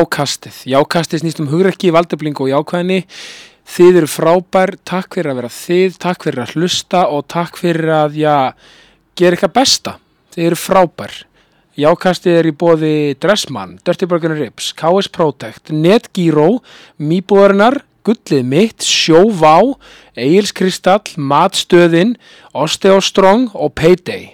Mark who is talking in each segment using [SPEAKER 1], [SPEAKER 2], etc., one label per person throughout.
[SPEAKER 1] Jákastið. Jákastið snýst um hugrekki, valdeflingu og jákvæðinni. Þið eru frábær, takk fyrir að vera þið, takk fyrir að hlusta og takk fyrir að já, gera eitthvað besta. Þið eru frábær. Jákastið er í bóði Dressmann, Dirty Burger and Ribs, KS Protect, Netgyro, Mýbúðarinnar, Gullið mitt, Sjóvá, Egil's Kristall, Matstöðin, Osteostrong og Payday.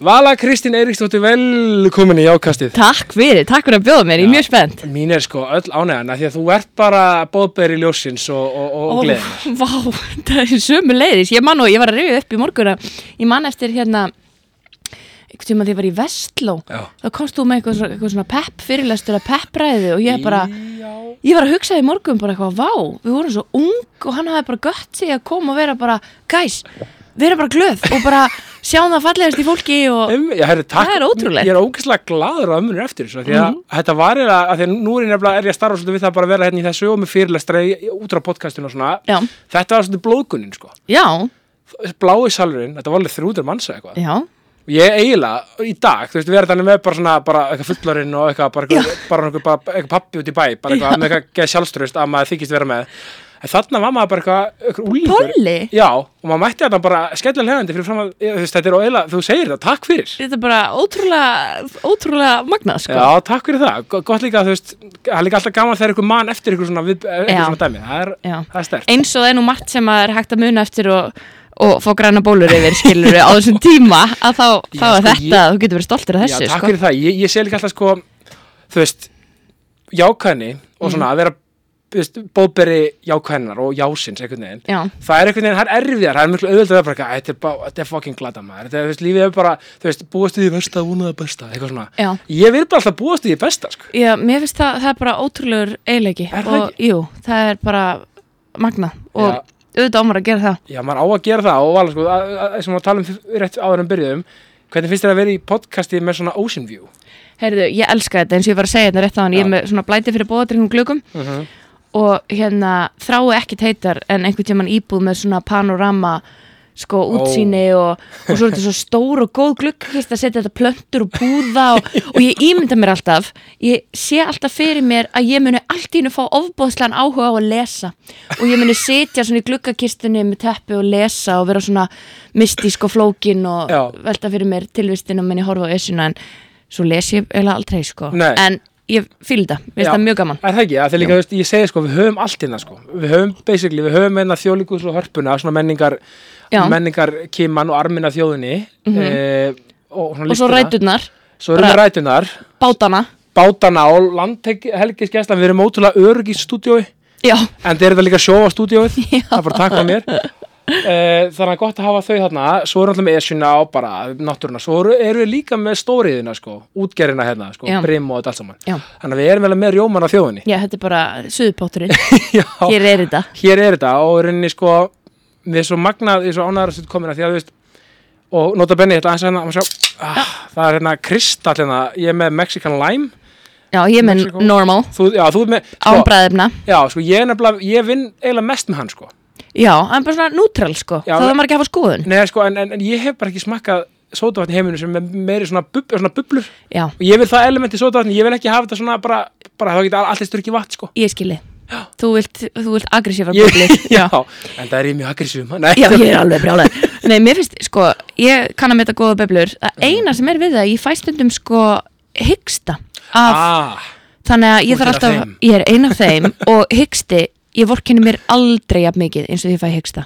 [SPEAKER 1] Vala Kristín Eiríksdóttir, velkomin í Jákastið.
[SPEAKER 2] Takk fyrir, takk fyrir að bjóða mér, ég er
[SPEAKER 1] Já.
[SPEAKER 2] mjög spennt
[SPEAKER 1] Mín er sko öll ánægana því að þú ert bara bóðberi ljósins og, og, og, og gleðin.
[SPEAKER 2] Vá, það er sömu leiðis Ég man og ég var að rifja upp í morgun að Ég man eftir hérna einhvern tíma þegar ég var í Vestló
[SPEAKER 1] Já.
[SPEAKER 2] þá komst þú með eitthvað, svona- eitthvað svona pepp fyrirlestur að peppræði og ég bara
[SPEAKER 1] Já.
[SPEAKER 2] ég var að hugsa í morgun bara eitthvað vá, við vorum svo ung og hann hafði bara gött sig að koma og vera bara guys, vera bara glöð og bara sjáum það fallegast í fólki og
[SPEAKER 1] Um, já, herri, takk,
[SPEAKER 2] Það er ótrúlegt. Mhm.
[SPEAKER 1] Ég er ógeðslega gladur að ömmunir eftir þessu af því að þetta var eða, að því að nú er ég nefnilega er ég að starfa svolítið við það bara að vera hérna í þessu og með fyrirlestra í- í- út á podcastinu og svona
[SPEAKER 2] Já.
[SPEAKER 1] Þetta var svolítið blóðgunin sko
[SPEAKER 2] já,
[SPEAKER 1] Blái salurinn, þetta var alveg þrjútur mannsa eitthvað
[SPEAKER 2] já
[SPEAKER 1] Ég eiginlega í dag, þú veist, við erum þannig með bara svona bara eitthvað fullarinn og eitthvað bara, eitthvað, bara eitthvað, bara eitthvað pappi út í bæ bara eitthvað með eitthvað geð sjálfströðst að maður þykist vera með en þarna var maður bara eitthvað, eitthvað úlingur
[SPEAKER 2] Polli,
[SPEAKER 1] Já, og maður mætti þarna bara skellan hegandi fyrir fram að, ég- þú veist, þetta er óeila, þú segir það, takk fyrir.
[SPEAKER 2] þetta er bara ótrúlega ótrúlega magnað sko
[SPEAKER 1] Já, takk fyrir það, Go- gott líka, þú veist, það er líka alltaf gaman þegar ykkur mann eftir ykkur svona, við, ykkur
[SPEAKER 2] Já.
[SPEAKER 1] svona dæmi, það er,
[SPEAKER 2] Já.
[SPEAKER 1] það er stert.
[SPEAKER 2] eins og það er nú margt sem að er hægt að muna eftir og, og fá græna bólur yfir skilur á þessum tíma að þá, þá
[SPEAKER 1] Já,
[SPEAKER 2] er
[SPEAKER 1] sko,
[SPEAKER 2] þetta,
[SPEAKER 1] ég-
[SPEAKER 2] þú getur verið stoltur af þessu
[SPEAKER 1] Já, takk
[SPEAKER 2] sko.
[SPEAKER 1] fyrir það, ég, ég sé líka alltaf sko, þú veist, jákvæðni
[SPEAKER 2] Mhm.
[SPEAKER 1] og svona að vera, þú veist, bóðberi jákvæðnar og jásins einhvern veginn.
[SPEAKER 2] Já,
[SPEAKER 1] Það er einhvern veginn, það er erfiðar, það er miklu auðvitað að vera bara, eitthvað, "Æ, þetta er, bara- þetta er fucking glada maður, þetta er, þú veist, lífið er bara, þú veist, búast við því versta, vonaði besta, eitthvað svona.
[SPEAKER 2] já,
[SPEAKER 1] Ég vil bara alltaf búast við því besta, sko.
[SPEAKER 2] já, mér finnst það, það er bara ótrúlegur eiginleiki
[SPEAKER 1] Er það
[SPEAKER 2] og jú, það er bara magna og
[SPEAKER 1] Já.
[SPEAKER 2] auðvitað ámar að gera það
[SPEAKER 1] Já, maður á að gera það og alveg sko, að- að- að- sem að tala um fyr- rétt áður en byrjuðum, hvernig finnst þér að vera í podcasti með svona Ocean View?
[SPEAKER 2] Heyrðu, ég elska þetta eins og ég var að segja þetta rétt á hann, ég
[SPEAKER 1] Já.
[SPEAKER 2] er með svona blæti fyrir bóðatryggum glugum og hérna þrái ekki teitar en einhvern tímann íbúð með svona panorama sko útsýni og, og svo er þetta svo stór og góð gluggkist að setja þetta plöntur og búða og, og ég ímynda mér alltaf ég sé alltaf fyrir mér að ég muni allt í hennu fá ofbóðslan áhuga á að lesa og ég muni sitja svona í gluggakistunni með teppi og lesa og vera svona mystísk og flókin og
[SPEAKER 1] Já.
[SPEAKER 2] velta fyrir mér tilvistin og minni horfa á esuna en svo les ég eiginlega aldrei sko
[SPEAKER 1] Nei.
[SPEAKER 2] en ég fylg það, mér
[SPEAKER 1] Já.
[SPEAKER 2] finnst það mjög gaman
[SPEAKER 1] Er það ekki? Það er líka, þú veist, ég segi sko, við höfum allt hérna sko, við höfum basically, við höfum einna þjóðlíkus og hörpuna, svona menningar,
[SPEAKER 2] Já. Mhm.
[SPEAKER 1] menningar kiman og armin af þjóðinni e, og svona
[SPEAKER 2] og svo
[SPEAKER 1] listina.
[SPEAKER 2] ræturnar,
[SPEAKER 1] Svo erum við
[SPEAKER 2] bara-
[SPEAKER 1] rætunar,
[SPEAKER 2] bátana
[SPEAKER 1] bátana og landhelgiskeslan, við erum ótrúlega örug í stúdiói,
[SPEAKER 2] Já,
[SPEAKER 1] en þeir eru það líka sjó á stúdióið, það er bara takk á mér. Uh, þannig að gott að hafa þau þarna svo erum alltaf með esjuna á bara náttúruna, svo eru- erum við líka með stóriðina sko, útgerina hérna, sko,
[SPEAKER 2] Já.
[SPEAKER 1] brim og þetta allt saman
[SPEAKER 2] Já.
[SPEAKER 1] þannig að við erum vel með rjóman á þjóðinni
[SPEAKER 2] já, þetta er bara suðupótturinn,
[SPEAKER 1] Já,
[SPEAKER 2] hér er þetta
[SPEAKER 1] hér er þetta og í rauninni sko við erum svo magnað, við erum svo ánæður að þetta komin að því að þú veist og nota benni þetta aðeins hérna má sjá, ah, það er hérna kristall hérna, ég er með Mexican Lime
[SPEAKER 2] Já, ég er með
[SPEAKER 1] Mexíkó.
[SPEAKER 2] normal,
[SPEAKER 1] þú, já, þú er með,
[SPEAKER 2] án
[SPEAKER 1] sko,
[SPEAKER 2] bræðefna
[SPEAKER 1] já, sko ég er nefnilega, ég vinn eiginlega mest með hann sko
[SPEAKER 2] Já, en bara svona neutral sko,
[SPEAKER 1] Já,
[SPEAKER 2] þá
[SPEAKER 1] en-
[SPEAKER 2] þarf maður ekki að hafa skoðun
[SPEAKER 1] Nei, sko, en, en, en ég hef bara ekki smakkað sótavatn í heiminu sem er meiri svona, bub, svona bublur
[SPEAKER 2] Já,
[SPEAKER 1] og ég vil það elementi sótavatn, ég vil ekki hafa þetta svona bara, bara þá geta allir styrki vatn, sko
[SPEAKER 2] ég skili Þú vilt, þú vilt aggressífa
[SPEAKER 1] ég,
[SPEAKER 2] búli
[SPEAKER 1] já, en það er ég mjög aggressífum Nei,
[SPEAKER 2] Já, ég er alveg brjálega Nei, mér finnst, sko, ég kann að metta góða beblur
[SPEAKER 1] Mm.
[SPEAKER 2] Það eina sem er við það, ég fæ stundum sko hyggsta af,
[SPEAKER 1] ah,
[SPEAKER 2] Þannig að
[SPEAKER 1] þú
[SPEAKER 2] ég
[SPEAKER 1] ert ein
[SPEAKER 2] þarf
[SPEAKER 1] af
[SPEAKER 2] alltaf,
[SPEAKER 1] þeim.
[SPEAKER 2] ég er ein af þeim Og hyggsti, ég vorkinni mér aldrei jafn mikið eins og ég fæ hyggsta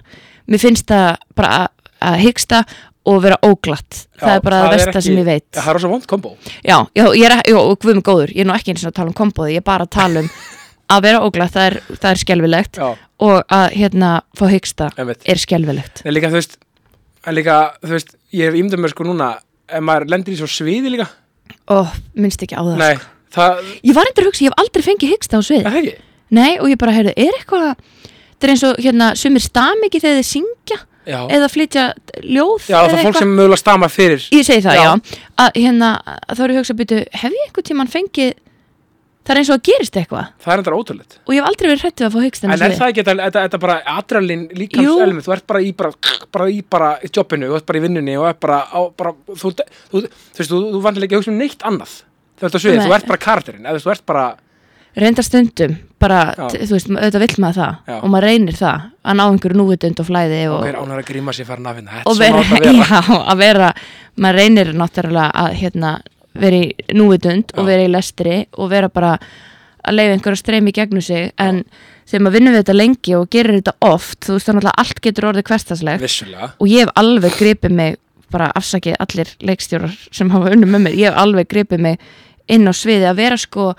[SPEAKER 2] Mér finnst það bara að- að hyggsta og vera óglatt Það
[SPEAKER 1] já,
[SPEAKER 2] er bara það versta
[SPEAKER 1] ekki-
[SPEAKER 2] sem ég veit
[SPEAKER 1] Það er rosa vond kombo
[SPEAKER 2] Já, já, ég er, já, og guðum góður, ég er nú ekki eins og að tala um komboði, ég er bara að tala um að vera óglætt, það er, það er skelvilegt
[SPEAKER 1] Já,
[SPEAKER 2] og að hérna fá hyggsta
[SPEAKER 1] einmitt
[SPEAKER 2] er skelvilegt.
[SPEAKER 1] En líka, þú veist, en líka, þú veist ég hef ímdað mér sko núna ef maður lendir í svo sviði líka
[SPEAKER 2] Ó, minnst ekki á það.
[SPEAKER 1] Nei, það,
[SPEAKER 2] Ég var eitthvað að hugsa, ég hef aldrei fengið hyggsta á svið.
[SPEAKER 1] er það ekki?
[SPEAKER 2] Nei, og ég bara, heyrðu, er eitthvað, það er eins og hérna sumir stam ekki þegar þið syngja
[SPEAKER 1] Já,
[SPEAKER 2] eða flytja ljóð
[SPEAKER 1] já
[SPEAKER 2] eða
[SPEAKER 1] það er fólk
[SPEAKER 2] eitthvað.
[SPEAKER 1] sem mögulega stama fyrir
[SPEAKER 2] Ég segi það,
[SPEAKER 1] Já.
[SPEAKER 2] já, að hérna, að þá er ég að hugsa að byrja, hef ég einhvern tíman fengið það er eins og að gerist eitthvað
[SPEAKER 1] það er endur ótrúleitt
[SPEAKER 2] og ég hef aldrei verið hrættið að fá hugstæmi
[SPEAKER 1] en er það ekki þetta- þetta þetta bara adralin
[SPEAKER 2] Jú.
[SPEAKER 1] líkamselmi þú ert bara í bara, bara í bara í jobbinu þú ert bara í vinnunni og ert bara, á, bara þú, þú, þú, þú veist, þú, þú vantilega ekki að hugsa um neitt annað þú ert að svið,
[SPEAKER 2] Nei.
[SPEAKER 1] þú ert bara karakterinn eða þú veist, þú ert bara
[SPEAKER 2] reyndar stundum bara,
[SPEAKER 1] Já.
[SPEAKER 2] t- þú veist, auðvitað vill maður það
[SPEAKER 1] Já.
[SPEAKER 2] og maður reynir það að ná einhverju núvitund og flæði og,
[SPEAKER 1] hver ánæður að gríma sér farin af hérna
[SPEAKER 2] og
[SPEAKER 1] þetta er svona átt að
[SPEAKER 2] vera, já, að vera maður reynir náttúrulega að hérna, vera í núvitund og
[SPEAKER 1] Já.
[SPEAKER 2] vera í lestri og vera bara að leiða einhverju að streymi í gegnum sig en þegar maður vinnur við þetta lengi og gerir þetta oft, þú veist þannig að allt getur orðið hverstaslegt
[SPEAKER 1] vissulega
[SPEAKER 2] og ég hef alveg gripið mig bara afsakið allir leikstjórar sem hafa unnum með mér, ég hef alveg gripið mig inn á sviði að vera sko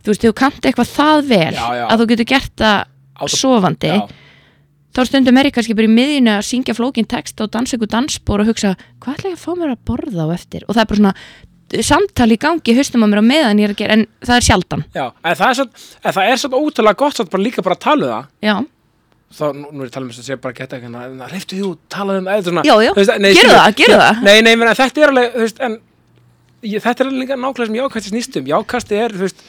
[SPEAKER 2] þú veist, þegar þú kannt eitthvað það vel
[SPEAKER 1] Já, já.
[SPEAKER 2] að þú getur gert það
[SPEAKER 1] Átta-
[SPEAKER 2] sofandi
[SPEAKER 1] já,
[SPEAKER 2] þá stundum er ég kannski bara í miðjunu að syngja flókin text og dansa ykkur dansbór og hugsa hvað ætla ég að fá mér að borða á eftir og það er bara svona eh, samtal í gangi haustum að mér á meðan ég er að gera en það er sjaldan,
[SPEAKER 1] já, en það er satt en það er satt ótrúlega gott satt bara líka bara að tala um það
[SPEAKER 2] já,
[SPEAKER 1] þá, nú, nú er ég að tala um þess að segja bara geta ekki hreftu því út, tala um eða svona
[SPEAKER 2] Já, já,
[SPEAKER 1] þú veist, nei,
[SPEAKER 2] gerðu
[SPEAKER 1] skilur-
[SPEAKER 2] það, gerðu það.
[SPEAKER 1] nei, nei, meni, þetta er alveg, þú veist, en ég, þetta er alveg líka nákvæmlega sem jákvæmst snýstum jákvæmst er, þú veist,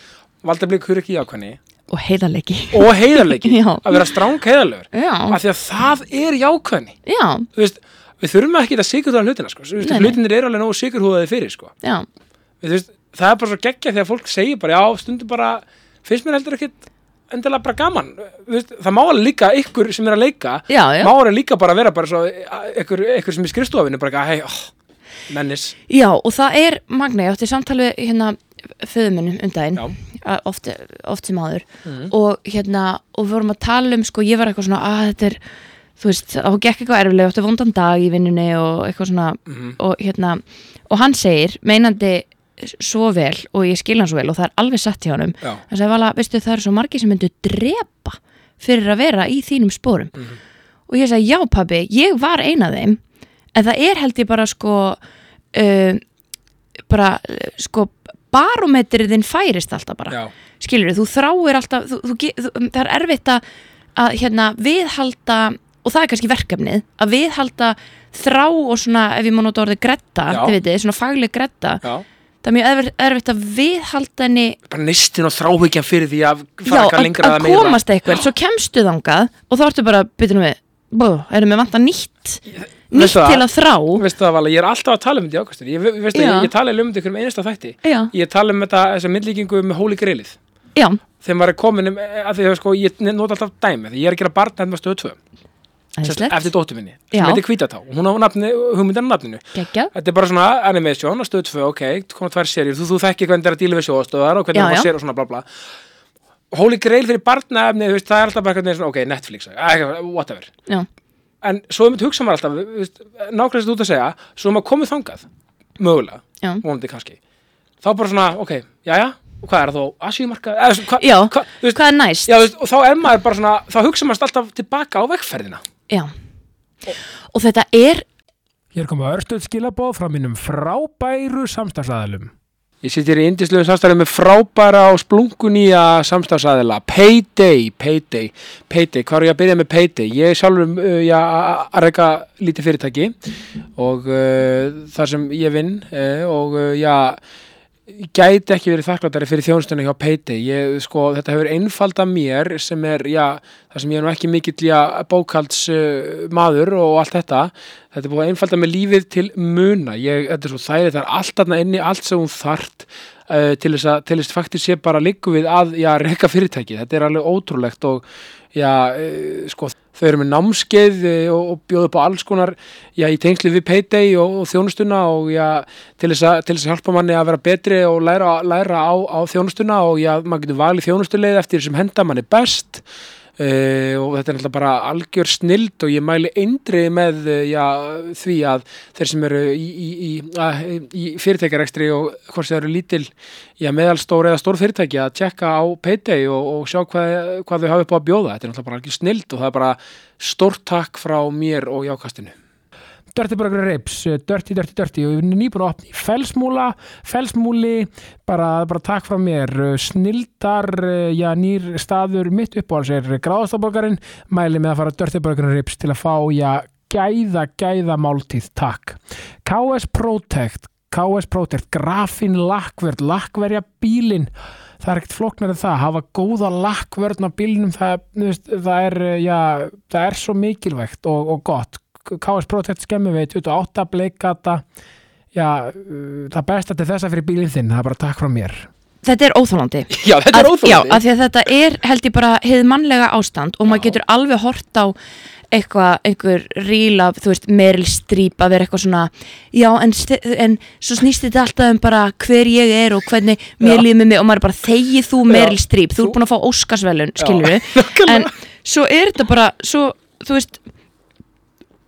[SPEAKER 1] valdablík hur ekki jákvæmni
[SPEAKER 2] og heiðarleiki
[SPEAKER 1] og heiðarleiki,
[SPEAKER 2] Já.
[SPEAKER 1] að vera stráng heiðarlegur
[SPEAKER 2] já,
[SPEAKER 1] af því að það er jákvæmni
[SPEAKER 2] já,
[SPEAKER 1] þú veist, við þurfum ekki að sigurða hlutina sko, þú veist,
[SPEAKER 2] Nei, nei.
[SPEAKER 1] hlutinir eru alveg nógu sigurhúðaði fyrir sko,
[SPEAKER 2] já
[SPEAKER 1] við, þú veist, það er bara svo geggja því að fólk segir bara, já, stundum bara finnst mér heldur ekkit endilega bara gaman Þú veist, það má alveg líka ykkur sem er að leika
[SPEAKER 2] já, já,
[SPEAKER 1] má orðið líka bara að vera bara svo einhver, einhver sem í skrifstofinu bara eitthvað, hei, oh, mennis
[SPEAKER 2] já og það er magna, ég átti samtal við hérna föðu minnum um daginn
[SPEAKER 1] já, Mhm.
[SPEAKER 2] að oft, oft sem áður og hérna, og við vorum að tala um sko, ég var eitthvað svona, að þetta er þú veist, þá gekk eitthvað erfilega, ég átti vondan dag í vinnunni og eitthvað svona
[SPEAKER 1] Mhm.
[SPEAKER 2] og hérna, og hann segir, meinandi svo vel og ég skil hann svo vel og það er alveg satt hjá honum
[SPEAKER 1] já,
[SPEAKER 2] hann sagði, vala, veistu, það eru svo margir sem myndu drepa fyrir að vera í þínum spórum
[SPEAKER 1] Mhm.
[SPEAKER 2] og ég sagði, já pabbi, ég var ein af þeim en það er held ég bara sko uh, bara eh, sko barometriðin færist alltaf bara
[SPEAKER 1] já,
[SPEAKER 2] skilur þú þráir alltaf þú, þú, ge- þú, það er erfitt að, að hérna, viðhalda og það er kannski verkefnið að viðhalda þrá og svona ef ég má nota orðið gretta
[SPEAKER 1] Já.
[SPEAKER 2] þið vitið, svona fagleg gretta
[SPEAKER 1] já
[SPEAKER 2] það er mjög erfitt, erfitt að viðhalda henni
[SPEAKER 1] bara nistin og þráhyggjan fyrir því að
[SPEAKER 2] já,
[SPEAKER 1] fara
[SPEAKER 2] að,
[SPEAKER 1] eitthvað lengra
[SPEAKER 2] að
[SPEAKER 1] eða meira.
[SPEAKER 2] komast eitthvað svo kemstu þangað og þá ertu bara byrjunum við, bú, erum við vanta nýtt nýtt
[SPEAKER 1] það?
[SPEAKER 2] til að þrá
[SPEAKER 1] Veistu það, Vala, ég er alltaf að tala um þetta í ákvæmstur ég, veistu,
[SPEAKER 2] Já.
[SPEAKER 1] ég, ég tala um þetta í hverjum einasta þætti
[SPEAKER 2] já,
[SPEAKER 1] ég tala um þetta, þessa myndlíkingu með hóli grillið
[SPEAKER 2] já,
[SPEAKER 1] þegar maður er komin um, eh, af því að sko, ég nota alltaf dæmi, því ég er að gera barna hérna stöðu tvö, sérst,
[SPEAKER 2] æðislegt
[SPEAKER 1] eftir dóttu minni
[SPEAKER 2] Já.
[SPEAKER 1] sem heitir Hvítátá, hún á nafni, hugmyndan á nafninu
[SPEAKER 2] geggjað,
[SPEAKER 1] Þetta er bara svona animation og stöð 2, ok, koma tvær serjur, þú, þú þekki hvernig það er að díla við sjóðastöðar og hvernig
[SPEAKER 2] Já,
[SPEAKER 1] það
[SPEAKER 2] já.
[SPEAKER 1] var sér og svona bla bla. Holy Grail fyrir barnaefni, þú veist, það er alltaf bara hvernig, ok, Netflix, eh, whatever.
[SPEAKER 2] já,
[SPEAKER 1] En svo er mitt hugsa maður alltaf, þú veist, nákvæmlega sem þú ert að segja, svo er maður komið þangað, mögulega,
[SPEAKER 2] já
[SPEAKER 1] vonandi kannski. Þá bara svona, ok, jæja, og hvað er það þá, asíumarka, eða svona, hvað,
[SPEAKER 2] Já,
[SPEAKER 1] hvað, þú veist,
[SPEAKER 2] hvað er næst?
[SPEAKER 1] já, þú veist, og þá er maður bara svona, þá hugsa maður alltaf tilbaka á vegferðina.
[SPEAKER 2] Já. Og þetta er,
[SPEAKER 1] Hér koma örstuð skilabóð frá mínum frábæru samstagsæðalum. Ég sitt hér í indislegu samstæðum með frábæra og splungunýja samstagsæðala. Payday, payday, payday. Hvað er ég að byrja með payday? Ég er sjálfur uh, já, að reyka lítið fyrirtæki og uh, þar sem ég vinn uh, og uh, já, gæti ekki verið þakklátari fyrir þjónustunni hjá Payday. Ég, sko, þetta hefur einfalda mér sem er, já, það sem ég er nú ekki mikill já, bókalds uh, maður og allt þetta. Þetta er búið að einfalda mér lífið til muna. Ég, þetta er svo þærið, það er allt þarna inni, allt sem hún þart uh, til þess að, til þess faktis ég bara liggu við að, já, reyka fyrirtækið. Þetta er alveg ótrúlegt og, já, uh, sko, þau eru með námskeið eh, og, og bjóðu upp á alls konar já, í tengslu við Payday og, og þjónustuna og já, til þess, að, til þess að hjálpa manni að vera betri og læra, læra á, á þjónustuna og já, maður getur valið þjónustuleið eftir því sem henda manni best Uh, og þetta er náttúrulega bara algjör snild og ég mæli eindri með uh, já, því að þeir sem eru í, í, í, að, í fyrirtækjarekstri og hvort sem þeir eru lítil já, meðalstór eða stór fyrirtæki að tjekka á Payday og, og sjá hvað, hvað þau hafa upp á að bjóða þetta er náttúrulega bara algjör snild og það er bara stórt takk frá mér og jákastinu Dirty Burger Rips, Dirty, Dirty, Dirty og við erum nýbúin að opna í felsmúla felsmúli, bara, bara takk frá mér, Eh, snildar já, nýr staður mitt upp á hans er gráðastaborgarinn, mæli með að fara Dirty Burger Rips til að fá já, gæða, gæða máltíð, takk KS Protect KS Protect, grafin lakverð, lakverja bílin
[SPEAKER 3] það er ekkert flóknar en það, hafa góða lakkvörn á bílnum, það, þú veist, það er eh, já, það er svo mikilvægt og, og gott, KS Protect skemmi veit 28 bleikata já, uh, það besta til þessa fyrir bílinn þinn, það er bara takk frá mér
[SPEAKER 2] þetta er óþálandi
[SPEAKER 1] Já, þetta er
[SPEAKER 2] Að- Já,
[SPEAKER 1] óþólandi
[SPEAKER 2] af því að þetta er held ég bara heið mannlega ástand og maður
[SPEAKER 1] Já.
[SPEAKER 2] getur alveg hort á eitthvað, einhver ríl af, þú veist, Meryl Streep að vera eitthvað svona, já, en, st- en svo snýst þetta alltaf um bara hver ég er og hvernig mér líður með mig og maður er bara þegið þú Meryl
[SPEAKER 1] Já.
[SPEAKER 2] Streep, þú
[SPEAKER 1] Þú-
[SPEAKER 2] er búin að fá Óskarsvelun, skilur
[SPEAKER 1] nákvæmlega.
[SPEAKER 2] en svo er þetta bara, svo, þú veist,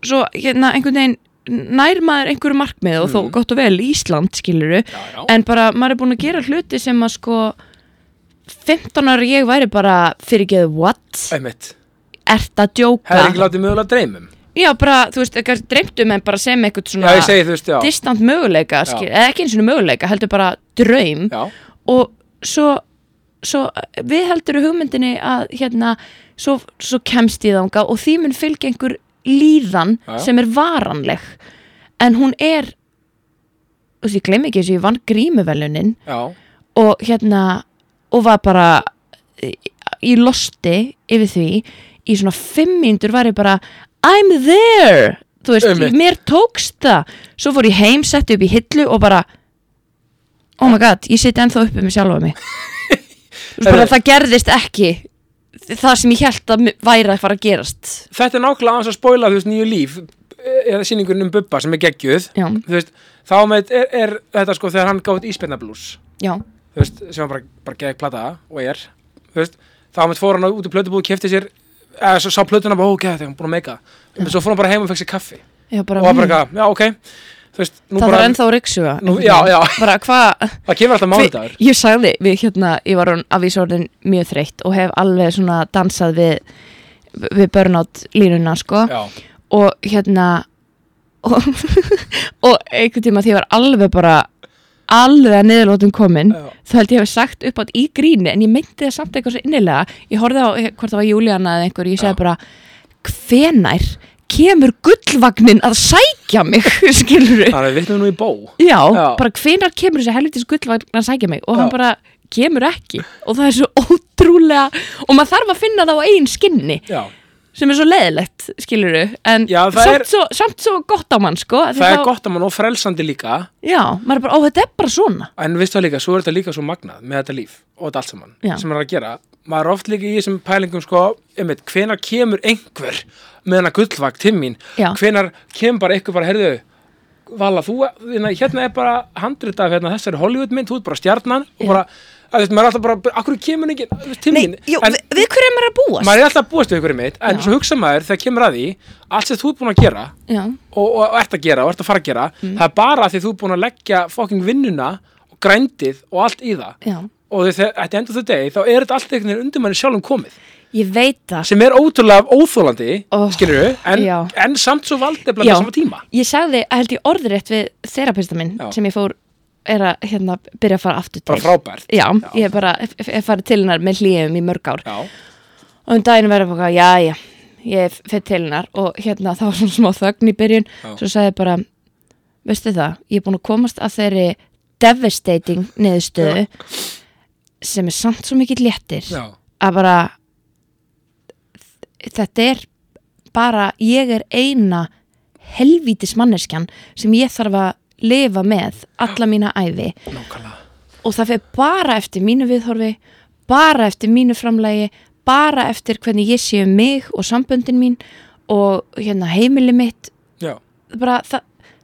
[SPEAKER 2] svo hérna einhvern veginn nær maður einhverju markmið og
[SPEAKER 1] Mm.
[SPEAKER 2] þó gott og vel Ísland, skilur
[SPEAKER 1] Já, já.
[SPEAKER 2] en bara maður er búin að gera hluti sem að sko 15 ára ég væri bara fyrirgeðu what?
[SPEAKER 1] Einmitt.
[SPEAKER 2] Ert að djóka?
[SPEAKER 1] Hefði ekki látið mögulega dreymum
[SPEAKER 2] Já bara, þú veist, eitthvað dreymtum en bara sem eitthvað
[SPEAKER 1] Já,
[SPEAKER 2] svona
[SPEAKER 1] ég segi þú veist, já
[SPEAKER 2] distant möguleika, skil, eða ekki eins og möguleika heldur bara draum
[SPEAKER 1] Já,
[SPEAKER 2] og svo, svo við heldur hugmyndinni að hérna, svo, svo kemst ég þanga og því mun fylgja einhver líðan
[SPEAKER 1] Já, já.
[SPEAKER 2] sem er varanleg en hún er þú veist, ég gleym ekki þessu, ég vann grímuvelunin
[SPEAKER 1] já,
[SPEAKER 2] og hérna og var bara í losti yfir því í svona fimm mínútur var ég bara I'm there þú veist,
[SPEAKER 1] Einmitt.
[SPEAKER 2] mér tókst það svo fór ég heim, setti upp í hillu og bara oh my god, ég seti ennþá uppi með sjálfa mig Þú veist, bara,
[SPEAKER 1] Heyrðu.
[SPEAKER 2] það gerðist ekki það sem ég held að mi- væri að fara að gerast
[SPEAKER 1] þetta er nákvæmlega aðeins að spoila þú veist nýju líf eða sýningurinn um Bubba sem er geggjuð
[SPEAKER 2] Já.
[SPEAKER 1] þú veist, þá með er, er þetta sko þegar hann gáði íspenna blues
[SPEAKER 2] já,
[SPEAKER 1] þú veist, sem hann bara, bara gegg plata og er, þú veist, þá með fór hann út í plötubúð, kefti sér eða svo sá plötuna bara, ó, ok, þetta er hann búin að meika en svo fór hann bara heim og fekk sér kaffi
[SPEAKER 2] já bara,
[SPEAKER 1] og var bara
[SPEAKER 2] mm,
[SPEAKER 1] eitthvað, já, ok þú veist, nú
[SPEAKER 2] það
[SPEAKER 1] bara,
[SPEAKER 2] þarf ennþá að ryksuga
[SPEAKER 1] Nú- já, já.
[SPEAKER 2] bara hvað
[SPEAKER 1] það kemur alltaf
[SPEAKER 2] Hve-
[SPEAKER 1] mánudagur
[SPEAKER 2] Ég sagði, við hérna, ég var orðin- að vísa orðin mjög þreytt og hef alveg svona dansað við, við burnout línuna sko
[SPEAKER 1] já,
[SPEAKER 2] og hérna og, og einhvern tíma því ég var alveg bara alveg að niðurlótum komin
[SPEAKER 1] Já.
[SPEAKER 2] þá held ég hef sagt upp átt í gríni en ég myndi það samt eitthvað svo innilega ég horfði á eh, hvort það var Júlíana eða einhver ég
[SPEAKER 1] Já.
[SPEAKER 2] segi bara hvenær kemur gullvagnin að sækja mig skilur
[SPEAKER 1] þannig að við vittum nú í bó
[SPEAKER 2] Já,
[SPEAKER 1] Já.
[SPEAKER 2] bara hvenar kemur þessi helvitis gullvagn að sækja mig og hann
[SPEAKER 1] Já.
[SPEAKER 2] bara kemur ekki og það er svo ótrúlega og maður þarf að finna það á eigin skinni
[SPEAKER 1] já,
[SPEAKER 2] sem er svo leðilegt, skilur en
[SPEAKER 1] Já, það
[SPEAKER 2] samt,
[SPEAKER 1] er-
[SPEAKER 2] svo, samt svo gott á mann sko, af því
[SPEAKER 1] það
[SPEAKER 2] þá-
[SPEAKER 1] er gott að mann og frelsandi líka
[SPEAKER 2] Já, maður er bara, ó þetta er bara svona
[SPEAKER 1] en viðstu það líka, svo er þetta líka svo magnað með þetta líf og þetta allt saman
[SPEAKER 2] Já.
[SPEAKER 1] sem hann er að gera maður er oft líka í þessum pælingum sko, einmitt, hvenar kemur einhver með hennar gullvakt til mín
[SPEAKER 2] Já.
[SPEAKER 1] hvenar kemur bara einhver bara, heyrðu Vala, þú, hérna, hérna er bara handrit af hérna, þessari Hollywoodmynd, þú ert bara stjarnan og bara, að, veist, maður er alltaf bara, akkur kemur enginn þú veist, til mín,
[SPEAKER 2] jú,
[SPEAKER 1] en
[SPEAKER 2] við, við hverju er maður að búast?
[SPEAKER 1] maður er alltaf að búast við ykkur einmitt, en
[SPEAKER 2] Já.
[SPEAKER 1] svo hugsa maður þegar kemur að því, allt sem þú ert búin að gera
[SPEAKER 2] Já,
[SPEAKER 1] og, og, og ert að gera og ert að fara að gera
[SPEAKER 2] Mm.
[SPEAKER 1] það er bara af því þú er búin að leggja fokking vinnuna og grændið og allt í það
[SPEAKER 2] já
[SPEAKER 1] og þegar þetta- at the end of the day þá er þetta allt einhvern veginn undir manni sjálfum komið
[SPEAKER 2] Ég veit það
[SPEAKER 1] sem er ótrúlega óþólandi
[SPEAKER 2] Oh,
[SPEAKER 1] oh, skilur
[SPEAKER 2] já.
[SPEAKER 1] en, en samt svo valdefla
[SPEAKER 2] Já.
[SPEAKER 1] á sama tíma
[SPEAKER 2] Ég sagði, held ég orðrétt við þerapista minn
[SPEAKER 1] Já.
[SPEAKER 2] sem ég fór, er að hérna byrja að fara aftur
[SPEAKER 1] bara
[SPEAKER 2] til
[SPEAKER 1] frábært
[SPEAKER 2] Já, ég hef bara hef- hef farið til hennar með hlýjum í mörg ár
[SPEAKER 1] já,
[SPEAKER 2] og um daginn verður bara, já, já, ég er fett til hennar og hérna það var svona smá þögn í byrjun,
[SPEAKER 1] Já.
[SPEAKER 2] svo sagði ég bara veistu það, ég er búin að komast að þeirri devastating niðurstöðu sem er samt svo mikill léttir
[SPEAKER 1] já,
[SPEAKER 2] að bara þetta er bara, ég er eina helvítis manneskjan sem ég þarf að lifa með alla mína æfi
[SPEAKER 1] nákvæmlega
[SPEAKER 2] og það fyrir bara eftir mínu viðhorfi bara eftir mínu framlægi bara eftir hvernig ég sé um mig og samböndin mín og hérna heimili mitt
[SPEAKER 1] já,
[SPEAKER 2] bara, það,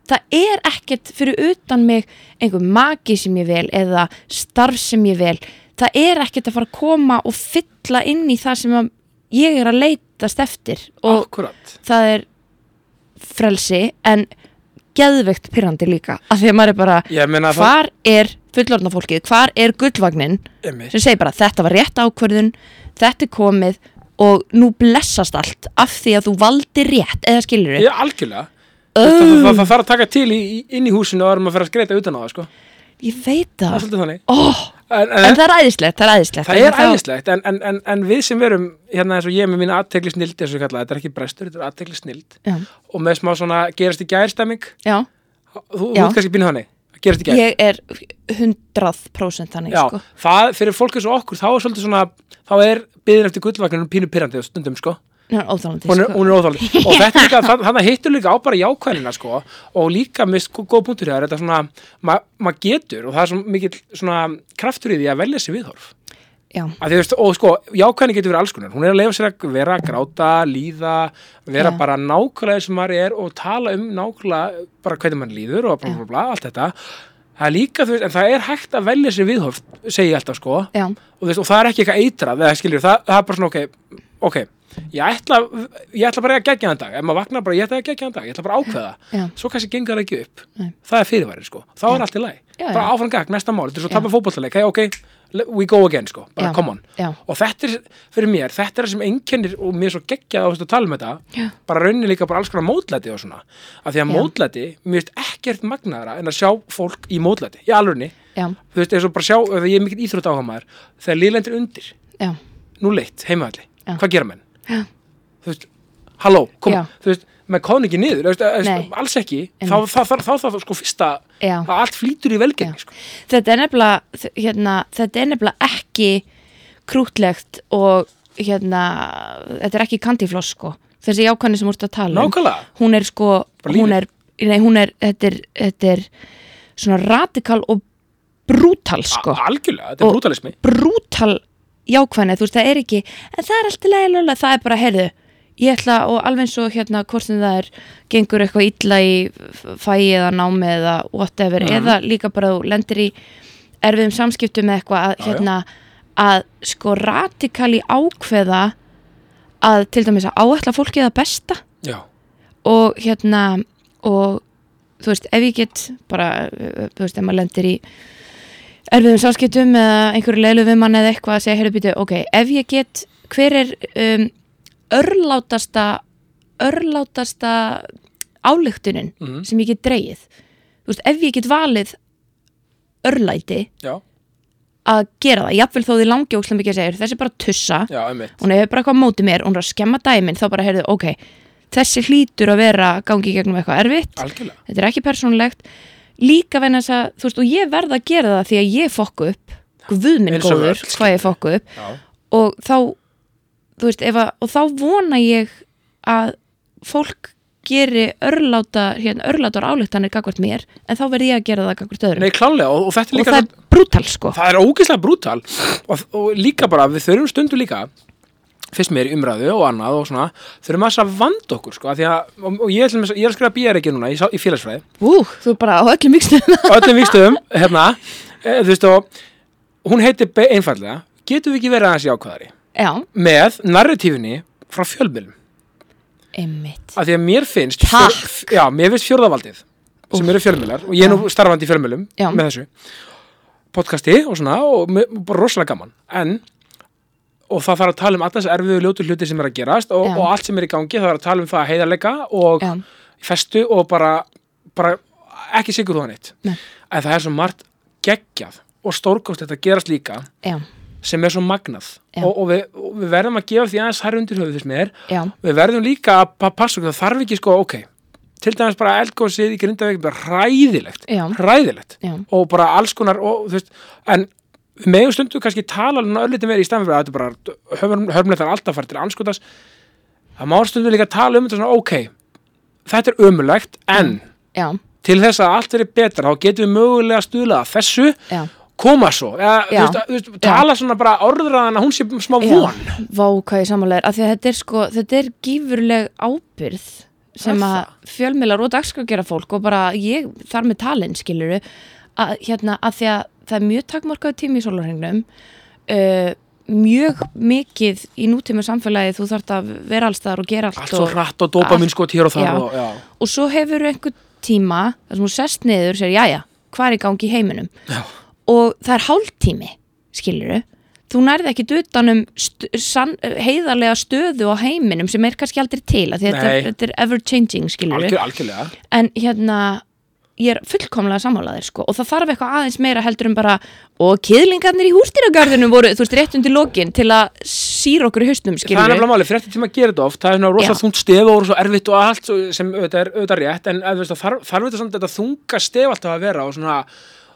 [SPEAKER 2] það er ekkert fyrir utan mig einhver magi sem ég vel eða starf sem ég vel það er ekkert að fara að koma og fylla inn í það sem að ég er að leitast eftir
[SPEAKER 1] Ah.
[SPEAKER 2] og
[SPEAKER 1] akkurat
[SPEAKER 2] það er frelsi en geðveikt pyrrandi líka af því að maður er bara
[SPEAKER 1] ég meina það,
[SPEAKER 2] hvar er fullorðna fólkið, hvar er gullvagnin
[SPEAKER 1] einmitt,
[SPEAKER 2] sem segir bara þetta var rétt ákvörðun þetta er komið og nú blessast allt af því að þú valdi rétt eða skilur
[SPEAKER 1] ég algjörlega Það, það, það, það þarf að taka til í, í- inn í húsinu og erum að fara að skreita utan á það sko.
[SPEAKER 2] ég veit
[SPEAKER 1] það er
[SPEAKER 2] það
[SPEAKER 1] svolítið þannig
[SPEAKER 2] oh,
[SPEAKER 1] en,
[SPEAKER 2] en það er æðislegt það er æðislegt,
[SPEAKER 1] Það er
[SPEAKER 2] þá-
[SPEAKER 1] æðislegt, en, en, en, en við sem verum, hérna eins og ég með mín aðtegli snild, eins og ég kalla, það, þetta er ekki brestur, þetta er aðtegli snild
[SPEAKER 2] já,
[SPEAKER 1] og með smá svona gerast í gærstemming,
[SPEAKER 2] já,
[SPEAKER 1] þú þú
[SPEAKER 2] Já.
[SPEAKER 1] ert kannski býnir þannig, það gerist ekki
[SPEAKER 2] ég er 100% þannig
[SPEAKER 1] Já,
[SPEAKER 2] sko.
[SPEAKER 1] það, fyrir fólk eins og okkur þá er svolítið svona, þá er byðin eftir gullvagnunum pínu pyrrandi á stundum sko
[SPEAKER 2] hún er óþálandi
[SPEAKER 1] hún er,
[SPEAKER 2] sko.
[SPEAKER 1] hún er óþáli og þetta líka, þannig að hittur líka á bara jákvæðina sko og líka með sko, góð punktur hér, þetta er svona, ma- maður getur og það er svona mikill svona kraftur í því að velja sér viðhorf
[SPEAKER 2] Já.
[SPEAKER 1] að því, þú veist, og sko, jákvæðin getur verið alls konar hún er að leifa sér að vera, gráta, líða vera
[SPEAKER 2] Já.
[SPEAKER 1] bara nákvæmlega sem maður er og tala um nákvæmlega bara hvernig mann líður og bla bla bla, allt þetta það er líka, þú veist, en það er hægt að velja sér viðhorf, segi ég alltaf sko
[SPEAKER 2] Já.
[SPEAKER 1] og, þú veist, og það er ekki eitthvað eitrað eða, skilur, það, það er bara svona ok, ok ég ætla, ég ætla bara að gegja þann dag ef maður vaknar bara ég ætla að gegja þann dag, ég ætla bara að ákveða
[SPEAKER 2] Já.
[SPEAKER 1] svo kannski gengur það ekki upp
[SPEAKER 2] Nei.
[SPEAKER 1] það er fyrirværi sko, þá er allt í læg
[SPEAKER 2] Já,
[SPEAKER 1] bara
[SPEAKER 2] já.
[SPEAKER 1] áfram gag, næsta mál, þetta er svo tappa fótbollaleik hey, ok, le- we go again sko, bara
[SPEAKER 2] Já.
[SPEAKER 1] come on
[SPEAKER 2] Já.
[SPEAKER 1] og þetta er, fyrir mér, þetta er það sem einkennir og mér er svo geggjað á þessu að tala um þetta
[SPEAKER 2] Já.
[SPEAKER 1] bara raunin líka bara alls konar mótlæti og svona, af því að
[SPEAKER 2] Já.
[SPEAKER 1] mótlæti mér veist ekkert magnaðra en að sjá fólk í mótlæti, í alvörni
[SPEAKER 2] Já.
[SPEAKER 1] þú veist, eins og bara sjá, ef ég er mikill íþrótt áhamaður þegar liðlendir undir,
[SPEAKER 2] Já.
[SPEAKER 1] nú leitt, heimavalli
[SPEAKER 2] Já.
[SPEAKER 1] hvað gera menn? Já. þú veist, halló,
[SPEAKER 2] Já.
[SPEAKER 1] koma, þú veist maður kóðan ekki niður, þú veist, að-
[SPEAKER 2] Nei.
[SPEAKER 1] alls ekki þá,
[SPEAKER 2] Einmitt.
[SPEAKER 1] þá, þá, þá, þá, þá sko fyrsta
[SPEAKER 2] Já.
[SPEAKER 1] að allt flýtur í velgengi
[SPEAKER 2] Já.
[SPEAKER 1] sko.
[SPEAKER 2] þetta er nefnilega þ- hérna, þetta er nefnilega ekki krútlegt og hérna, þetta er ekki kandifloss sko. þessi jákvæðni sem úrst að tala um
[SPEAKER 1] nákvæmlega,
[SPEAKER 2] hún er sko
[SPEAKER 1] Bara lífið.
[SPEAKER 2] hún er, nei, hún er, þetta er, þetta er svona radikal og brútal sko
[SPEAKER 1] A- algjörlega, þetta er
[SPEAKER 2] Og-
[SPEAKER 1] brútalismi
[SPEAKER 2] brútal jákvæðni, þú veist, það er ekki en það er alltaf leiðilega, það er bara, heyrðu ég ætla og alveg eins og hérna hvort sem það er gengur eitthvað illa í f- fæi eða námi eða whatever
[SPEAKER 1] Mhm.
[SPEAKER 2] eða líka bara þú lendir í erfiðum samskiptum eða eitthvað
[SPEAKER 1] Já,
[SPEAKER 2] að
[SPEAKER 1] já.
[SPEAKER 2] hérna að sko radikali ákveða að til dæmis að áætla fólkið að besta
[SPEAKER 1] já,
[SPEAKER 2] og hérna og þú veist, ef ég get bara, uh, þú veist, ef maður lendir í erfiðum sáskiptum eða einhverju leilu við mann eða eitthvað að segja, heyrðu býtu, ok, ef ég get hver er um, örlátasta örlátasta álíktunin
[SPEAKER 1] Mhm.
[SPEAKER 2] sem ég get dreigið þú veist, ef ég get valið örlæti
[SPEAKER 1] já,
[SPEAKER 2] að gera það, jafnvel þó því langi óslega mikið að segja, þessi er bara tussa
[SPEAKER 1] já, einmitt
[SPEAKER 2] hún hefur bara eitthvað á móti mér, hún er að skemma dæmin þá bara heyrðu, ok, þessi hlýtur að vera að gangi í gegnum eitthvað erfitt
[SPEAKER 1] algjörlega,
[SPEAKER 2] þetta er ekki persónulegt líka vegna þess að, þú veist, og ég verð að gera það því að ég fokku upp, guð minn
[SPEAKER 1] Eins og
[SPEAKER 2] góður
[SPEAKER 1] öll, skilur.
[SPEAKER 2] hvað ég fokku upp
[SPEAKER 1] já,
[SPEAKER 2] og þá, þú veist, ef að og þá vona ég að fólk geri örláta hérna, örlátar álíktanir gagvart mér en þá verð ég að gera það gagvart öðrum
[SPEAKER 1] nei, klálega og, og þetta er
[SPEAKER 2] og
[SPEAKER 1] líka
[SPEAKER 2] það er brútal sko
[SPEAKER 1] það er ógeðslega brútal og, og líka bara, við þurfum stundu líka fyrst mér í umræðu og annað og svona þurfum að þess að vanda okkur sko, af því að, og, og ég, ætlum, ég er að skrifa bíjar ekki núna í, sá- í félagsfræði
[SPEAKER 2] Ú, þú er bara á öllum vikstum
[SPEAKER 1] á öllum vikstöðum, hérna e, þú veist og hún heitir be- einfallega, getum við ekki verið aðeins jákvæðari
[SPEAKER 2] Já,
[SPEAKER 1] með narratífinni frá fjölmjölum
[SPEAKER 2] einmitt
[SPEAKER 1] af því að mér finnst
[SPEAKER 2] Takk.
[SPEAKER 1] fjór- já, mér finnst fjórðavaldið sem eru fjölmjölar og ég er nú starfandi í fjölmjölum
[SPEAKER 2] Já.
[SPEAKER 1] með þessu podcasti og svona og me- bara rosalega gaman en og það þarf að tala um alltaf þessi erfiðu ljótu hluti sem er að gerast og,
[SPEAKER 2] Já.
[SPEAKER 1] og allt sem er í gangi það þarf að tala um það heiðarleika og
[SPEAKER 2] Já.
[SPEAKER 1] festu og bara, bara ekki sigur það neitt
[SPEAKER 2] Nei.
[SPEAKER 1] en það er svo margt geggjað og stórkostlegt að gerast líka
[SPEAKER 2] Já,
[SPEAKER 1] sem er svo magnað
[SPEAKER 2] Já.
[SPEAKER 1] og, og, við, og við verðum að gefa því aðeins hær undir höfuð þess með þér
[SPEAKER 2] já,
[SPEAKER 1] við verðum líka að pa- passa okkur það þarf ekki sko, ok, til dæmis bara eldgósið í grindavík, bara hræðilegt
[SPEAKER 2] Já.
[SPEAKER 1] hræðilegt
[SPEAKER 2] Já.
[SPEAKER 1] og bara alls konar og þú veist, en við meðum stundu kannski tala alveg öllítið meira í stæðan fyrir að þetta er bara hörmleittar alltaf fært til anskotas það má stundu líka tala um þetta svona, ok þetta er ömulegt, en
[SPEAKER 2] já,
[SPEAKER 1] til þess að allt verið betra, þá getum við mögulega stuðlað að þessu
[SPEAKER 2] já
[SPEAKER 1] koma svo, eða, þú
[SPEAKER 2] Já.
[SPEAKER 1] veist, þú veist, tala svona bara orðraðan að hún sé smá von
[SPEAKER 2] Já, vá hvað ég samanlegar af því að þetta er sko, þetta er gífurleg ábyrð sem
[SPEAKER 1] Er
[SPEAKER 2] að
[SPEAKER 1] það?
[SPEAKER 2] fjölmiðlar og dagskrafgera fólk og bara ég þar með talin skiluru að hérna að því að það er mjög takmarkaðu tími í sólarhengnum uh, mjög mikið í nútíma samfélagi þú þarft að vera allstaðar og gera allt,
[SPEAKER 1] allt svo
[SPEAKER 2] og,
[SPEAKER 1] hratt og dopa minn skot hér og
[SPEAKER 2] Já.
[SPEAKER 1] þar og, já.
[SPEAKER 2] og svo hefur einhver tíma þar sem þú sest niður og sér, jæja, hvað er í gangi í heiminum
[SPEAKER 1] Já.
[SPEAKER 2] og það er hálftími skiluru, þú nærði ekki utanum um st san, heiðarlega stöðu á heiminum sem er kannski aldrei til af því að þetta,
[SPEAKER 1] Nei.
[SPEAKER 2] er- þetta er ever changing skiluru
[SPEAKER 1] Algjör, algjörlega
[SPEAKER 2] en hérna ég er fullkomlega sammálaðir sko og það þarf eitthvað aðeins meira heldur en bara og kiðlingarnir í hústýragarðinu voru þú veist rétt undir lokin til að síra okkur í
[SPEAKER 1] það
[SPEAKER 2] haustum
[SPEAKER 1] er
[SPEAKER 2] skilur
[SPEAKER 1] nefnilega máli, fréttir tíma að gera þetta oft það er svona rosa
[SPEAKER 2] Já.
[SPEAKER 1] þungt stef og rosa erfitt og allt svo- sem auðvitað er auðvitað rétt en að, veist, það þarf, þarf þetta samt þetta þunga stef alltaf að vera og svona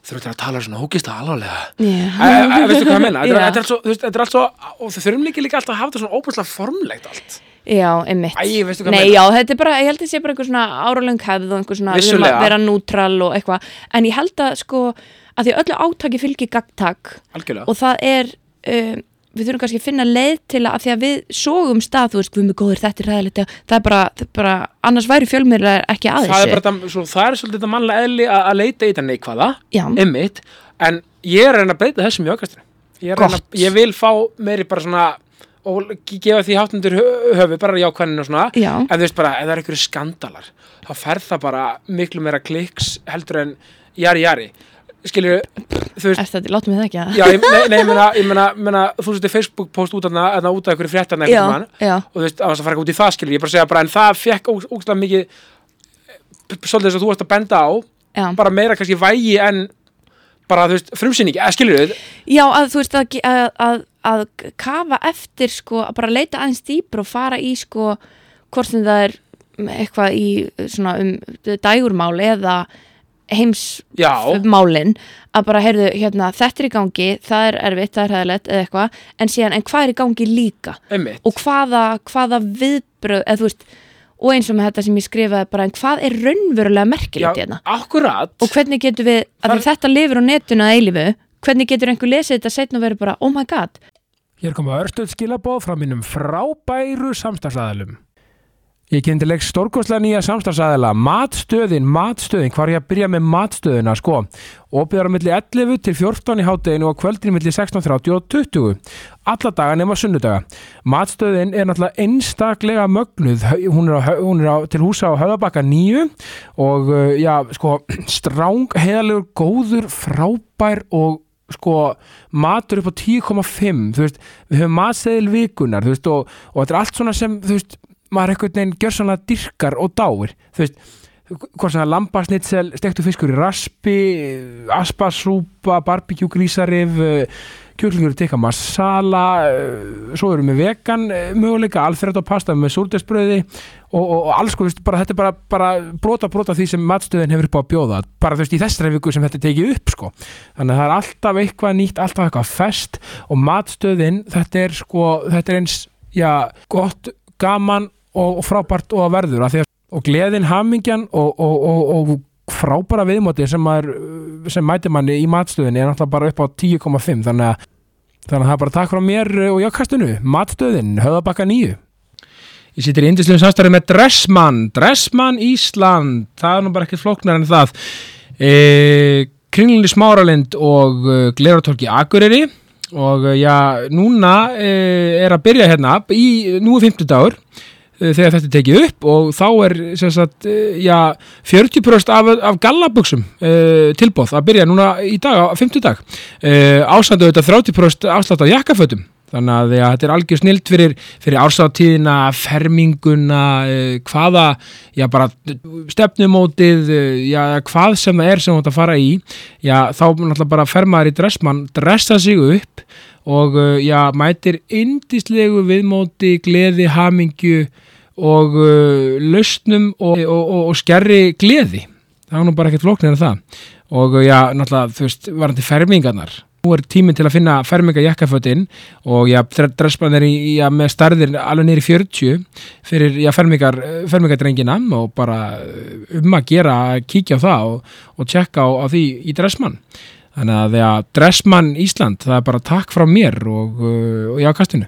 [SPEAKER 1] þurfum þetta að tala svona ógist alvarlega Æ,
[SPEAKER 2] yeah.
[SPEAKER 1] æ, æ, Eh, veistu hvað ég meina, þetta er-
[SPEAKER 2] Já.
[SPEAKER 1] þetta er allt svo- þú veist, þetta er allt svo og þau þurfum líka líka alltaf að hafa þetta svona óbúslega formlegt allt
[SPEAKER 2] já, einmitt
[SPEAKER 1] Æ, veistu hvað
[SPEAKER 2] nei,
[SPEAKER 1] meina?
[SPEAKER 2] já, þetta er bara, ég held að þetta sé bara eitthvað svona áralöng hefð og einhver svona við þurfum
[SPEAKER 1] Vissulega.
[SPEAKER 2] að vera nútral og eitthvað en ég held að sko að því öllu átaki fylgir gagntak
[SPEAKER 1] algjörlega
[SPEAKER 2] og það er um, við þurfum kannski að finna leið til að, að því að við sógum stað, þú veist, við erum góðir þetta er ræðilegt, það er bara, það er bara annars væri fjölmiðlar ekki að
[SPEAKER 1] það er,
[SPEAKER 2] þessu
[SPEAKER 1] bara, þetta- svo, það er svolítið þetta mannlega eðli að, að leita í þetta neikvæða
[SPEAKER 2] Já.
[SPEAKER 1] einmitt, en ég er að reyna að breyta þessum í aukastinu ég, er að reyna-
[SPEAKER 2] Gott.
[SPEAKER 1] ég vil fá meiri bara svona og ge- gefa því hátundur höfu bara jákvæðinu og svona
[SPEAKER 2] Já.
[SPEAKER 1] en þú veist bara, ef það er einhverju skandalar þá ferð það bara miklu meira kliks heldur en jari jari skilur, þú veist
[SPEAKER 2] er þetta, látum við það ekki að
[SPEAKER 1] já, ég, nei, nei, ég meina, ég meina, meina þú setur Facebook post út af það út af einhverju fréttana
[SPEAKER 2] já,
[SPEAKER 1] einhvern tímann
[SPEAKER 2] já,
[SPEAKER 1] og þú veist, að það fara ekki út í það skilur, ég bara segja bara en það fekk ógstlega mikið eh, svolítið þess að þú varst að benda á
[SPEAKER 2] já.
[SPEAKER 1] bara meira kannski vægi en bara, þú veist, frumsýningi, eða skilur við
[SPEAKER 2] já, að þú veist að, ge- að, að, að kafa eftir sko, að bara leita aðeins dýpr og fara í sko, hvort sem það er eitthvað í svona um dægurmál eða heims
[SPEAKER 1] já,
[SPEAKER 2] málin að bara heyrðu hérna þetta er í gangi, það er erfitt, það er hæðilegt eða eitthvað, en síðan en hvað er í gangi líka
[SPEAKER 1] einmitt
[SPEAKER 2] og hvaða, hvaða viðbröð, eða þú veist og eins og með þetta sem ég skrifaði bara en hvað er raunverulega
[SPEAKER 1] já,
[SPEAKER 2] merkilegt hérna
[SPEAKER 1] akkurat
[SPEAKER 2] og hvernig getur við, að
[SPEAKER 1] Þar-
[SPEAKER 2] Þar... þetta lifir á netinu að eilifu, hvernig getur einhver lesið þetta setna og verið bara, oh my god
[SPEAKER 1] Hér koma örstuð skilabóð frá mínum frábæru samstagsæðalum. Ég kynnti leik stórkostlega nýja samstagsæðala, matstöðin, matstöðin, hvar ég að byrja með matstöðina, sko. Óbyðar á milli 11 til 14 í hádeginu og á kvöldin milli 16.30 og 20. Alla daga nema sunnudaga. Matstöðin er náttúrulega einstaklega mögnuð, Hau- hún er, á, hau- hún er á, til húsa á Höðabakka 9 og, uh, já, sko, stráng, heiðalegur, góður, frábær og sko matur upp á 10,5 þú veist, við höfum matseðil vikunar þú veist, og, og þetta er allt svona sem þú veist, maður einhvern veginn gjör svona dyrkar og dáir, þú veist hvort sem það er lambasnitsel, stektu fiskur í raspi aspasúpa barbecue grísarif kjúklingur tikka masala eh, svo erum við vegan eh, möguleika alþrætt og pasta með súrdesbröði og, og, og alls sko, þú veist, bara, þetta er bara, bara brota brota því sem matstöðin hefur upp á að bjóða bara þú veist í þessari viku sem þetta er tekið upp sko þannig að það er alltaf eitthvað nýtt alltaf eitthvað fest og matstöðin þetta er sko, þetta er eins já, gott, gaman og, og frábært og að verður að að, og gleðin, hamingjan og, og, og, og frábæra viðmóti sem, maður, uh, sem mæti manni í matstöðinni er náttúrulega bara upp á 10,5 þannig að Þannig að það er bara takk frá mér uh, og jákastinu, matstöðin, höðabakka nýju. Ég sittir í indislegum samstarfið með Dressmann, Dressmann Ísland, það er nú bara ekkert flóknar en það. E, Kringlinni Smáralind og uh, Gleratorki Akureyri og uh, já, núna uh, er að byrja hérna, í, nú er 50 dagur eh, þegar þetta er tekið upp og þá er sem sagt, eh, já, 40% af, af gallabuxum uh, tilbóð að byrja núna í dag, á 50 dag uh, ásandu auðvitað 30% afslátt af jakkafötum þannig að ja, þetta er algjör snilt fyrir, fyrir ársáttíðina, ferminguna uh, hvaða já, bara stefnumótið uh, já, hvað sem það er sem þú átt að fara í já, þá náttúrulega bara fer maður í dressmann dressa sig upp og uh, já, mætir indislegu viðmóti, gleði, hamingju og uh, lausnum og, og, og, og skerri gleði það er nú bara ekkert flóknir en það og uh, já, náttúrulega, þú veist, varandi fermingarnar nú er tíminn til að finna ferminga jakkafötin og já, dressmann er í, í- já, með starðir alveg niður í 40 fyrir já, fermingar, fermingardrengina og bara uh, um að gera að kíkja á það og, og tjekka á, á því í dressmann Þannig að þegar Dressmann Ísland, það er bara takk frá mér og, uh, og já, kastinu.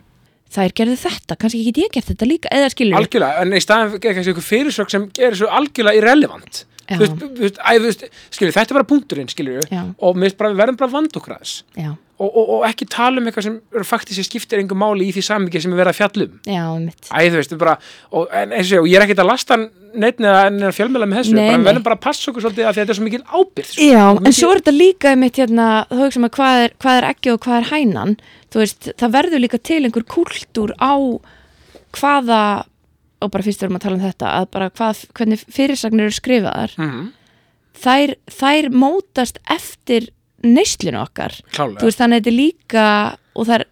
[SPEAKER 2] þær gerðu þetta, kannski get ég gert þetta líka eða skilur,
[SPEAKER 1] Algjörlega, en í staðan er kannski ykkur fyrirsök sem gerir svo algjörlega irrelevant.
[SPEAKER 2] Já.
[SPEAKER 1] Þú veist, þú veist, æ, þú veist, skilur, þetta er bara punkturinn, skilur,
[SPEAKER 2] Já.
[SPEAKER 1] og mér finnst bara, við verðum bara vand okkur aðeins.
[SPEAKER 2] já,
[SPEAKER 1] Og, og, og ekki tala um eitthvað sem eru faktist sem skiptir engu máli í því samingi sem við verðum að fjallum.
[SPEAKER 2] já, mitt
[SPEAKER 1] Æ, þú veist, við bara, og, en, eins og, ég- og ég er ekkert að lasta neittni að fjölmjöla með þessu,
[SPEAKER 2] Nei,
[SPEAKER 1] bara, við
[SPEAKER 2] nei.
[SPEAKER 1] verðum bara að passa okkur svolítið að þetta er svo mikil ábyrð. sko.
[SPEAKER 2] Já,
[SPEAKER 1] Og
[SPEAKER 2] en
[SPEAKER 1] mikil-
[SPEAKER 2] svo er þetta líka mitt hérna, þá hugsa maður hvað er, hvað er ekki og hvað er hænan þú veist, það verður líka til einhver kúltúr á hvaða og bara fyrst erum að tala um þetta að bara hvað, hvernig fyrirsagnir eru skrifaðar
[SPEAKER 1] Mhm.
[SPEAKER 2] þær, þær mótast eftir neyslinu okkar Þú
[SPEAKER 1] klálega
[SPEAKER 2] veist, þannig að þetta er líka og það er,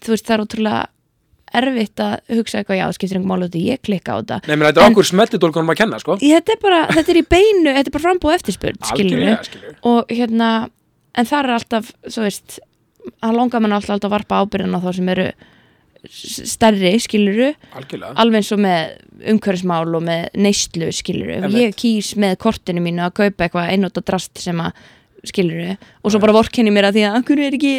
[SPEAKER 2] þú veist, það er ótrúlega erfitt að hugsa eitthvað, já, það skiptir einhver mál að ég klikka á þetta
[SPEAKER 1] Nei, menn, þetta er
[SPEAKER 2] En-
[SPEAKER 1] okkur smeltidólkunum að kenna, sko
[SPEAKER 2] Ég- þetta er bara, þetta er í beinu, þetta er bara frambúð eftirspurn, skiljum
[SPEAKER 1] Algjörlega, skilur
[SPEAKER 2] og hérna, en það er alltaf svo veist, það langar mann alltaf, alltaf að varpa ábyrðin á þá sem eru s- stærri, skiluru
[SPEAKER 1] Algjörlega
[SPEAKER 2] alveg eins og með umhverfismál og með neyslu, skiluru ef
[SPEAKER 1] Einmitt.
[SPEAKER 2] ég kýs með kortinu mínu að kaupa eitthvað einnóta drast sem að skiluru og svo bara vorkenni mér að því að af hverju er ekki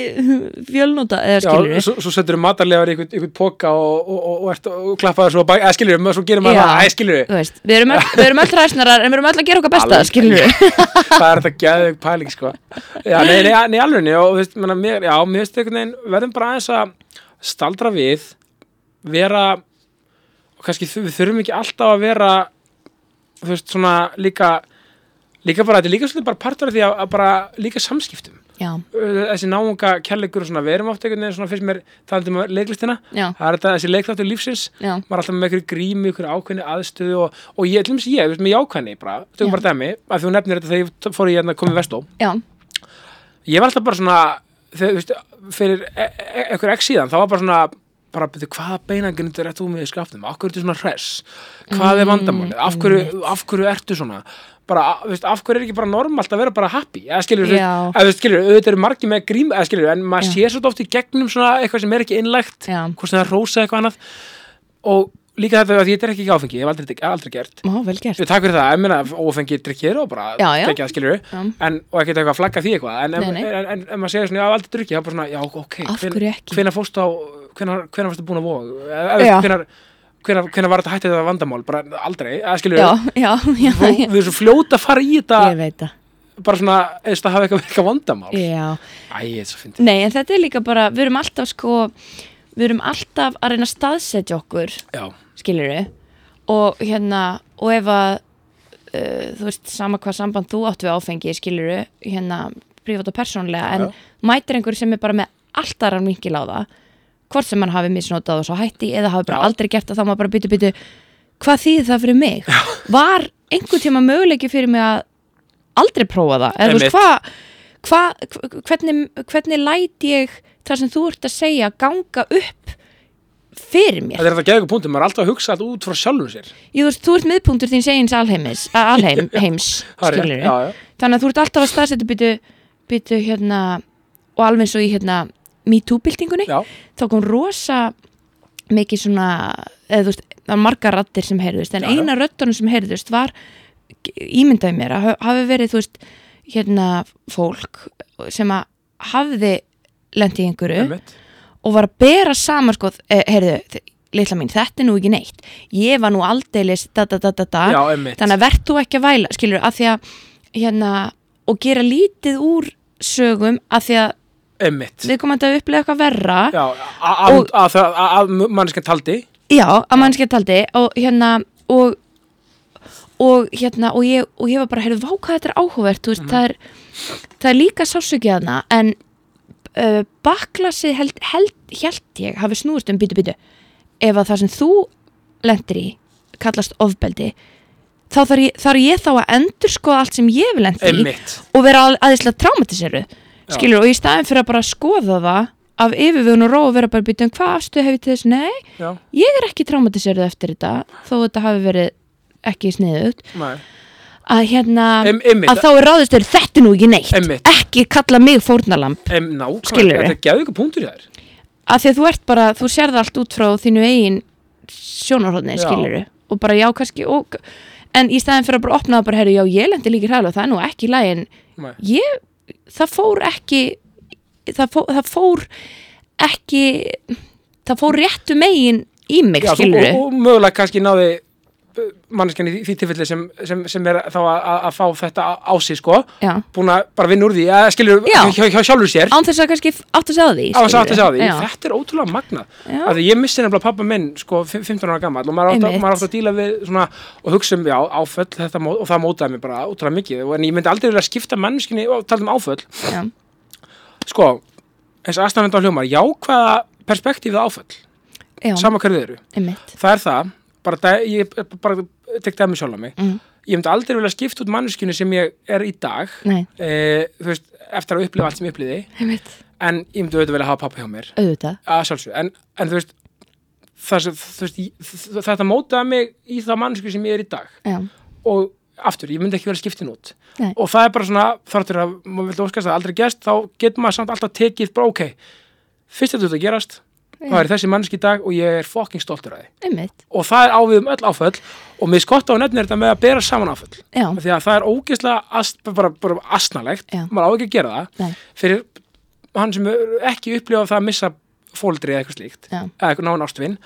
[SPEAKER 2] fjölnóta eða skiluru
[SPEAKER 1] Já, svo, svo settur við matarlegar í einhvern- einhvern póka og, og, og, og, ert- og klappaður svo að bæ, eða skilur, svo gerir maður
[SPEAKER 2] Já.
[SPEAKER 1] það, eða skilur
[SPEAKER 2] þú veist, við erum öll, við erum öll ræsnarar en við erum öll að gera okkar besta,
[SPEAKER 1] Alveg.
[SPEAKER 2] skilur við
[SPEAKER 1] það er þetta gæðið pæling sko já, nei, nei, nei alveg nei, og þú veist, menna, mér, já, mér veist einhvern veginn verðum bara aðeins að staldra við vera og kannski þu- við þurfum ekki alltaf að vera þú veist, svona líka líka bara, þetta er líka svolítið bara partur af því að, að bara líka samskiptum
[SPEAKER 2] já,
[SPEAKER 1] Uh, þessi náunga kærleikur og svona, við erum oft einhvern veginn svona fyrst mér talandi um leiklistina
[SPEAKER 2] já,
[SPEAKER 1] það er þetta, þessi leikþáttur lífsins
[SPEAKER 2] já,
[SPEAKER 1] maður er alltaf með einhverju grími, einhverju ákveðni aðstöðu og, og ég, til dæmis ég, þú veist, með jákvæðni bara, tökum
[SPEAKER 2] Já.
[SPEAKER 1] bara dæmi, að þú nefnir þetta þegar ég t- fór í hérna komið vestó,
[SPEAKER 2] já,
[SPEAKER 1] ég var alltaf bara svona þegar, þú veist, fyrir e- e- einhver ekki síðan, þá var bara svona bara, betur, hvaða beinagrindur ert þú með í skapnum af hverju ertu svona hress, hvað er
[SPEAKER 2] Mm,
[SPEAKER 1] vandamálið af hverju, af hverju ertu svona bara, a- þú veist, af hverju er ekki bara normalt að vera bara happy, eða skilur,
[SPEAKER 2] Já.
[SPEAKER 1] eða þú veist, skilur auðvitað eru margir með grím, eða skilur en maður
[SPEAKER 2] Já.
[SPEAKER 1] sér svolítið oft í gegnum svona eitthvað sem er ekki innlegt
[SPEAKER 2] já
[SPEAKER 1] hvort sem það er rósa eða eitthvað annað og líka þetta að ég drekki ekki áfengi ég hef aldrei, aldrei gert
[SPEAKER 2] Má, vel gert
[SPEAKER 1] ég takk fyrir það, ég meina ófengi drikkir og bara
[SPEAKER 2] Já, já.
[SPEAKER 1] ekki að skilur
[SPEAKER 2] Já.
[SPEAKER 1] en, og ekkert eitthvað að flagga því eitthvað en,
[SPEAKER 2] Nei,
[SPEAKER 1] en,
[SPEAKER 2] nei.
[SPEAKER 1] en, en, en maður segir svona, ég hef aldrei drukki þá bara svona, já ok,
[SPEAKER 2] Af hverju ekki?
[SPEAKER 1] hvenær fórstu á hvenær, hvenær fórstu búin að vog hvenær,
[SPEAKER 2] Já.
[SPEAKER 1] hvenær, hvenær, hvenær var þetta hættið þetta vandamál bara aldrei, að skilur
[SPEAKER 2] Já, já, já,
[SPEAKER 1] Þú,
[SPEAKER 2] já.
[SPEAKER 1] við erum svo fljóta að fara í þetta
[SPEAKER 2] ég veit það
[SPEAKER 1] bara svona, eða það hafa eitthvað, eitthvað vandamál
[SPEAKER 2] Já,
[SPEAKER 1] Æ, ég er svo fyndið
[SPEAKER 2] nei, en þetta er líka bara við erum alltaf sko við erum alltaf að reyna að staðsetja okkur
[SPEAKER 1] Já,
[SPEAKER 2] skilur og hérna, og ef að uh, þú veist, sama hvað samband þú átt við áfengi skilur hérna, prívat og persónlega en
[SPEAKER 1] Já.
[SPEAKER 2] mætir einhver sem er bara með allt aðra vinkil á það hvort sem hann hafi misnotað og svo hætti eða hafi bara
[SPEAKER 1] Já.
[SPEAKER 2] aldrei gert það, þá maður bara byttu byttu hvað þýði það fyrir mig? Var einhvern tíma möguleiki fyrir mig að aldrei prófa það? Eða þú
[SPEAKER 1] Einmitt.
[SPEAKER 2] veist, hvað hva, hva- hvernig, hvernig læt ég það sem þú ert að segja ganga upp fyrir mér?
[SPEAKER 1] þetta er þetta geðið eitthvað punktum, maður er alltaf að hugsa alltaf út frá sjálfum sér
[SPEAKER 2] Jú, þú veist, þú ert miðpunktur þín segins alheimis, að alheim, heims,
[SPEAKER 1] Það er rétt,
[SPEAKER 2] skilur
[SPEAKER 1] já, já.
[SPEAKER 2] Þannig að þú ert alltaf að staðsetja byttu, byttu hérna, og alveg eins og í hérna MeToo-byltingunni,
[SPEAKER 1] Já,
[SPEAKER 2] þá kom rosa mikið svona, eða þú veist, það var margar rattir sem heyrðust, en
[SPEAKER 1] Já, já.
[SPEAKER 2] eina röttunum sem heyrðust var, ímyndaði mér að ha- hafi verið, þú veist, hérna fólk sem að hafði lent í einhverju
[SPEAKER 1] einmitt
[SPEAKER 2] og var að bera saman sko, eh, heyrðu, þ- litla mín, þetta er nú ekki neitt ég var nú aldeilis da, da, da, da, da.
[SPEAKER 1] Já, einmitt
[SPEAKER 2] þannig að verð þú ekki að væla skilur, að því að hérna, og gera lítið úr sögum að því að
[SPEAKER 1] Einmitt
[SPEAKER 2] við komum að upplega eitthvað verra
[SPEAKER 1] Já, að- að-
[SPEAKER 2] Og-
[SPEAKER 1] að það- að- að mannskja taldi
[SPEAKER 2] Já, að mannskja taldi og hérna og, og hérna og ég, og ég var bara, heyrðu, vá hvað þetta er áhugavert þú veist, það, er, það er líka sásökið hana en uh, baklasið held, held, held ég hafi snúist um bítu bítu ef að það sem þú lendir í kallast ofbeldi þá þarf ég, þarf ég þá að endur skoða allt sem ég vil lendir í
[SPEAKER 1] Einmitt
[SPEAKER 2] og vera al- aðeinslega traumatiseru skilur, og í staðin fyrir að bara skoða það af yfirvegun og ró og vera bara býta um hvað afstöðu hefur til þess, nei
[SPEAKER 1] Já,
[SPEAKER 2] ég er ekki traumatiserð eftir þetta þó þetta hafi verið ekki sniðut
[SPEAKER 1] nei
[SPEAKER 2] að hérna
[SPEAKER 1] Em- einmitt.
[SPEAKER 2] að þá er ráðist þeir þetta er nú ekki neitt
[SPEAKER 1] Einmitt.
[SPEAKER 2] ekki kalla mig fórnalamb
[SPEAKER 1] Em, nákvæmlega,
[SPEAKER 2] Skilurðu?
[SPEAKER 1] Þetta geðu ykkur punktur í þær
[SPEAKER 2] að því að þú ert bara, þú sérð allt út frá þínu eigin sjónarhóðni
[SPEAKER 1] Já.
[SPEAKER 2] skiluru og bara já kannski og, en í staðin fyrir að bara opna það bara herri, já ég lendi líki hræðlega það er nú ekki í lagi en
[SPEAKER 1] Nei.
[SPEAKER 2] ég, það fór ekki það fór, það fór ekki það fór réttu megin í mig
[SPEAKER 1] Já, þú-
[SPEAKER 2] skiluru
[SPEAKER 1] og, og mögulega kannski náði mannskjan í því- því tilfelli sem, sem, sem er þá að, að- að fá þetta á- á sig sko
[SPEAKER 2] já
[SPEAKER 1] búin að bara vinna úr því að skilur
[SPEAKER 2] Já.
[SPEAKER 1] hjá, hjá sjálfur sér
[SPEAKER 2] án þess að kannski átt að segja því
[SPEAKER 1] á þess að átta sig á því,
[SPEAKER 2] já.
[SPEAKER 1] þetta er ótrúlega magnað
[SPEAKER 2] Já.
[SPEAKER 1] af því ég missi nefnilega pappa minn sko fim- 15 ára gammal og maður átt, að,
[SPEAKER 2] Einmitt.
[SPEAKER 1] maður átt að díla við svona og hugsa um já, áföll þetta, mó- og það mótaði mig bara ótrúlega mikið og en ég myndi aldrei vilja skipta mannskinni og tala um áföll
[SPEAKER 2] Já.
[SPEAKER 1] sko, eins og aðstæðanvenda á hljómar jákvæða perspektífið á áföll
[SPEAKER 2] Já,
[SPEAKER 1] sama hverju þið eru,
[SPEAKER 2] einmitt
[SPEAKER 1] það er það bara, dæ- ég bara tek dæmi sjálf á mig
[SPEAKER 2] Mm.
[SPEAKER 1] ég myndi aldrei vilja skipta út manneskjunni sem ég er í dag
[SPEAKER 2] nei,
[SPEAKER 1] e, þú veist, eftir að upplifa allt sem ég uppliði
[SPEAKER 2] einmitt,
[SPEAKER 1] en ég myndi auðvitað vilja hafa pappa hjá mér
[SPEAKER 2] auðvitað
[SPEAKER 1] að sjálfsög, en, en þú veist það, sem- þú veist, ég- þ- þetta mótaði mig í það mannskju sem ég er í dag
[SPEAKER 2] já,
[SPEAKER 1] og aftur, ég myndi ekki vera skiptin út
[SPEAKER 2] Nei.
[SPEAKER 1] og það er bara svona, þáttur að maður vil óskast að það aldrei gerst, þá getur maður samt alltaf tekið bara ok, fyrst þetta þetta gerast þá er þessi mannski í dag og ég er fucking stoltur að því
[SPEAKER 2] einmitt,
[SPEAKER 1] og það er ávið um öll áföll og mér skotta á nefnir þetta með að bera saman áföll
[SPEAKER 2] já,
[SPEAKER 1] Af því að það er ógeðslega ast, bara, bara asnalegt,
[SPEAKER 2] Já.
[SPEAKER 1] maður á ekki að gera það
[SPEAKER 2] Nei.
[SPEAKER 1] fyrir hann sem er ekki upplifað það að missa fóldri eða eitthvað slíkt
[SPEAKER 2] Já.
[SPEAKER 1] eða eitthvað náinn ástvinn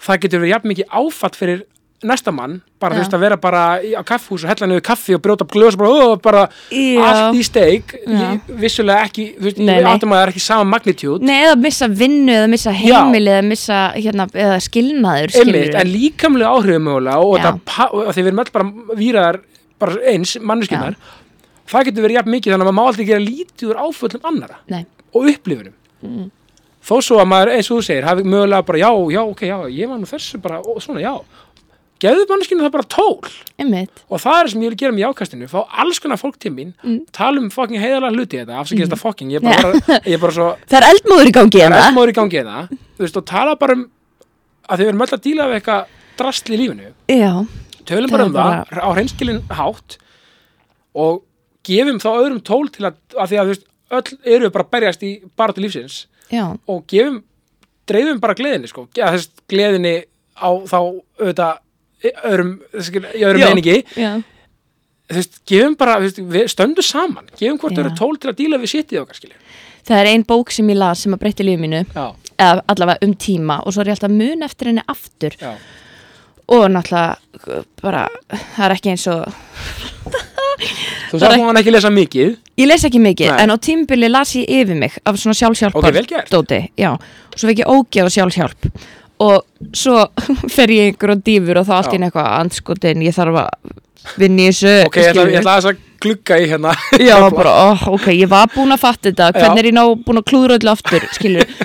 [SPEAKER 1] það getur verið jafn mikið áfatt fyrir næsta mann, bara þú
[SPEAKER 2] Já.
[SPEAKER 1] veist að vera bara í, á kaffhús og hella niður kaffi og brjóta upp glös og bara, ó, bara
[SPEAKER 2] Já.
[SPEAKER 1] allt í steik Ég-
[SPEAKER 2] Já.
[SPEAKER 1] vissulega ekki, þú veist,
[SPEAKER 2] Nei,
[SPEAKER 1] ég
[SPEAKER 2] nei.
[SPEAKER 1] áttum að það er ekki sama magnitúd
[SPEAKER 2] nei, eða missa vinnu eða missa heimili eða missa, hérna, eða skilnaður
[SPEAKER 1] Einmitt, en
[SPEAKER 2] skilurðu.
[SPEAKER 1] líkamlega áhrifum mögulega og
[SPEAKER 2] Já.
[SPEAKER 1] þetta pa- og af því við erum öll bara výraðar bara eins, manneskjumar það getur verið jafn mikið þannig að maður má aldrei gera lítið úr áföllum annara
[SPEAKER 2] nei,
[SPEAKER 1] og upplifunum þó svo að maður, eins og þú segir, hafi mögulega bara já, já, ok, já, ég var nú þessu bara, og svona, já gefðu manneskinu það bara tól
[SPEAKER 2] einmitt,
[SPEAKER 1] og það er það sem ég vil gera með jákastinu fá alls konar fólk til mín tala um fokking heiðalega hluti í þetta, afsakið þetta fokking ég er bara, ég er bara svo
[SPEAKER 2] það er eldmóður í gangi
[SPEAKER 1] Það
[SPEAKER 2] hérna,
[SPEAKER 1] er smáður í gangi hérna Þú veist, og tala bara um að þið verðum öll að díla við eitthvað drastl í lífinu
[SPEAKER 2] já,
[SPEAKER 1] Tölum
[SPEAKER 2] Það
[SPEAKER 1] bara
[SPEAKER 2] er
[SPEAKER 1] um það á hreinskilin hátt og gefum þá öðrum tól til að, að því að þú veist, öll eru bara að berjast í baráttu lífsins
[SPEAKER 2] já,
[SPEAKER 1] og gefum, dreifum bara gleðinni sko, Ge- að þess gleðinni á þá auðvitað í öðrum, þess, í öðrum
[SPEAKER 2] Já.
[SPEAKER 1] meiningi
[SPEAKER 2] já
[SPEAKER 1] þú veist, gefum bara, þú veist, við stöndum saman gefum hvort
[SPEAKER 2] Já.
[SPEAKER 1] öðru tól til að díla við sittið okkar skilja.
[SPEAKER 2] það er ein bók sem ég las sem að breytti lífið mínu
[SPEAKER 1] Já,
[SPEAKER 2] eða allavega um tíma og svo er ég alltaf mun eftir henni aftur
[SPEAKER 1] já,
[SPEAKER 2] og náttúrulega uh, bara, það er ekki eins og
[SPEAKER 1] þú sagði hún ekki lesa mikið
[SPEAKER 2] Ég les ekki mikið,
[SPEAKER 1] Nei.
[SPEAKER 2] en á tímbili las ég yfir mig af svona sjálfshjálpar
[SPEAKER 1] Ok, vel gert.
[SPEAKER 2] dóti, já, og svo fekk ég ógeð á sjálfshjálp og svo fer ég einhver og dýfur og þá allt
[SPEAKER 1] Já.
[SPEAKER 2] inn eitthvað andskotin, ég þarf að vinni í þessu
[SPEAKER 1] Ok, ég ætla,
[SPEAKER 2] skilurðu.
[SPEAKER 1] ég ætla aðeins að glugga í hérna
[SPEAKER 2] Já, bara, oh, ok, ég var búin að fatta þetta hvernig er ég ná búin að klúðra öllu aftur skilur,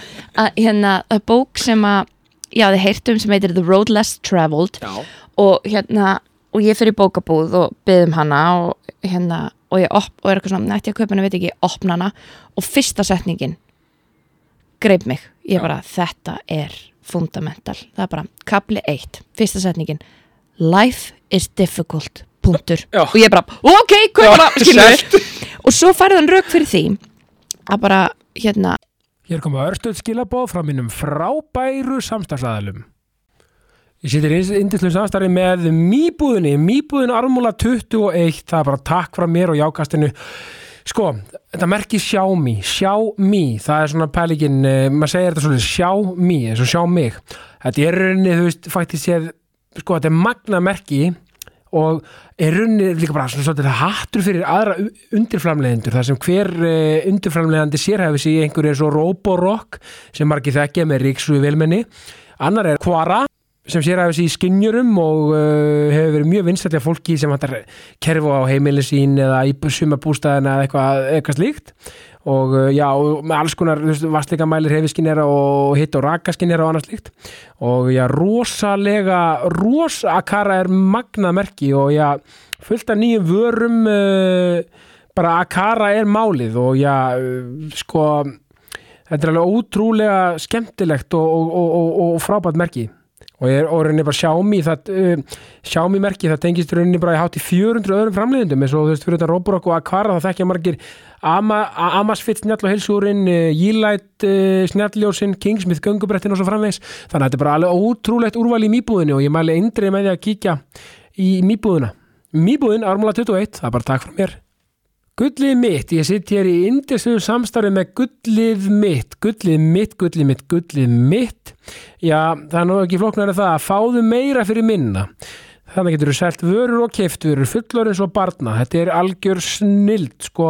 [SPEAKER 2] að hérna að bók sem að, já þið heyrtum sem heitir The Road Less Traveled
[SPEAKER 1] Já,
[SPEAKER 2] og hérna, og ég fyrir bókabúð og byðum hana og hérna og ég op, og er eitthvað svona, nætti að kaupa hana, veit ekki opna hana og fyrsta setningin greip mig, ég
[SPEAKER 1] Já.
[SPEAKER 2] bara þetta er fundamental það er bara, kapli 1, fyrsta setningin life is difficult punktur,
[SPEAKER 1] Já.
[SPEAKER 2] og ég bara ok, kaupa hana,
[SPEAKER 1] Já,
[SPEAKER 2] skilur og svo færði hann rauk fyrir því að bara, hérna,
[SPEAKER 1] Hér koma örstuð skilabóð frá mínum frábæru samstagsæðalum. Ég sittir indislu samstarfi með Mýbúðinni, Mýbúðin Armúla 21, það er bara takk frá mér og jákastinu. Sko, þetta merkir Xiaomi, Xiaomi, það er svona pælingin, eh, maður segir þetta svona Xiaomi, eins og sjá mig. Þetta er í rauninni, þú veist, faktisk séð, sko, þetta er magna merki og er runni líka bara svona svolítið hattur fyrir aðra u- undirframleiðendur þar sem hver uh, undirframleiðandi sérhæfi sig í einhverju eins og Roborock sem margir þekkja með ríksu í velmenni annar er Quara sem sérhæfi sig í skinjurum og uh, hefur verið mjög vinstætlega fólki sem hættar kerfa á heimilin sín eða í sumabústæðina eða eitthvað, eitthvað slíkt og uh, já, og með alls konar vastleikamælir hefiskinnera og hitt og rakaskinnera og annað slíkt og já, rosalega rosakara er magnað merki og já, fullt af nýjum vörum uh, bara akara er málið og já, uh, sko þetta er alveg ótrúlega skemmtilegt og, og, og, og, og frábært merki og ég er og rauninni bara Xiaomi það, uh, Xiaomi merki, það tengist í rauninni bara í hátt í 400 öðrum framleiðendum eins og þú veist fyrir þetta Roborock og Aquara þá þekkja margir Ama, A- Amazfit snjall og heilsúrin uh, Yeelight uh, snjalljósin Kingsmith göngubrettin og svo framvegs þannig að þetta er bara alveg ótrúlegt úrval í mýbúðinu og ég mæli eindrið með því að kíkja í mýbúðina mýbúðin, ármúla 21, það er bara takk frá mér Gullið mitt, ég sitt hér í indisluðu samstarfi með gullið mitt, gullið mitt, gullið mitt, gullið mitt. Já, það er nú ekki flóknar að það að fáðu meira fyrir minna. Þannig getur þú selt vörur og keftvörur, fullorins og barna. Þetta er algjör snild, sko.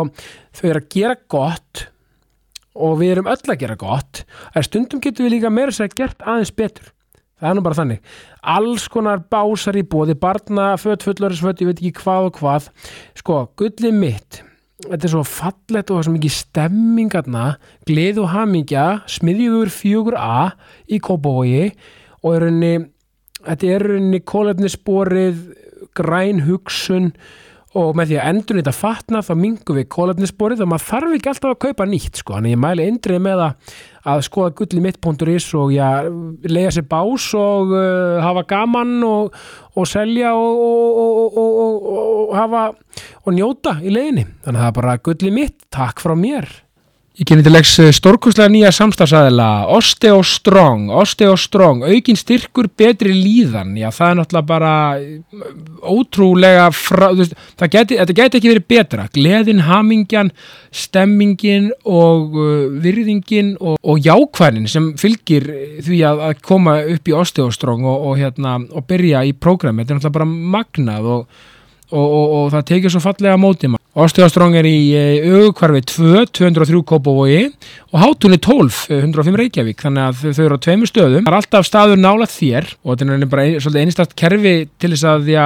[SPEAKER 1] Þau eru að gera gott og við erum öll að gera gott. En stundum getum við líka meira sér gert aðeins betur. Það er nú bara þannig. Alls konar básar í bóði, barna, fött, fullorins, fött, ég veit ekki hvað og hvað. Sko, gullið mitt, þetta er svo fallett og það er svo mikið stemmingarna, gleð og hamingja, smiðjufur 4A í Kópavogi og er henni, þetta er henni kólefnisborið græn hugsun og með því að endur nýtt að fatna þá mingum við kólefnisborið og maður þarf ekki alltaf að kaupa nýtt sko, þannig að ég mæli indrið með að, að skoða gulli mitt.is og já, leiða sér bás og uh, hafa gaman og, og selja og, og, og, og, og, og, og hafa og njóta í leiðinni, þannig að það er bara gulli mitt, takk frá mér Ég kynni til leiks stórkustlega nýja samstagsæðila, Osteo Strong, Osteo Strong, aukin styrkur, betri líðan, já það er náttúrulega bara eh, ótrúlega, frá, þú veist, það geti, þetta geti ekki verið betra, gleðin, hamingjan, stemmingin og uh, virðingin og, og jákvæðin sem fylgir því að, að koma upp í Osteo Strong og, og, hérna, og byrja í prógrami, þetta er náttúrulega bara magnað og og, og, og það tekið svo fallega á móti maður. Ástjóðaströng er í e, augkvarfi 2, 203 Kópavogi og hátunni 12, eh, 105 Reykjavík þannig að þau- þau eru á tveimur stöðum það er alltaf staður nála þér og þetta er rauninni bara ein, svolítið einstakt kerfi til þess að já,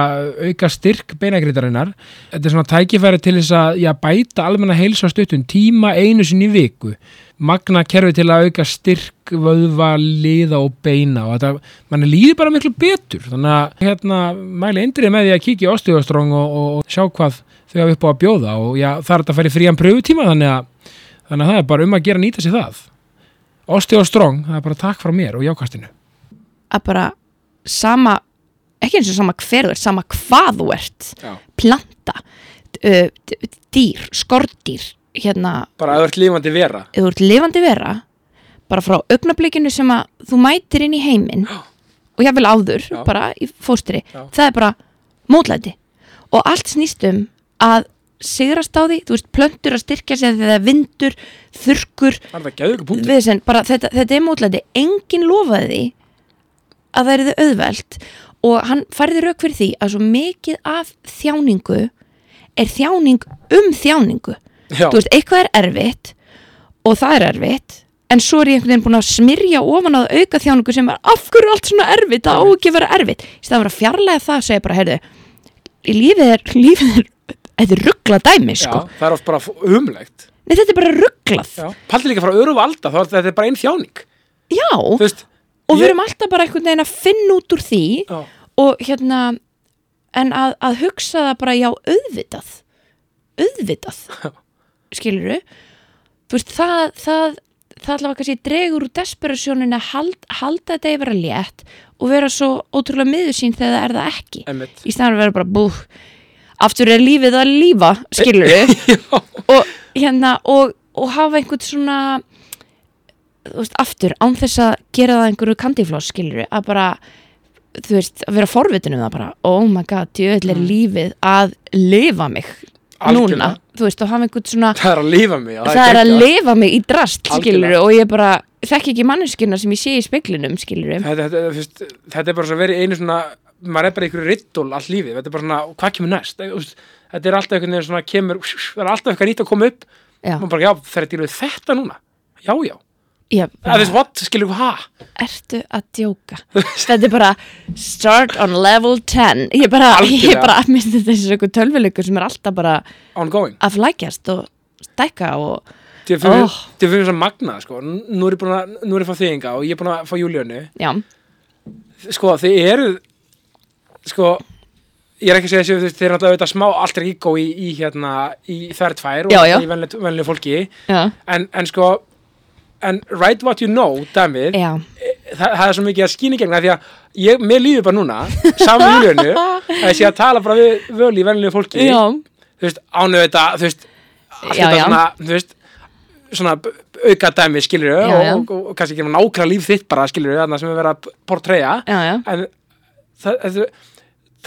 [SPEAKER 1] auka styrk beinagreitarinnar þetta er svona tækifæri til þess að já, bæta almenna heilsa stuttum tíma einu sinni í viku magna kerfi til að auka styrk vöðva, liða og beina og þetta, mann líður bara miklu betur þannig að hérna mæli indrið með því að kíkja í Osteostrong og, og, og sjá hvað þau hafa upp á að bjóða og já, það er þetta að fara í frían pröfutíma þannig að, þannig að það er bara um að gera að nýta sér það Osteostrong, það er bara takk frá mér og jákastinu
[SPEAKER 2] að bara sama ekki eins og sama hver þú ert, sama hvað þú ert
[SPEAKER 3] Já.
[SPEAKER 2] planta uh, d- dýr, skordýr hérna,
[SPEAKER 3] bara að þú ert lífandi vera
[SPEAKER 2] ef þú ert lifandi vera bara frá augnablikinu sem að þú mætir inn í heiminn og ég vil áður,
[SPEAKER 3] Já.
[SPEAKER 2] bara í fóstri
[SPEAKER 3] Já.
[SPEAKER 2] það er bara mótlæti og allt snýst um að sigrast á því, þú veist, plöntur að styrkja sig þegar það er vindur, þurkur
[SPEAKER 3] það er það gæðu ykkur punktur
[SPEAKER 2] Viðsinn, bara þetta, þetta er mótlæti, enginn lofaði því að það erði auðvelt og hann færði rauk fyrir því að svo mikið af þjáningu er þjáning um þjáningu
[SPEAKER 3] Já.
[SPEAKER 2] þú veist, eitthvað er erfitt og það er erfitt en svo er ég einhvern veginn búin að smyrja ofan að auka þjáningu sem er af hverju er allt svona erfitt, það á ekki að vera erfitt í stað að vera fjarlæða það, segja bara, heyrðu lífið er, lífið er þetta er ruggla dæmi,
[SPEAKER 3] Já,
[SPEAKER 2] sko
[SPEAKER 3] það er oft bara umlegt
[SPEAKER 2] Nei, þetta er bara rugglað,
[SPEAKER 3] paldi líka frá öru valda, þá er þetta bara einn þjáning
[SPEAKER 2] já
[SPEAKER 3] þú veist,
[SPEAKER 2] og við
[SPEAKER 3] Ég-
[SPEAKER 2] erum alltaf bara einhvern veginn að finna út úr því
[SPEAKER 3] já.
[SPEAKER 2] og hérna en að, að hugsa það bara já auðvitað auðvitað skilur þú veist það það, það allavega kannski dregur úr desperasjónin að hald, halda þetta yfir að létt og vera svo ótrúlega miður sín þegar það er það ekki
[SPEAKER 3] Einmitt.
[SPEAKER 2] í staðan að vera bara bú aftur er lífið að lífa skilur og hérna og, og hafa einhvern svona þú veist, aftur án þess að gera það einhverju kandifloss skilur að bara þú veist, að vera forvitin um það bara oh my god, djöðlega er lífið að lifa mig
[SPEAKER 3] Mm. Algjörlega.
[SPEAKER 2] núna þú veist, og hafa einhvern svona
[SPEAKER 3] það er að lifa mig já,
[SPEAKER 2] það er að
[SPEAKER 3] geggjað.
[SPEAKER 2] lifa mig í drast skilur
[SPEAKER 3] Algjörlega.
[SPEAKER 2] og ég bara þekk ekki manneskina sem ég sé í speglinum skilur
[SPEAKER 3] þetta, þetta, þú veist, þetta er bara svo verið einu svona maður er bara einhverju riddól all lífið þetta er bara svona, hvað kemur næst Þú veist, þetta er alltaf einhvern veginn svona kemur það er alltaf eitthvað nýtt að koma upp
[SPEAKER 2] já,
[SPEAKER 3] maður bara, já, það er til við þetta núna já, já,
[SPEAKER 2] já,
[SPEAKER 3] það er what, skilur við, ha
[SPEAKER 2] ertu að djóka þetta er bara start on level 10 ég bara, ég
[SPEAKER 3] Algjörlega.
[SPEAKER 2] bara minnst þetta þessi einhver tölvuleikur sem er alltaf bara
[SPEAKER 3] ongoing
[SPEAKER 2] að flækjast og stækka og
[SPEAKER 3] til að fyrir,
[SPEAKER 2] Oh.
[SPEAKER 3] oh. fyrir þess að magna, sko N- nú er ég búin að, nú er ég fá þýðinga og ég er búin að fá Júlíönu
[SPEAKER 2] já,
[SPEAKER 3] sko, þið eru sko, ég er ekki að segja þessu þú veist, þið eru alltaf auðvitað smá alter ego í, í hérna, í þær tvær og
[SPEAKER 2] Já, já.
[SPEAKER 3] í venlega, venlega fólki
[SPEAKER 2] já,
[SPEAKER 3] en, en sko en write what you know, dæmið
[SPEAKER 2] já.
[SPEAKER 3] það, það er svo mikið að skýna í gegna því að ég, mér líður bara núna saman í hljónu þessi að tala bara við völ í venlið fólki
[SPEAKER 2] já.
[SPEAKER 3] þú veist, ánöðu þetta, þú veist allt
[SPEAKER 2] Já,
[SPEAKER 3] þetta
[SPEAKER 2] já.
[SPEAKER 3] svona, þú veist svona b- auka dæmi, skilur
[SPEAKER 2] Já, já.
[SPEAKER 3] og, og, og kannski ekki nákvæmlega líf þitt bara, skilur þarna sem er verið að portreya
[SPEAKER 2] já, já.
[SPEAKER 3] en það, það,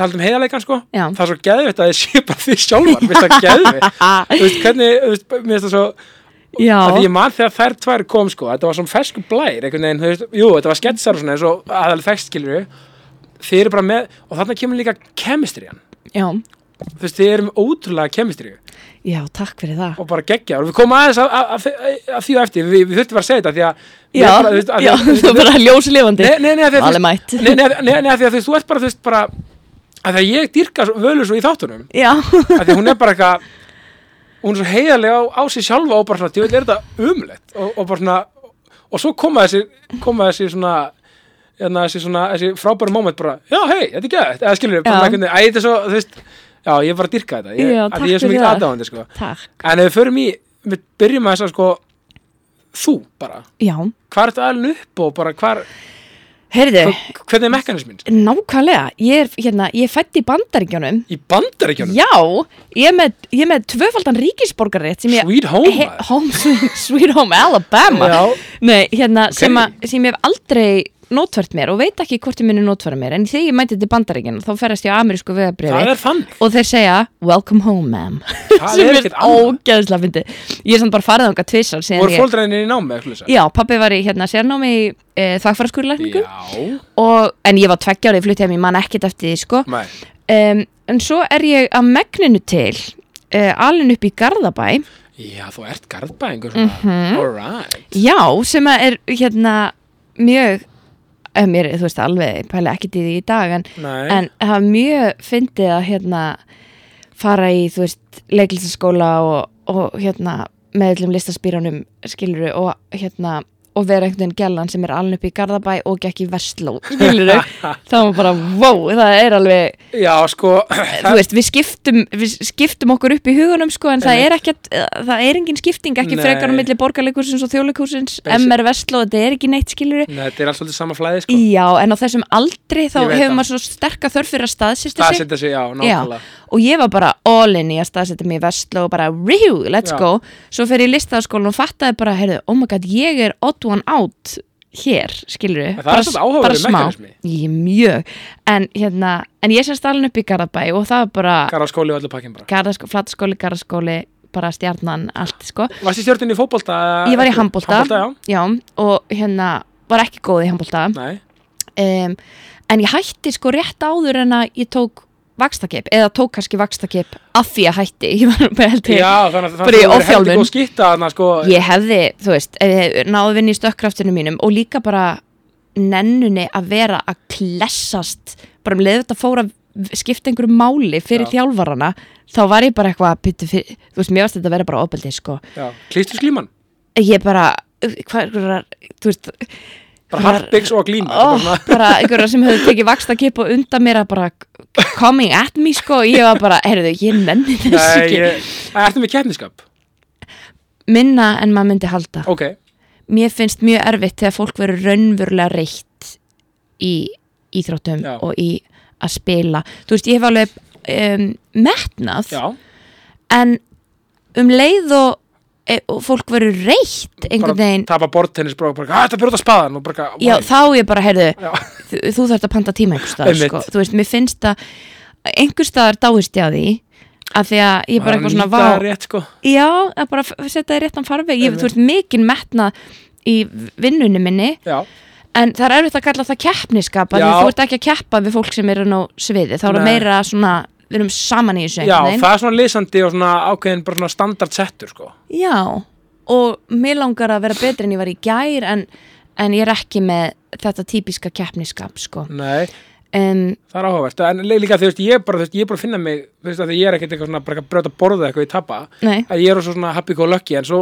[SPEAKER 3] það um heiðarleikan sko
[SPEAKER 2] Já.
[SPEAKER 3] það er svo geðvitt að þið sé bara því sjálfar mér finnst það geðvitt þú veist hvernig, þú veist, mér finnst það svo
[SPEAKER 2] Já.
[SPEAKER 3] að því ég man þegar þær tvær kom sko þetta var svona fersku blær einhvern veginn, þú veist, jú, þetta var sketsar og svona eins og aðal þekst skilur þið eru bara með, og þarna kemur líka kemistriðan,
[SPEAKER 2] já,
[SPEAKER 3] þú veist, þið eru með ótrúlega kemistriðu
[SPEAKER 2] já, takk fyrir það
[SPEAKER 3] og bara geggja og við komum aðeins að, að, að, að því og eftir, við, við þurftum bara að segja þetta því að
[SPEAKER 2] já,
[SPEAKER 3] bara, þú veist, að-
[SPEAKER 2] já,
[SPEAKER 3] þú veist,
[SPEAKER 2] það er bara ljóslifandi
[SPEAKER 3] Nei, nei, nei, af því að þú
[SPEAKER 2] Valið
[SPEAKER 3] veist-
[SPEAKER 2] mætt.
[SPEAKER 3] nei, nei, af- nei, nei, af því að þú veist, þú ert bara, þú veist, bara að það ég dýrka svo- völu svo í þáttunum
[SPEAKER 2] já,
[SPEAKER 3] að því hún er bara eitthvað hún er svo heiðarlega á, á sér sjálfa og bara svona, djöfull er þetta umlegt og, og bara svona, og svo koma þessi koma þessi svona, já,
[SPEAKER 1] hérna, þessi, svona, þessi frábæri moment bara, já, hei, þetta er gætt eða skilur,
[SPEAKER 2] Já.
[SPEAKER 1] bara ekki, æ, þetta er svo, þú veist já, ég er bara að dyrka þetta, ég,
[SPEAKER 2] Já,
[SPEAKER 1] af
[SPEAKER 2] takk
[SPEAKER 1] því ég er svo
[SPEAKER 2] fyrir
[SPEAKER 1] mikið
[SPEAKER 2] það.
[SPEAKER 1] aðdáðandi, sko
[SPEAKER 2] Takk.
[SPEAKER 1] en ef við förum í, við byrjum að þess að sko þú bara,
[SPEAKER 2] Já,
[SPEAKER 1] hvað ertu aðlun upp og bara hvar,
[SPEAKER 2] heyrðu,
[SPEAKER 1] hvernig er mekanismin sko?
[SPEAKER 2] nákvæmlega, ég er, hérna, ég er fætt í bandaríkjunum.
[SPEAKER 1] í bandaríkjunum,
[SPEAKER 2] Já, ég er með, ég er með tvöfaldan ríkisborgarrétt sem ég...
[SPEAKER 1] sweet home
[SPEAKER 2] He-
[SPEAKER 1] maður.
[SPEAKER 2] home, sweet- Sweet Home Alabama
[SPEAKER 1] já,
[SPEAKER 2] Nei, hérna, sem, a,
[SPEAKER 1] Ok.
[SPEAKER 2] sem ég hef aldrei nótvært mér og veit ekki hvort ég minni nótværa mér en þegar ég mæti til bandaríkjana þá ferðast ég á amerísku
[SPEAKER 1] það
[SPEAKER 2] veðabriði
[SPEAKER 1] er þannig
[SPEAKER 2] og þeir segja Welcome home ma'am
[SPEAKER 1] Það
[SPEAKER 2] sem
[SPEAKER 1] er
[SPEAKER 2] er
[SPEAKER 1] ekkert annað.
[SPEAKER 2] ógeðslega fyndi Ég er samt bara farið þangað tvissar
[SPEAKER 1] voru
[SPEAKER 2] síðan ég
[SPEAKER 1] fóldræðinir í námi, ekki lesa
[SPEAKER 2] Já, pabbi var í hérna sérnámi í e, þakfæraskurlækningu
[SPEAKER 1] já,
[SPEAKER 2] en ég var tveggja ára í flutt heim, ég man ekkert eftir því sko
[SPEAKER 1] mæ,
[SPEAKER 2] um, en svo er ég að megninu til uh, alin upp í Garðabæ
[SPEAKER 1] já, þú ert garðbæðingur mm
[SPEAKER 2] Mhm.
[SPEAKER 1] -hmm. alright
[SPEAKER 2] Já, sem að er hérna mjög eh, mér, þú veist alveg, pæla ekkert í því í dag en,
[SPEAKER 1] Nei.
[SPEAKER 2] en það var mjög fyndið að hérna fara í, þú veist, leiklistaskóla og, og hérna með öllum listaspýrunum skiluru og hérna og vera einhvern veginn gellan sem er alveg upp í Garðabæ og gekk í Vestló, skiluru það var bara, wow, það er alveg
[SPEAKER 1] já, sko,
[SPEAKER 2] þú veist, við skiptum, við skiptum okkur upp í hugunum sko, en það
[SPEAKER 1] Einmitt.
[SPEAKER 2] er ekkert, eh, það er engin skipting ekki
[SPEAKER 1] Nei.
[SPEAKER 2] frekar á milli borgarleikursins og þjóðleikursins
[SPEAKER 1] Basic.
[SPEAKER 2] MR Vestló, þetta er ekki neitt skiluru
[SPEAKER 1] Nei, þetta er alls svolítið sama flæði, sko
[SPEAKER 2] Já, en á þessum aldri þá
[SPEAKER 1] Ég veit
[SPEAKER 2] hefur
[SPEAKER 1] það.
[SPEAKER 2] maður svo sterka þörf fyrir að staðsýsta sig
[SPEAKER 1] staðsetja sig, já, nákvæmlega
[SPEAKER 2] og ég var bara all in í að staðsetja mig í vestló og bara, rihu, let's
[SPEAKER 1] Já.
[SPEAKER 2] go svo fer ég í listaskólan og fattaði bara heyrðu, oh my god, ég er odd one out hér, skilur við
[SPEAKER 1] En það er samt áhugaverður mekanismi.
[SPEAKER 2] Ég, mjög, en hérna en ég sérst alveg upp í Garðabæ og það var bara
[SPEAKER 1] Garðar skóli og öllu pakkin bara
[SPEAKER 2] Garðaskó, flataskóli, Garðaskóli bara stjarnan, allt sko
[SPEAKER 1] Varst í stjórninni í fótbolta? eða-
[SPEAKER 2] ég var í handbólta,
[SPEAKER 1] Handbolta, já
[SPEAKER 2] og hérna var ekki góð í handbólta
[SPEAKER 1] Nei,
[SPEAKER 2] um, en ég hætti sko rétt áður en að ég tók vakstakip eða tók kannski vakstakip af því að hætti ég var bara held ég
[SPEAKER 1] já, þannig að það
[SPEAKER 2] Bara í
[SPEAKER 1] hefur
[SPEAKER 2] ofþjálfun.
[SPEAKER 1] góð skýtta þannig að sko
[SPEAKER 2] ég hefði, þú veist, ef ég náði vinni í stökkkraftinu mínum og líka bara nennunni að vera að klessast, bara um leið þetta fóra skipta einhverju máli fyrir
[SPEAKER 1] Já.
[SPEAKER 2] þjálfarana þá var ég bara eitthvað pyttu fyrir, þú veist, mér varst þetta að vera bara ofbeldið sko,
[SPEAKER 1] yeah. Klýstur sklíman,
[SPEAKER 2] ég bara hvað, hvað, þú veist
[SPEAKER 1] bara harpiks og glíma
[SPEAKER 2] oh, bara einhverja sem hefur tekið vaksta kip og undan mér að bara coming at me sko, ég var bara, heyrðu, ég nenni þessu
[SPEAKER 1] Nei,
[SPEAKER 2] ekki
[SPEAKER 1] ég, ertu með keppniskap?
[SPEAKER 2] minna en maður myndi halda
[SPEAKER 1] Ok,
[SPEAKER 2] mér finnst mjög erfitt þegar fólk verður raunverulega reitt í íþróttum
[SPEAKER 1] Já.
[SPEAKER 2] og í að spila þú veist, ég hef alveg um, metnað,
[SPEAKER 1] já,
[SPEAKER 2] en um leið og, e, og fólk verður reitt einhvern
[SPEAKER 1] bara
[SPEAKER 2] veginn
[SPEAKER 1] tapa bortennis bara, bara, "Ah, þetta byrjur út að spaðan og bara,
[SPEAKER 2] já, þá ég bara, heyrðu,
[SPEAKER 1] Já.
[SPEAKER 2] þú, þú þarft að panta tíma einhvers staðar,
[SPEAKER 1] Einmitt.
[SPEAKER 2] sko, þú veist, mér finnst að einhvers staðar dáist ég að því af því að ég bara eitthvað svona
[SPEAKER 1] Nýta það
[SPEAKER 2] vá,
[SPEAKER 1] rétt, sko.
[SPEAKER 2] já, að bara f- setja í réttan farveg, ég,
[SPEAKER 1] Einmitt.
[SPEAKER 2] þú veist, mikinn metnað í vinnunni minni
[SPEAKER 1] já,
[SPEAKER 2] En það er erfitt að kalla það keppniskap
[SPEAKER 1] Já.
[SPEAKER 2] að þú ert ekki að keppa við fólk sem eru á sviði þá er það
[SPEAKER 1] Nei.
[SPEAKER 2] meira svona, við erum saman í þessu
[SPEAKER 1] já,
[SPEAKER 2] einhvern veginn.
[SPEAKER 1] það er svona lesandi og svona ákveðin bara svona standard settur sko.
[SPEAKER 2] Já, og mér langar að vera betri en ég var í gær en, en ég er ekki með þetta típiska keppniskap sko.
[SPEAKER 1] Nei,
[SPEAKER 2] um,
[SPEAKER 1] það er áhugavert en lí- líka þú veist, ég er bara, þú veist, ég er bara að finna mig þú veist, af því ég er ekkert eitthvað svona, bara að brjóta borða eitthvað í tappa,
[SPEAKER 2] Nei.
[SPEAKER 1] að ég er svo svona happy go lucky, en svo,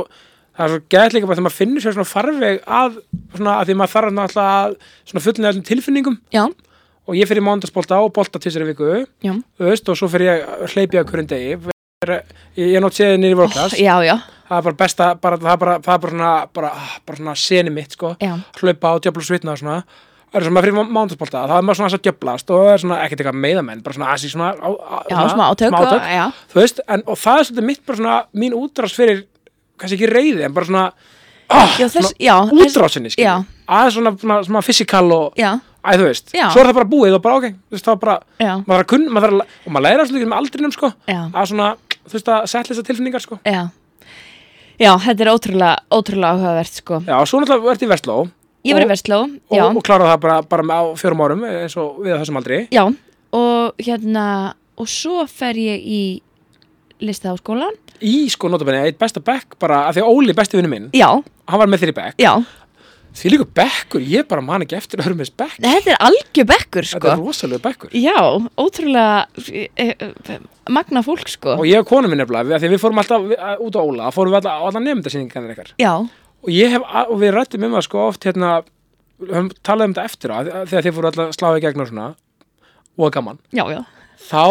[SPEAKER 1] það er svo gæðt líka bara þegar maður finnur sér svona farveg að svona, að því maður þarf náttúrulega að svona fullinu öllum tilfinningum,
[SPEAKER 2] Já,
[SPEAKER 1] og ég fyrir mándagsbolta og bolta til sér í viku,
[SPEAKER 2] já,
[SPEAKER 1] þú veist, og svo fyrir ég að hleypi á hverjum degi Vera- ég er nátt séðið nýri vorklass
[SPEAKER 2] Oh, já, já,
[SPEAKER 1] það er bara besta, bara, það er bara, það er bara svona bara, ah, bara svona seni mitt, sko
[SPEAKER 2] Já.
[SPEAKER 1] hlaupa á djöfla og svitna og svona það er svona fyrir mándasbólta, það er maður svona aðeins að djöflast og það er svona ekkert eitthvað meiðamenn, bara svona aðeins í svona, á, á,
[SPEAKER 2] Já, smá átök og- já.
[SPEAKER 1] þú veist, en, og það er svolítið mitt bara svona mín útrás fyrir, kannski ekki reyði en bara svona, ah,
[SPEAKER 2] Já, þess- já,
[SPEAKER 1] svona
[SPEAKER 2] þess-
[SPEAKER 1] útrásinni,
[SPEAKER 2] já.
[SPEAKER 1] skilur aðeins svona, svona, svona fysikal og
[SPEAKER 2] já.
[SPEAKER 1] Æ, þú veist,
[SPEAKER 2] Já.
[SPEAKER 1] svo er það bara búið og bara ok, þú veist, það er bara,
[SPEAKER 2] Já.
[SPEAKER 1] maður þarf að kunn, maður þarf að, og maður læra svolítið með aldrinum, sko,
[SPEAKER 2] Já.
[SPEAKER 1] að svona, þú veist, að setla þessar tilfinningar, sko.
[SPEAKER 2] Já, já þetta er ótrúlega, ótrúlega áhugavert sko.
[SPEAKER 1] Já, og svo náttúrulega ert í Vestló
[SPEAKER 2] Ég var í
[SPEAKER 1] Og-
[SPEAKER 2] Vestló,
[SPEAKER 1] og,
[SPEAKER 2] já,
[SPEAKER 1] og kláraði það bara, bara með á fjórum árum eins og við á þessum aldri
[SPEAKER 2] já og hérna, og svo fer ég í listaháskólan
[SPEAKER 1] í sko notabenni eitt besta bekk bara af því að Óli besti vinnu minn
[SPEAKER 2] Já,
[SPEAKER 1] hann var með þeirri bekk
[SPEAKER 2] já,
[SPEAKER 1] því líka bekkur ég bara man ekki eftir öðrum eins bekk
[SPEAKER 2] þetta er algjör bekkur
[SPEAKER 1] þetta
[SPEAKER 2] sko.
[SPEAKER 1] er rosalega bekkur
[SPEAKER 2] Já, ótrúlega eh, eh, magna fólk sko
[SPEAKER 1] og ég og konu minn nefnilega við- af því að við fórum alltaf við- að- út á Óla fórum við alltaf á alla nefndasýningarnir ykkar
[SPEAKER 2] Já,
[SPEAKER 1] og ég hef og við rættum um það sko oft hérna höfum talað um þetta eftir á að- að- þegar þið fóru alltaf að slá í gegn og svona og gaman,
[SPEAKER 2] já, já,
[SPEAKER 1] þá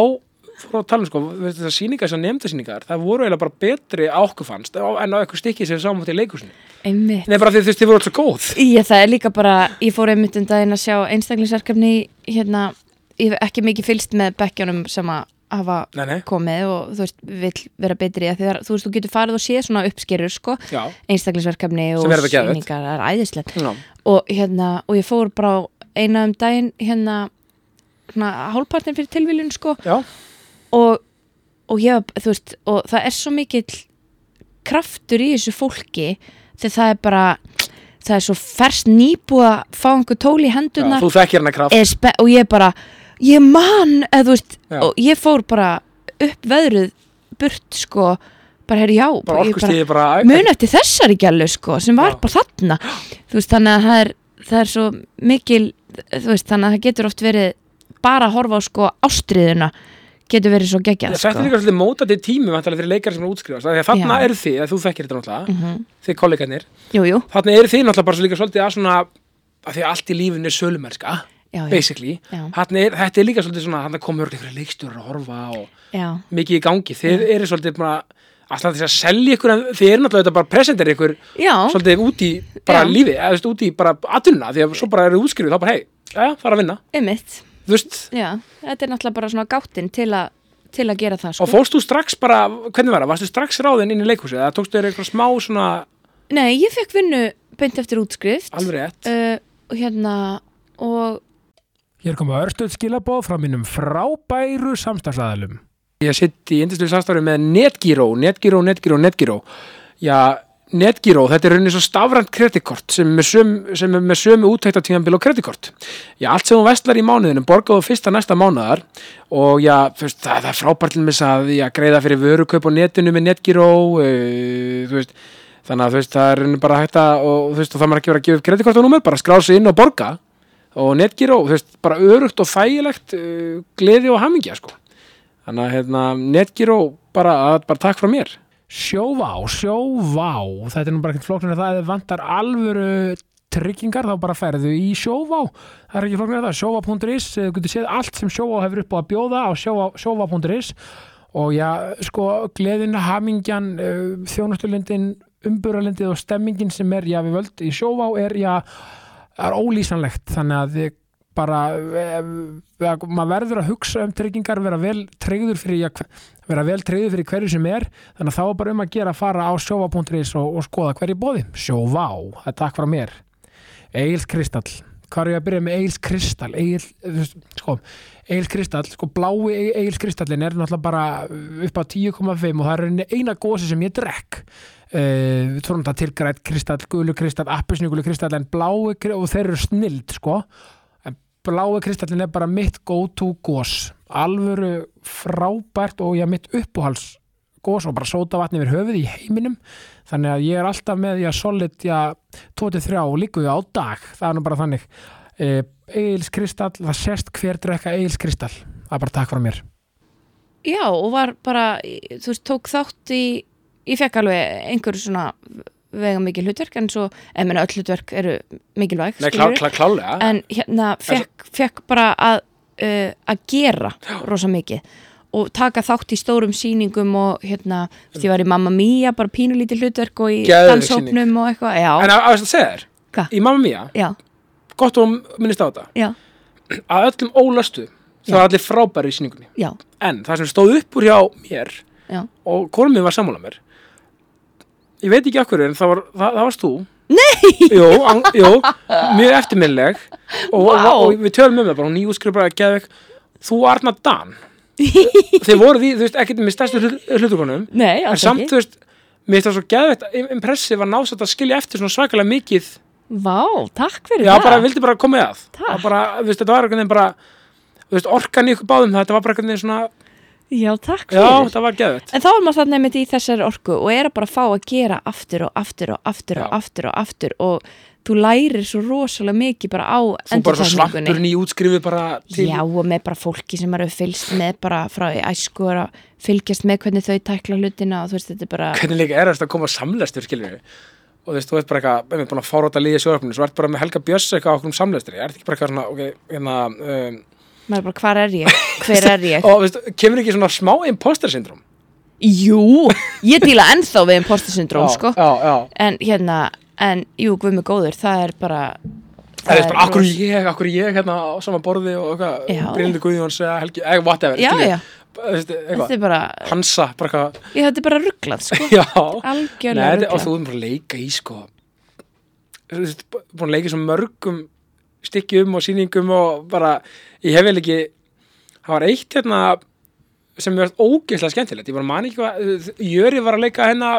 [SPEAKER 1] fóru að tala um sko, þessar sýningar, þessar nefndasýningar það voru eiginlega bara betri á okkur fannst á- en á eitthvað stikki sem við sáum átt í leikusinu
[SPEAKER 2] einmitt
[SPEAKER 1] Nei, bara því þú veist, þið voru alltaf góð
[SPEAKER 2] Ég, það er líka bara, ég fór einmitt um daginn að sjá einstaklingsverkefni í, hérna, ég hef ekki mikið fylst með bekkjónum sem að hafa
[SPEAKER 1] Nei, nei,
[SPEAKER 2] komið og þú veist, vill vera betri að því það, er- þú veist, þú getur farið og séð svona uppskerur sko,
[SPEAKER 1] já,
[SPEAKER 2] einstaklingsverkefni og
[SPEAKER 1] Sem er alveg geðveikt.
[SPEAKER 2] sýningar, það er æðislegt
[SPEAKER 1] já.
[SPEAKER 2] og hérna, og ég fór bara á eina um daginn, hérna svona hálfpartin fyrir tilviljun sko
[SPEAKER 1] já.
[SPEAKER 2] og, og ég, var- þú veist, og það er svo mikill kraftur í þessu fólki þegar það er bara það er svo ferst nýbúið að fá einhver tól í
[SPEAKER 1] já
[SPEAKER 2] hendunar
[SPEAKER 1] þú þekkir hennar kraft
[SPEAKER 2] og ég bara, ég man eða þú veist,
[SPEAKER 1] Já.
[SPEAKER 2] og ég fór bara upp veðruð burt sko, bara herri já
[SPEAKER 1] bara
[SPEAKER 2] ég
[SPEAKER 1] orkustíði bara,
[SPEAKER 2] mun eftir þessari gælu sko, sem var
[SPEAKER 1] Já.
[SPEAKER 2] bara þarna þú veist, þannig að það er, það er svo mikil, þú veist, þannig að það getur oft verið bara að horfa á sko ástriðuna, getur verið svo geggjað
[SPEAKER 1] þetta er
[SPEAKER 2] sko.
[SPEAKER 1] líka svolítið mótandi tími vantarlega fyrir leikar sem er útskrifast af því að þarna
[SPEAKER 2] Já.
[SPEAKER 1] eru þið, að þú þekkir þetta náttúrulega
[SPEAKER 2] Mhm.
[SPEAKER 1] þið kollegarnir,
[SPEAKER 2] Jú, jú,
[SPEAKER 1] þarna eru þið náttúrulega bara svo líka svolítið að svona að því að allt í lífinu er sölumerska
[SPEAKER 2] já, já,
[SPEAKER 1] basically,
[SPEAKER 2] já,
[SPEAKER 1] þarna er, þetta er líka svolítið svona þarna komur ykkur leikstjórar að horfa og
[SPEAKER 2] já,
[SPEAKER 1] mikið í gangi, þið eru svolítið bara alltaf þess að selja ykkur en þið eru náttúrulega þetta bara presentar ykkur
[SPEAKER 2] já,
[SPEAKER 1] svolítið út í bara
[SPEAKER 2] Já.
[SPEAKER 1] lífi, eða þú veist út í bara atvinna, því að svo bara eru útskrifið, þá bara hei, já, það er að vinna,
[SPEAKER 2] einmitt
[SPEAKER 1] þú veist
[SPEAKER 2] já, þetta er náttúrulega bara svona gáttinn til að til að gera það
[SPEAKER 1] Og
[SPEAKER 2] sko.
[SPEAKER 1] fórst þú strax bara, hvernig var það, varstu strax ráðin inn í leikhúsið eða tókstu þér eitthvað smá svona
[SPEAKER 2] Nei, ég fekk vinnu beint eftir útskrift
[SPEAKER 1] alveg rétt?
[SPEAKER 2] uh, og hérna og
[SPEAKER 1] Hér koma örstuð skilabóð frá mínum frábæru samstagsæðalum. Ég sitt í yndislu samstarfi með Netgyro, Netgyro, Netgyro, Netgyro. Já, Netgyro, þetta er rauninni svo stafrænt kreditkort sem er með sömu, sem er með sömu úttæktatíðanbíl og kreditkort. Já, allt sem hún vestlar í mánuðinu borgaðu fyrsta næsta mánuðar og já, þú veist, það, það er frábært til mis að já, greiða fyrir vörukaup á netinu með Netgyro, uh, þú veist, þannig að þú veist, það er rauninni bara hægt að, og þú veist, og það maður ekki verið að gefa upp kreditkort og númer, bara skrá sig inn og borga og netgíró, þú veist, bara örugt og þægilegt uh, gleði og hamingja sko. þannig að hérna, netgíró bara, að, bara takk frá mér Sjóvá, sjóvá þetta er nú bara ekkert flóknir það ef þið vantar alvöru tryggingar þá bara færðu í sjóvá það er ekki flóknir það, sjóvá.is eh, þú getur séð allt sem sjóvá hefur upp á að bjóða á sjóvá- sjóvá.is og já, sko, gleðin, hamingjan uh, þjónustulindin, umburalindið og stemmingin sem er, já, við völd í sjóvá er, já, það er ólýsanlegt þannig að þið bara eh, eh, maður verður að hugsa um tryggingar vera vel tryggður fyrir ja, hver- vera vel tryggður fyrir hverju sem er þannig að þá er bara um að gera að fara á sjóva.is og, og skoða hverju bóði sjóvá, það er takk frá mér Egil Kristall hvað er ég að byrja með Egil Kristall Egil, sko, Egil Kristall sko, blái Egil Kristallin er náttúrulega bara upp á 10,5 og það er rauninni eina gósi sem ég drekk uh, við tórum það til grætt kristall, gulu kristall, appisnugulu kristall en blái kri- og þeir eru snild sko en blái kristallin er bara mitt go to gós alvöru frábært og ég mitt uppáhals gós og bara sóta vatni yfir höfuð í heiminum þannig að ég er alltaf með já, solid já, 23 og líku á dag það er nú bara þannig uh, Egils kristall, það sést hver drekka Egils kristall, það er bara takk frá mér
[SPEAKER 2] já, og var bara þú veist, tók þátt í ég fekk alveg einhverju svona vega mikil hlutverk en svo, en minna öll hlutverk eru mikilvæg skilurðu.
[SPEAKER 1] klálega
[SPEAKER 2] en hérna fekk, fekk bara að, uh, að gera rosa mikið og taka þátt í stórum síningum og hérna, þú veist, ég var í Mamma Mia bara pínulítið hlutverk og í
[SPEAKER 1] Geðveik
[SPEAKER 2] danshópnum og eitthvað,
[SPEAKER 1] En
[SPEAKER 2] já,
[SPEAKER 1] að, að þess að segja þér,
[SPEAKER 2] Hva?
[SPEAKER 1] í Mamma Mia,
[SPEAKER 2] já,
[SPEAKER 1] gott og minnist á þetta,
[SPEAKER 2] já,
[SPEAKER 1] að öllum ólöstu, það
[SPEAKER 2] Já.
[SPEAKER 1] var allir frábæri í sýningunni.
[SPEAKER 2] já,
[SPEAKER 1] En það sem stóð upp úr hjá mér
[SPEAKER 2] já.
[SPEAKER 1] og konum minn var sammála mér, ég veit ekki okkur en það, var, það, það varst þú. Nei! Jú, an, jú mjög eftirminnileg og, og,
[SPEAKER 2] Vá.
[SPEAKER 1] og við tölum um það bara, hún nýjúskrið bara að geða þú Arna Dan. Þeir voru því, þú veist, ekkert með stærstu hluturkonum,
[SPEAKER 2] Nei,
[SPEAKER 1] en
[SPEAKER 2] alls
[SPEAKER 1] samt,
[SPEAKER 2] ekki
[SPEAKER 1] þú veist, mér finnst það svo geðveikt impressið að nást þetta að skilja eftir svona svakalega mikið
[SPEAKER 2] Vá, takk fyrir
[SPEAKER 1] Já,
[SPEAKER 2] það
[SPEAKER 1] bara vildi bara koma í að
[SPEAKER 2] Takk.
[SPEAKER 1] Það bara, þú veist, þetta var einhvern veginn bara þú veist, orkan í ykkur báðum, þetta var bara einhvern veginn svona
[SPEAKER 2] Já, takk
[SPEAKER 1] Já,
[SPEAKER 2] fyrir
[SPEAKER 1] það var geðvett
[SPEAKER 2] En þá er maður þarna einmitt í þessari orku og er að bara fá að gera aftur og aftur og aftur og
[SPEAKER 1] Já.
[SPEAKER 2] aftur og aftur og þú lærir svo rosalega mikið bara á
[SPEAKER 1] Þú bara svo
[SPEAKER 2] endurtekningunni.
[SPEAKER 1] svampurinn í útskrifu bara til
[SPEAKER 2] Já og með bara fólki sem eru fylgst með bara frá í æsku og eru að fylgjast með hvernig þau tækla hlutina og þú veist þetta er bara
[SPEAKER 1] Hvernig líka er þetta að koma að samlæstur, skilur við og þú veist, þú veist bara eitthvað, við erum búin að fáróta liðið sjóðaröfninu, svo ert bara með Helga Björns eitthvað á okkur um samleistri, er þetta ekki bara eitthvað svona, ok, hérna, um,
[SPEAKER 2] maður er bara hvar er ég, hver er ég
[SPEAKER 1] og þú veist, kemur ekki svona smá imposter syndrom?
[SPEAKER 2] jú, ég díla ennþá við imposter syndróm
[SPEAKER 1] Já,
[SPEAKER 2] sko
[SPEAKER 1] Já, já,
[SPEAKER 2] en hérna, en jú, guð mig góður það er bara
[SPEAKER 1] það er bara, akkur
[SPEAKER 2] ros-
[SPEAKER 1] ég, akkur ég hérna á sama borði og eitthvað,
[SPEAKER 2] Já.
[SPEAKER 1] Brynildi Guðjóns eða Helgi, eða whatever,
[SPEAKER 2] já, já,
[SPEAKER 1] þú veist,
[SPEAKER 2] þetta
[SPEAKER 1] eitthvað,
[SPEAKER 2] er bara
[SPEAKER 1] Hansa, bara eitthvað,
[SPEAKER 2] ég þetta er bara rugglað sko
[SPEAKER 1] já, Nei,
[SPEAKER 2] algjörlega
[SPEAKER 1] þetta, og
[SPEAKER 2] rugglað
[SPEAKER 1] þú erum bara að leika í, sko, þú veist, bú- búin að leika í svo mörgum stykkjum og sýningum og bara, ég hef vel ekki, það var eitt hérna sem mér varst ógeðslega skemmtilegt, ég bara man ekki hvað, Jöri var að leika hérna,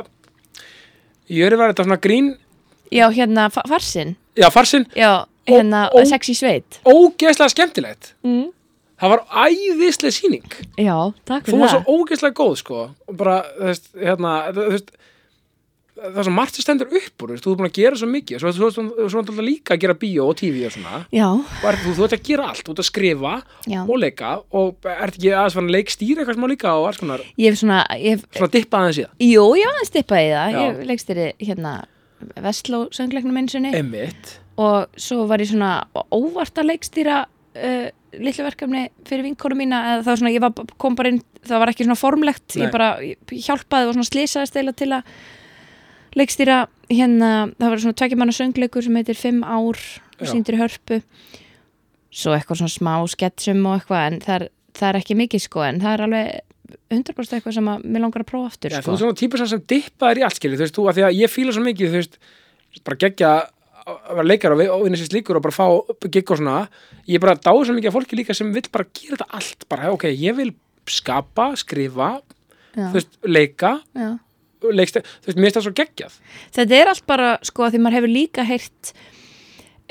[SPEAKER 1] Jöri var þetta svona grín,
[SPEAKER 2] já, hérna, fa- farsinn
[SPEAKER 1] já, farsinn,
[SPEAKER 2] já, hérna,
[SPEAKER 1] ó.
[SPEAKER 2] sexy sveit
[SPEAKER 1] ógeðslega skemmtilegt,
[SPEAKER 2] mm.
[SPEAKER 1] það var æðislega sýning.
[SPEAKER 2] já, takk
[SPEAKER 1] þú
[SPEAKER 2] fyrir
[SPEAKER 1] var
[SPEAKER 2] það
[SPEAKER 1] svo ógeðslega góð sko og bara, þú veist, hérna þú veist, það er svo margt sem stendur upp úr þú veist, þú er búin að gera svo mikið svo, svo, svo, svo, svo náttúrulega líka að gera bíó og tífi og svona
[SPEAKER 2] já,
[SPEAKER 1] og er, þú, þú ert að gera allt, þú ert að skrifa
[SPEAKER 2] já
[SPEAKER 1] og leika og ert ekki aðeins fann leikstýra eitthvað smá líka og alls konar
[SPEAKER 2] ég hef svona, ég hef
[SPEAKER 1] svona dippa aðeins í það
[SPEAKER 2] Jú, já, það stippaði í það.
[SPEAKER 1] Já.
[SPEAKER 2] Ég leggst þér hérna Vestló söngleiknum einu sinni
[SPEAKER 1] Emmitt
[SPEAKER 2] og svo var ég svona óvart að leggstýra uh, litlu verkefni fyrir vinkonu mína eða það var svona, ég var, kom bara inn, það var ekki svona formlegt,
[SPEAKER 1] Nei.
[SPEAKER 2] ég bara ég hjálpaði og svona slísaði stela til að leggstýra hérna, það var svona tvekkjumanna söngleikur sem heitir Fimm ár og
[SPEAKER 1] Já.
[SPEAKER 2] síndir hörpu svo eitthvað svona smá sketsum og eitthvað en það er, það er ekki mikið sko en það er alveg 100% eitthvað sem að mér langar að prófa aftur
[SPEAKER 1] Já, þú
[SPEAKER 2] sko.
[SPEAKER 1] er svona típur sem dippa þér í allt skilur þú veist, þú, að því að ég fíla svo mikið, þú veist bara gegja að að vera leikar og vi- og vinna sér slíkur og bara fá gegg og svona ég bara dáði svo mikið að fólki líka sem vill bara gera þetta allt, bara ok, ég vil skapa, skrifa,
[SPEAKER 2] Já.
[SPEAKER 1] þú veist leika,
[SPEAKER 2] Já.
[SPEAKER 1] leikst þú veist, mér finnst það svo geggjað
[SPEAKER 2] Þetta er allt bara, sko, að því maður hefur líka heyrt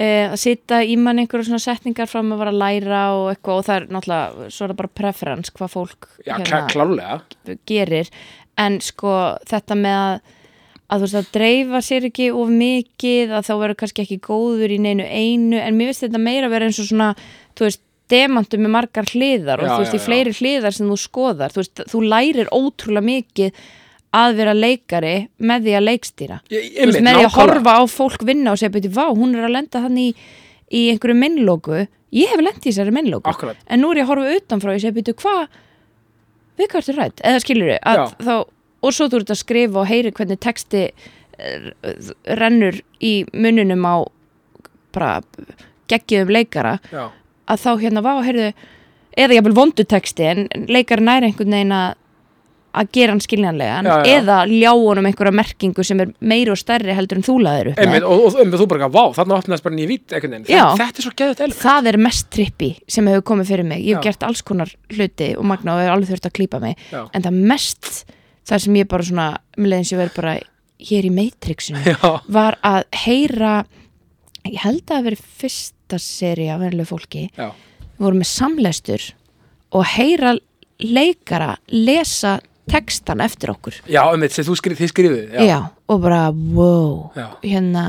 [SPEAKER 2] eh, að sita í mann einhverjum svona setningar frá að maður var að læra og eitthvað og það er náttúrulega, svo er það bara preference hvað fólk
[SPEAKER 1] Já, hérna. klárlega
[SPEAKER 2] gerir en sko þetta með að að þú veist að dreifa sér ekki of mikið að þá verður kannski ekki góður í neinu einu en mér finnst þetta meira að vera eins og svona þú veist demantu með margar hliðar og
[SPEAKER 1] Já,
[SPEAKER 2] þú
[SPEAKER 1] já,
[SPEAKER 2] veist í
[SPEAKER 1] já.
[SPEAKER 2] fleiri hliðar sem þú skoðar þú veist þú lærir ótrúlega mikið að vera leikari með því að leikstýra
[SPEAKER 1] Ég-
[SPEAKER 2] Þú veist,
[SPEAKER 1] einmitt,
[SPEAKER 2] með því að
[SPEAKER 1] nákvæmlega.
[SPEAKER 2] horfa á fólk vinna og segja byrju, vá, hún er að lenda hann í, í einhverju minnlóku, ég hef lendið í þessari minnlóku,
[SPEAKER 1] Akkurat.
[SPEAKER 2] en nú er ég að horfa utanfrá og ég segja byrju, hvað við hvað ertu rætt, eða skilur
[SPEAKER 1] Já.
[SPEAKER 2] þau þá, og svo þú ert að skrifa og heyri hvernig texti er, rennur í mununum á bara geggjum leikara,
[SPEAKER 1] Já,
[SPEAKER 2] að þá hérna, vá, heyrðu eða jafnvel vondu texti, en en leikarinn er einhvern veginn að að gera hann skiljanlega,
[SPEAKER 1] Já, já.
[SPEAKER 2] eða ljá honum einhverja merkingu sem er meiri og stærri heldur en þú laðir upp með.
[SPEAKER 1] einmitt, og, og, og þú bara, vá, þarna opnaðist bara nýja vít einhvern veginn,
[SPEAKER 2] Já.
[SPEAKER 1] þetta er svo geðut elg
[SPEAKER 2] það er mest trippi sem hefur komið fyrir mig ég hef
[SPEAKER 1] Já.
[SPEAKER 2] gert alls konar hluti og magna og hefur alveg þurft að klípa mig
[SPEAKER 1] Já.
[SPEAKER 2] en það mest, það sem ég bara svona um leiðins ég verið bara hér í Matrixinu
[SPEAKER 1] Já,
[SPEAKER 2] var að heyra ég held að það hafi verið fyrsta seri af venlega fólki
[SPEAKER 1] já,
[SPEAKER 2] við vorum með samleistur og heyra leikara lesa textan eftir okkur
[SPEAKER 1] já einmitt, sem þú skri, þið skrifið
[SPEAKER 2] já. og bara wow
[SPEAKER 1] Já.
[SPEAKER 2] hérna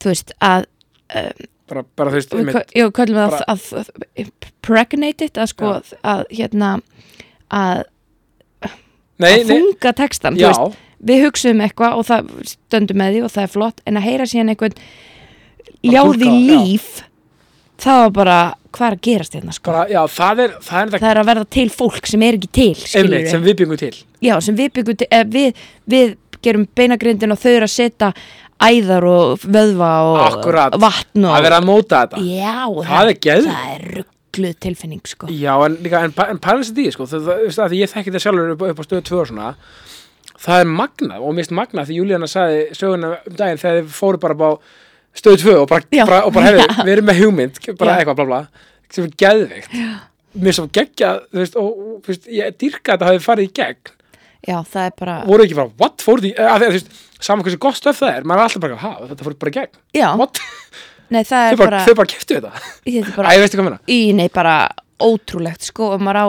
[SPEAKER 2] þú veist að
[SPEAKER 1] bara, bara þú veist,
[SPEAKER 2] við
[SPEAKER 1] einmitt,
[SPEAKER 2] kö- já, kallum það
[SPEAKER 1] bara-
[SPEAKER 2] að, að, að pregnated að sko að hérna að,
[SPEAKER 1] nei,
[SPEAKER 2] að
[SPEAKER 1] nei,
[SPEAKER 2] þunga textan þú
[SPEAKER 1] já,
[SPEAKER 2] veist, við hugsaum eitthvað og það stöndum með því og það er flott en að heyra síðan einhvern ljáði
[SPEAKER 1] túlka, já.
[SPEAKER 2] líf það var bara hvað er að gerast hérna sko
[SPEAKER 1] bara, já, það er það er það,
[SPEAKER 2] það er að verða til fólk sem er ekki til skilurðu.
[SPEAKER 1] einmitt, sem við byggum til
[SPEAKER 2] já, sem við byggum til, eh, við, við gerum beinagrindin og þau eru að setja æðar og vöðva og
[SPEAKER 1] Akkurat,
[SPEAKER 2] vatn og
[SPEAKER 1] að vera að móta þetta
[SPEAKER 2] já,
[SPEAKER 1] Það er geð-
[SPEAKER 2] það er ruggluð tilfinning sko
[SPEAKER 1] Já, en líka, en, pa- en pælis þetta í, því, sko, það, það, það, því ég þekki þetta sjálfur upp, upp á stöðu tvö og svona, það er magnað og mist magnað því Júlíana saði söguna um daginn þegar þið fóru bara upp á stöðu tvö og bara,
[SPEAKER 2] Já.
[SPEAKER 1] bara, og bara hefði, við erum með hugmynd, bara
[SPEAKER 2] Já.
[SPEAKER 1] eitthvað, bla, bla, sem er geðveikt. Já. Mér svo geggja, þú veist, og, og þú veist, ég dýrka að þetta hafi farið í gegn,
[SPEAKER 2] já, það er bara,
[SPEAKER 1] voru ekki bara, what, fóru eh, því, að, að, þú veist, saman hversu gott stöf það er, maður er alltaf bara, ha, þetta fóru bara í gegn,
[SPEAKER 2] já,
[SPEAKER 1] what,
[SPEAKER 2] nei það
[SPEAKER 1] þau
[SPEAKER 2] er
[SPEAKER 1] bara,
[SPEAKER 2] bara,
[SPEAKER 1] þau bara keftu þetta,
[SPEAKER 2] þetta er
[SPEAKER 1] æ,
[SPEAKER 2] bara
[SPEAKER 1] veistu hvað ég meina,
[SPEAKER 2] í, nei, bara ótrúlegt sko og maður á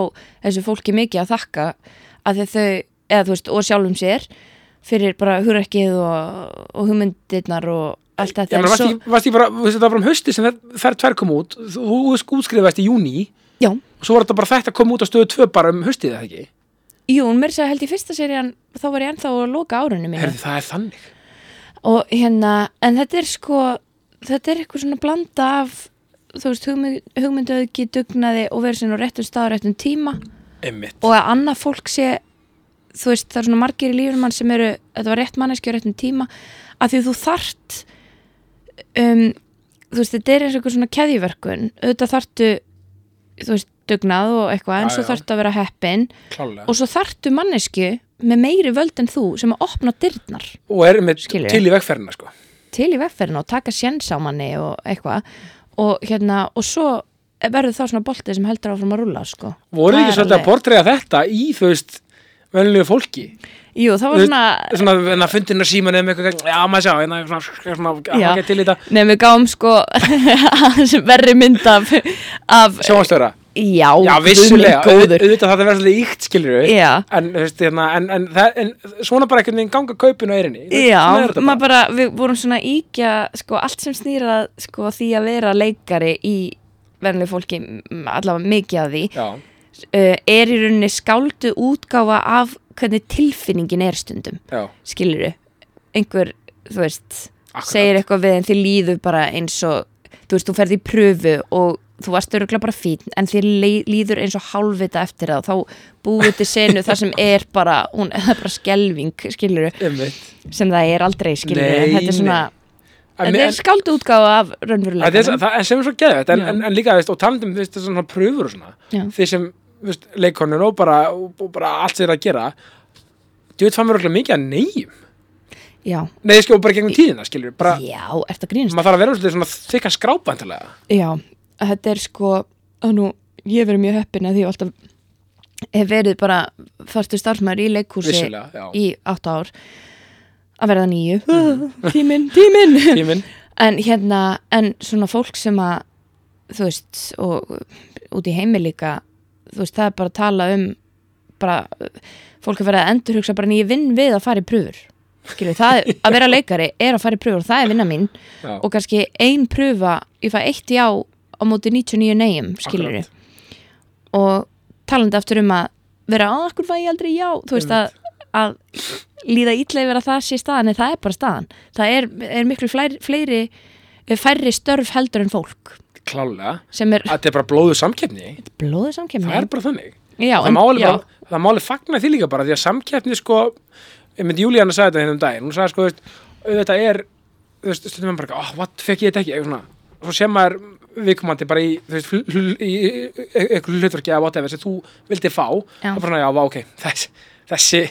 [SPEAKER 2] þessu fólki mikið að þakka að þau, eða þú veist, og sjálfum sér fyrir bara hugrekkið og, og hugmyndirnar og allt
[SPEAKER 1] Já,
[SPEAKER 2] þetta
[SPEAKER 1] menn,
[SPEAKER 2] en
[SPEAKER 1] varst,
[SPEAKER 2] svo,
[SPEAKER 1] ekki, varst ekki bara, þú veist, þetta var bara um hausti sem þær- þær tvær kom út, þú þú útskrifaðist í júni
[SPEAKER 2] já,
[SPEAKER 1] og svo var þetta bara þetta kom út á stöðu tvö bara um haustið eða ekki.
[SPEAKER 2] jú, mér sagði held í fyrsta serían þá var ég ennþá að loka árunum mínu
[SPEAKER 1] Herði, það er þannig.
[SPEAKER 2] og hérna, en þetta er sko þetta er eitthvað svona blanda af þú veist, hugmynd, hugmynduauðgi dugnaði og verið sinna á réttum stað á réttum tíma
[SPEAKER 1] einmitt
[SPEAKER 2] og að annað fólk sé þú veist, það er svona margir í lífum mann sem eru þetta var rétt manneski á réttum tíma að því þú þart um, þú veist, þetta er eins og eitthvað svona keðjuverkun, auðvitað þartu þú veist, dugnað og eitthvað en
[SPEAKER 1] Já,
[SPEAKER 2] svo
[SPEAKER 1] já.
[SPEAKER 2] þartu að vera heppin
[SPEAKER 1] klálega
[SPEAKER 2] og svo þartu manneski með meiri völd en þú sem að opna dyrnar
[SPEAKER 1] og er með
[SPEAKER 2] Skilurðu?
[SPEAKER 1] til í vegferðina sko.
[SPEAKER 2] til í vegferðin og taka sjens á manni og eitthvað og hérna, og svo verður þá svona boltið sem heldur áfram að rúla sko.
[SPEAKER 1] voru
[SPEAKER 2] Það
[SPEAKER 1] ekki
[SPEAKER 2] er
[SPEAKER 1] svolítið
[SPEAKER 2] alveg-
[SPEAKER 1] að bortreða þetta í þú veist venlulegu fólki
[SPEAKER 2] Jú, það var
[SPEAKER 1] Þú-
[SPEAKER 2] svona,
[SPEAKER 1] svona hérna, en að fundin að síma nefnum eitthvað já maður sjá hérna svona, svona, svona að
[SPEAKER 2] Já.
[SPEAKER 1] maður get til í þetta
[SPEAKER 2] Nei, við gáum sko aðeins verri mynd af, af
[SPEAKER 1] sjónastöra
[SPEAKER 2] Já,
[SPEAKER 1] já
[SPEAKER 2] guð minn
[SPEAKER 1] vissulega auð-
[SPEAKER 2] góður.
[SPEAKER 1] auðvitað það verður svolítið íkt skilur við
[SPEAKER 2] Já,
[SPEAKER 1] en þú veist hérna en, en, það, en svona bara einhvern veginn ganga kaupin á eirinni
[SPEAKER 2] já
[SPEAKER 1] Svona er þetta
[SPEAKER 2] maður bara, við vorum svona að íkja sko allt sem snýra sko því að vera leikari í verðinlega fólki, m- allavega mikið af því
[SPEAKER 1] já
[SPEAKER 2] uh, er í rauninni skáldu útgáfa af hvernig tilfinningin er stundum
[SPEAKER 1] já
[SPEAKER 2] skilur einhver, þú veist
[SPEAKER 1] akkurat.
[SPEAKER 2] segir eitthvað við en þið líður bara eins og þú veist, þú ferð í pröfu og þú varst öruglega bara fín en þér lei- líður eins og hálfvita eftir það og þá búið til senu þar sem er bara, hún er bara skelving skilur,
[SPEAKER 1] einmitt
[SPEAKER 2] sem það er aldrei skilur,
[SPEAKER 1] Nei,
[SPEAKER 2] en þetta er svona
[SPEAKER 1] En-
[SPEAKER 2] þetta
[SPEAKER 1] en-
[SPEAKER 2] er skáldu útgáfa af
[SPEAKER 1] Það er,
[SPEAKER 2] raunveruleikanum
[SPEAKER 1] það, en sem er svo geðvægt en,
[SPEAKER 2] Já.
[SPEAKER 1] en, en líka, veist, og talandum, veist, þessar svona pröfur og svona,
[SPEAKER 2] Já.
[SPEAKER 1] því sem veist, leikonun og bara, og, og bara allt sem er að gera djúið fann mér okkur mikið að neyjum
[SPEAKER 2] já,
[SPEAKER 1] nei, ég skil, og bara gegnum tíðina, skilur bara,
[SPEAKER 2] já, ert að grínast
[SPEAKER 1] maður þarf að vera svolítið svona þykka skrápa endilega,
[SPEAKER 2] Já, þetta er sko að nú, ég hef verið mjög heppin að því ég hef alltaf hef verið bara fastur starfsmæður í leikhúsi
[SPEAKER 1] vissulega já,
[SPEAKER 2] í átta ár að verða nýju Mhm. tíminn, tíminn
[SPEAKER 1] tíminn,
[SPEAKER 2] en hérna, en svona fólk sem að þú veist, og út í heimi líka þú veist, það er bara að tala um bara, fólk er verið að endurhugsa bara en ég vinn við að fara í pröfur skilur, það er, að vera leikari er að fara í pröfur og það er vinna mín
[SPEAKER 1] já,
[SPEAKER 2] og kannski ein pröfa ég fæ eitt já á móti 99 neyjum skilur við og talandi aftur um að vera að okkur fæ ég aldrei já þú veist að, að líða ítla yfir að það sé staðan en það er bara staðan það er, er miklu flær, fleiri eh, færri störf heldur en fólk
[SPEAKER 1] klálega
[SPEAKER 2] sem er
[SPEAKER 1] að þetta er bara blóðu samkeppni,
[SPEAKER 2] blóðu
[SPEAKER 1] það
[SPEAKER 2] samkemmi
[SPEAKER 1] er bara þannig
[SPEAKER 2] já,
[SPEAKER 1] það
[SPEAKER 2] en-
[SPEAKER 1] máli,
[SPEAKER 2] já,
[SPEAKER 1] bara, það máli fagna því líka bara því að samkeppni sko ég myndi Júlíana sagði þetta hérna um daginn hún sagði sko, veist, auðvitað er þú veist, stundum er bara, oh, what, fekk ég þetta ekki eitthvað svona, svo sem maður viðkomandi bara í, þú veist, hl- hl- í eitthvað hlutverki eða whatever sem þú vildi fá,
[SPEAKER 2] Já.
[SPEAKER 1] og bara, svona, já, vá, ok þessi, þessi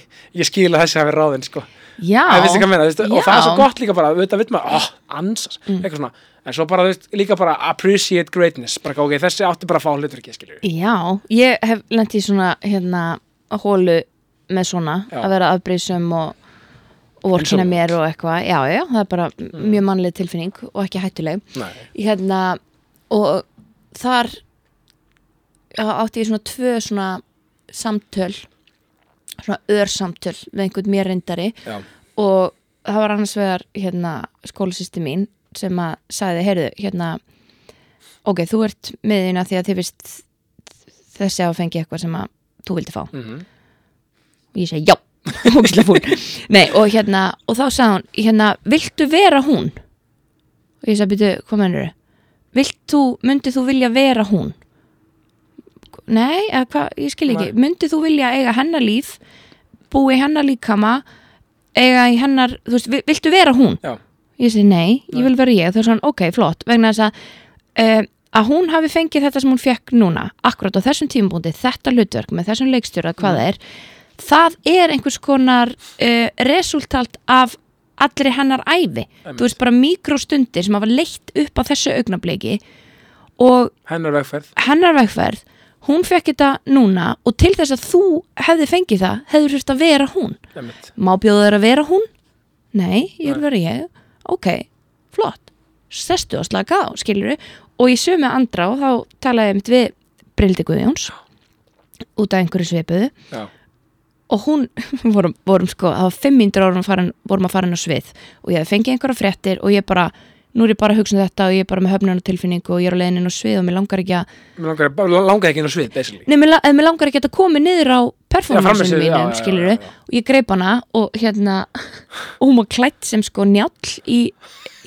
[SPEAKER 1] ég skila þessi hafi ráðin, sko
[SPEAKER 2] já,
[SPEAKER 1] Æ, veistu hvað ég meina, veistu, og það er svo
[SPEAKER 2] já. Mm.
[SPEAKER 1] gott líka bara, auðvitað vil maður, oh, ansas eitthvað svona, en svo bara, þú veist, líka bara appreciate greatness, bara, ok, þessi átti bara að fá hlutverki, skilju,
[SPEAKER 2] Já, ég hef lent í svona hérna hólu með svona
[SPEAKER 1] Já.
[SPEAKER 2] að vera afbreysum og, og vorkina
[SPEAKER 1] Eins og- Mm.
[SPEAKER 2] mér og eitthvað já, já, það er bara mjög mannleg tilfinning og ekki hættuleg
[SPEAKER 1] nei,
[SPEAKER 2] hérna, og þar já, átti ég svona tvö svona samtöl svona örsamtöl við einhvern mér reyndari
[SPEAKER 1] já,
[SPEAKER 2] og það var annars vegar hérna skólasýsti mín sem að sagði, heyrðu, hérna ok, þú ert með þína því að þið vist þessi að fengi eitthvað sem að þú vildi fá
[SPEAKER 1] mhm
[SPEAKER 2] og ég segi já, hókslega fúl Nei, og hérna, og þá sagði hún hérna, viltu vera hún? og ég sagði, byrju, hvað mennur þau? Vilt þú, myndið þú vilja vera hún? Nei, eða hvað, ég skil ekki myndið þú vilja eiga hennar líf búi í hennar líkama eiga í hennar, þú veist, vi- viltu vera hún?
[SPEAKER 1] Já.
[SPEAKER 2] Ég segi, nei,
[SPEAKER 1] Nei.
[SPEAKER 2] ég vil vera ég þá sagði hann, ok, flott, vegna þess að uh, að hún hafi fengið þetta sem hún fekk núna akkurat á þessum tímabúndi, þetta hlutverk með þessum leikstjóra,
[SPEAKER 1] Mm.
[SPEAKER 2] hvað það er það er einhvers konar uh, resultalt af allri hennar æfi,
[SPEAKER 1] Einmitt.
[SPEAKER 2] þú veist bara mikrostundir sem hafa leitt upp á þessu augnabliki og
[SPEAKER 1] hennar vegferð
[SPEAKER 2] hennar vegferð hún fekk þetta núna og til þess að þú hefði fengið það, hefði þurft að vera hún
[SPEAKER 1] einmitt.
[SPEAKER 2] má bjóða þér að vera hún? Nei, ég vil
[SPEAKER 1] Nei.
[SPEAKER 2] vera ég ok, flott, sestu að slaka á skilur og í sömu andrá þá talaði ég mitt við Brildi Guðjóns út af einhverju svipuðu
[SPEAKER 1] Já.
[SPEAKER 2] og hún vorum, vorum sko, það var 500 árum farin, vorum að fara inn á svið og ég hafði fengið einhverja fréttir og ég bara nú er ég bara að hugsa um þetta og ég er bara með höfnunartilfinningu og ég er á leiðinni inn á svið og mér langar ekki að
[SPEAKER 1] Mér langar, bara- langar ekki inn á svið, basically.
[SPEAKER 2] Nei, mér, la- eh, mér langar ekki að koma niður á performanceinu
[SPEAKER 1] frammistöðu, já,
[SPEAKER 2] mínum,
[SPEAKER 1] já, já,
[SPEAKER 2] skilur
[SPEAKER 1] já, já.
[SPEAKER 2] og ég greip hana og hérna og hún var klætt sem sko njáll í,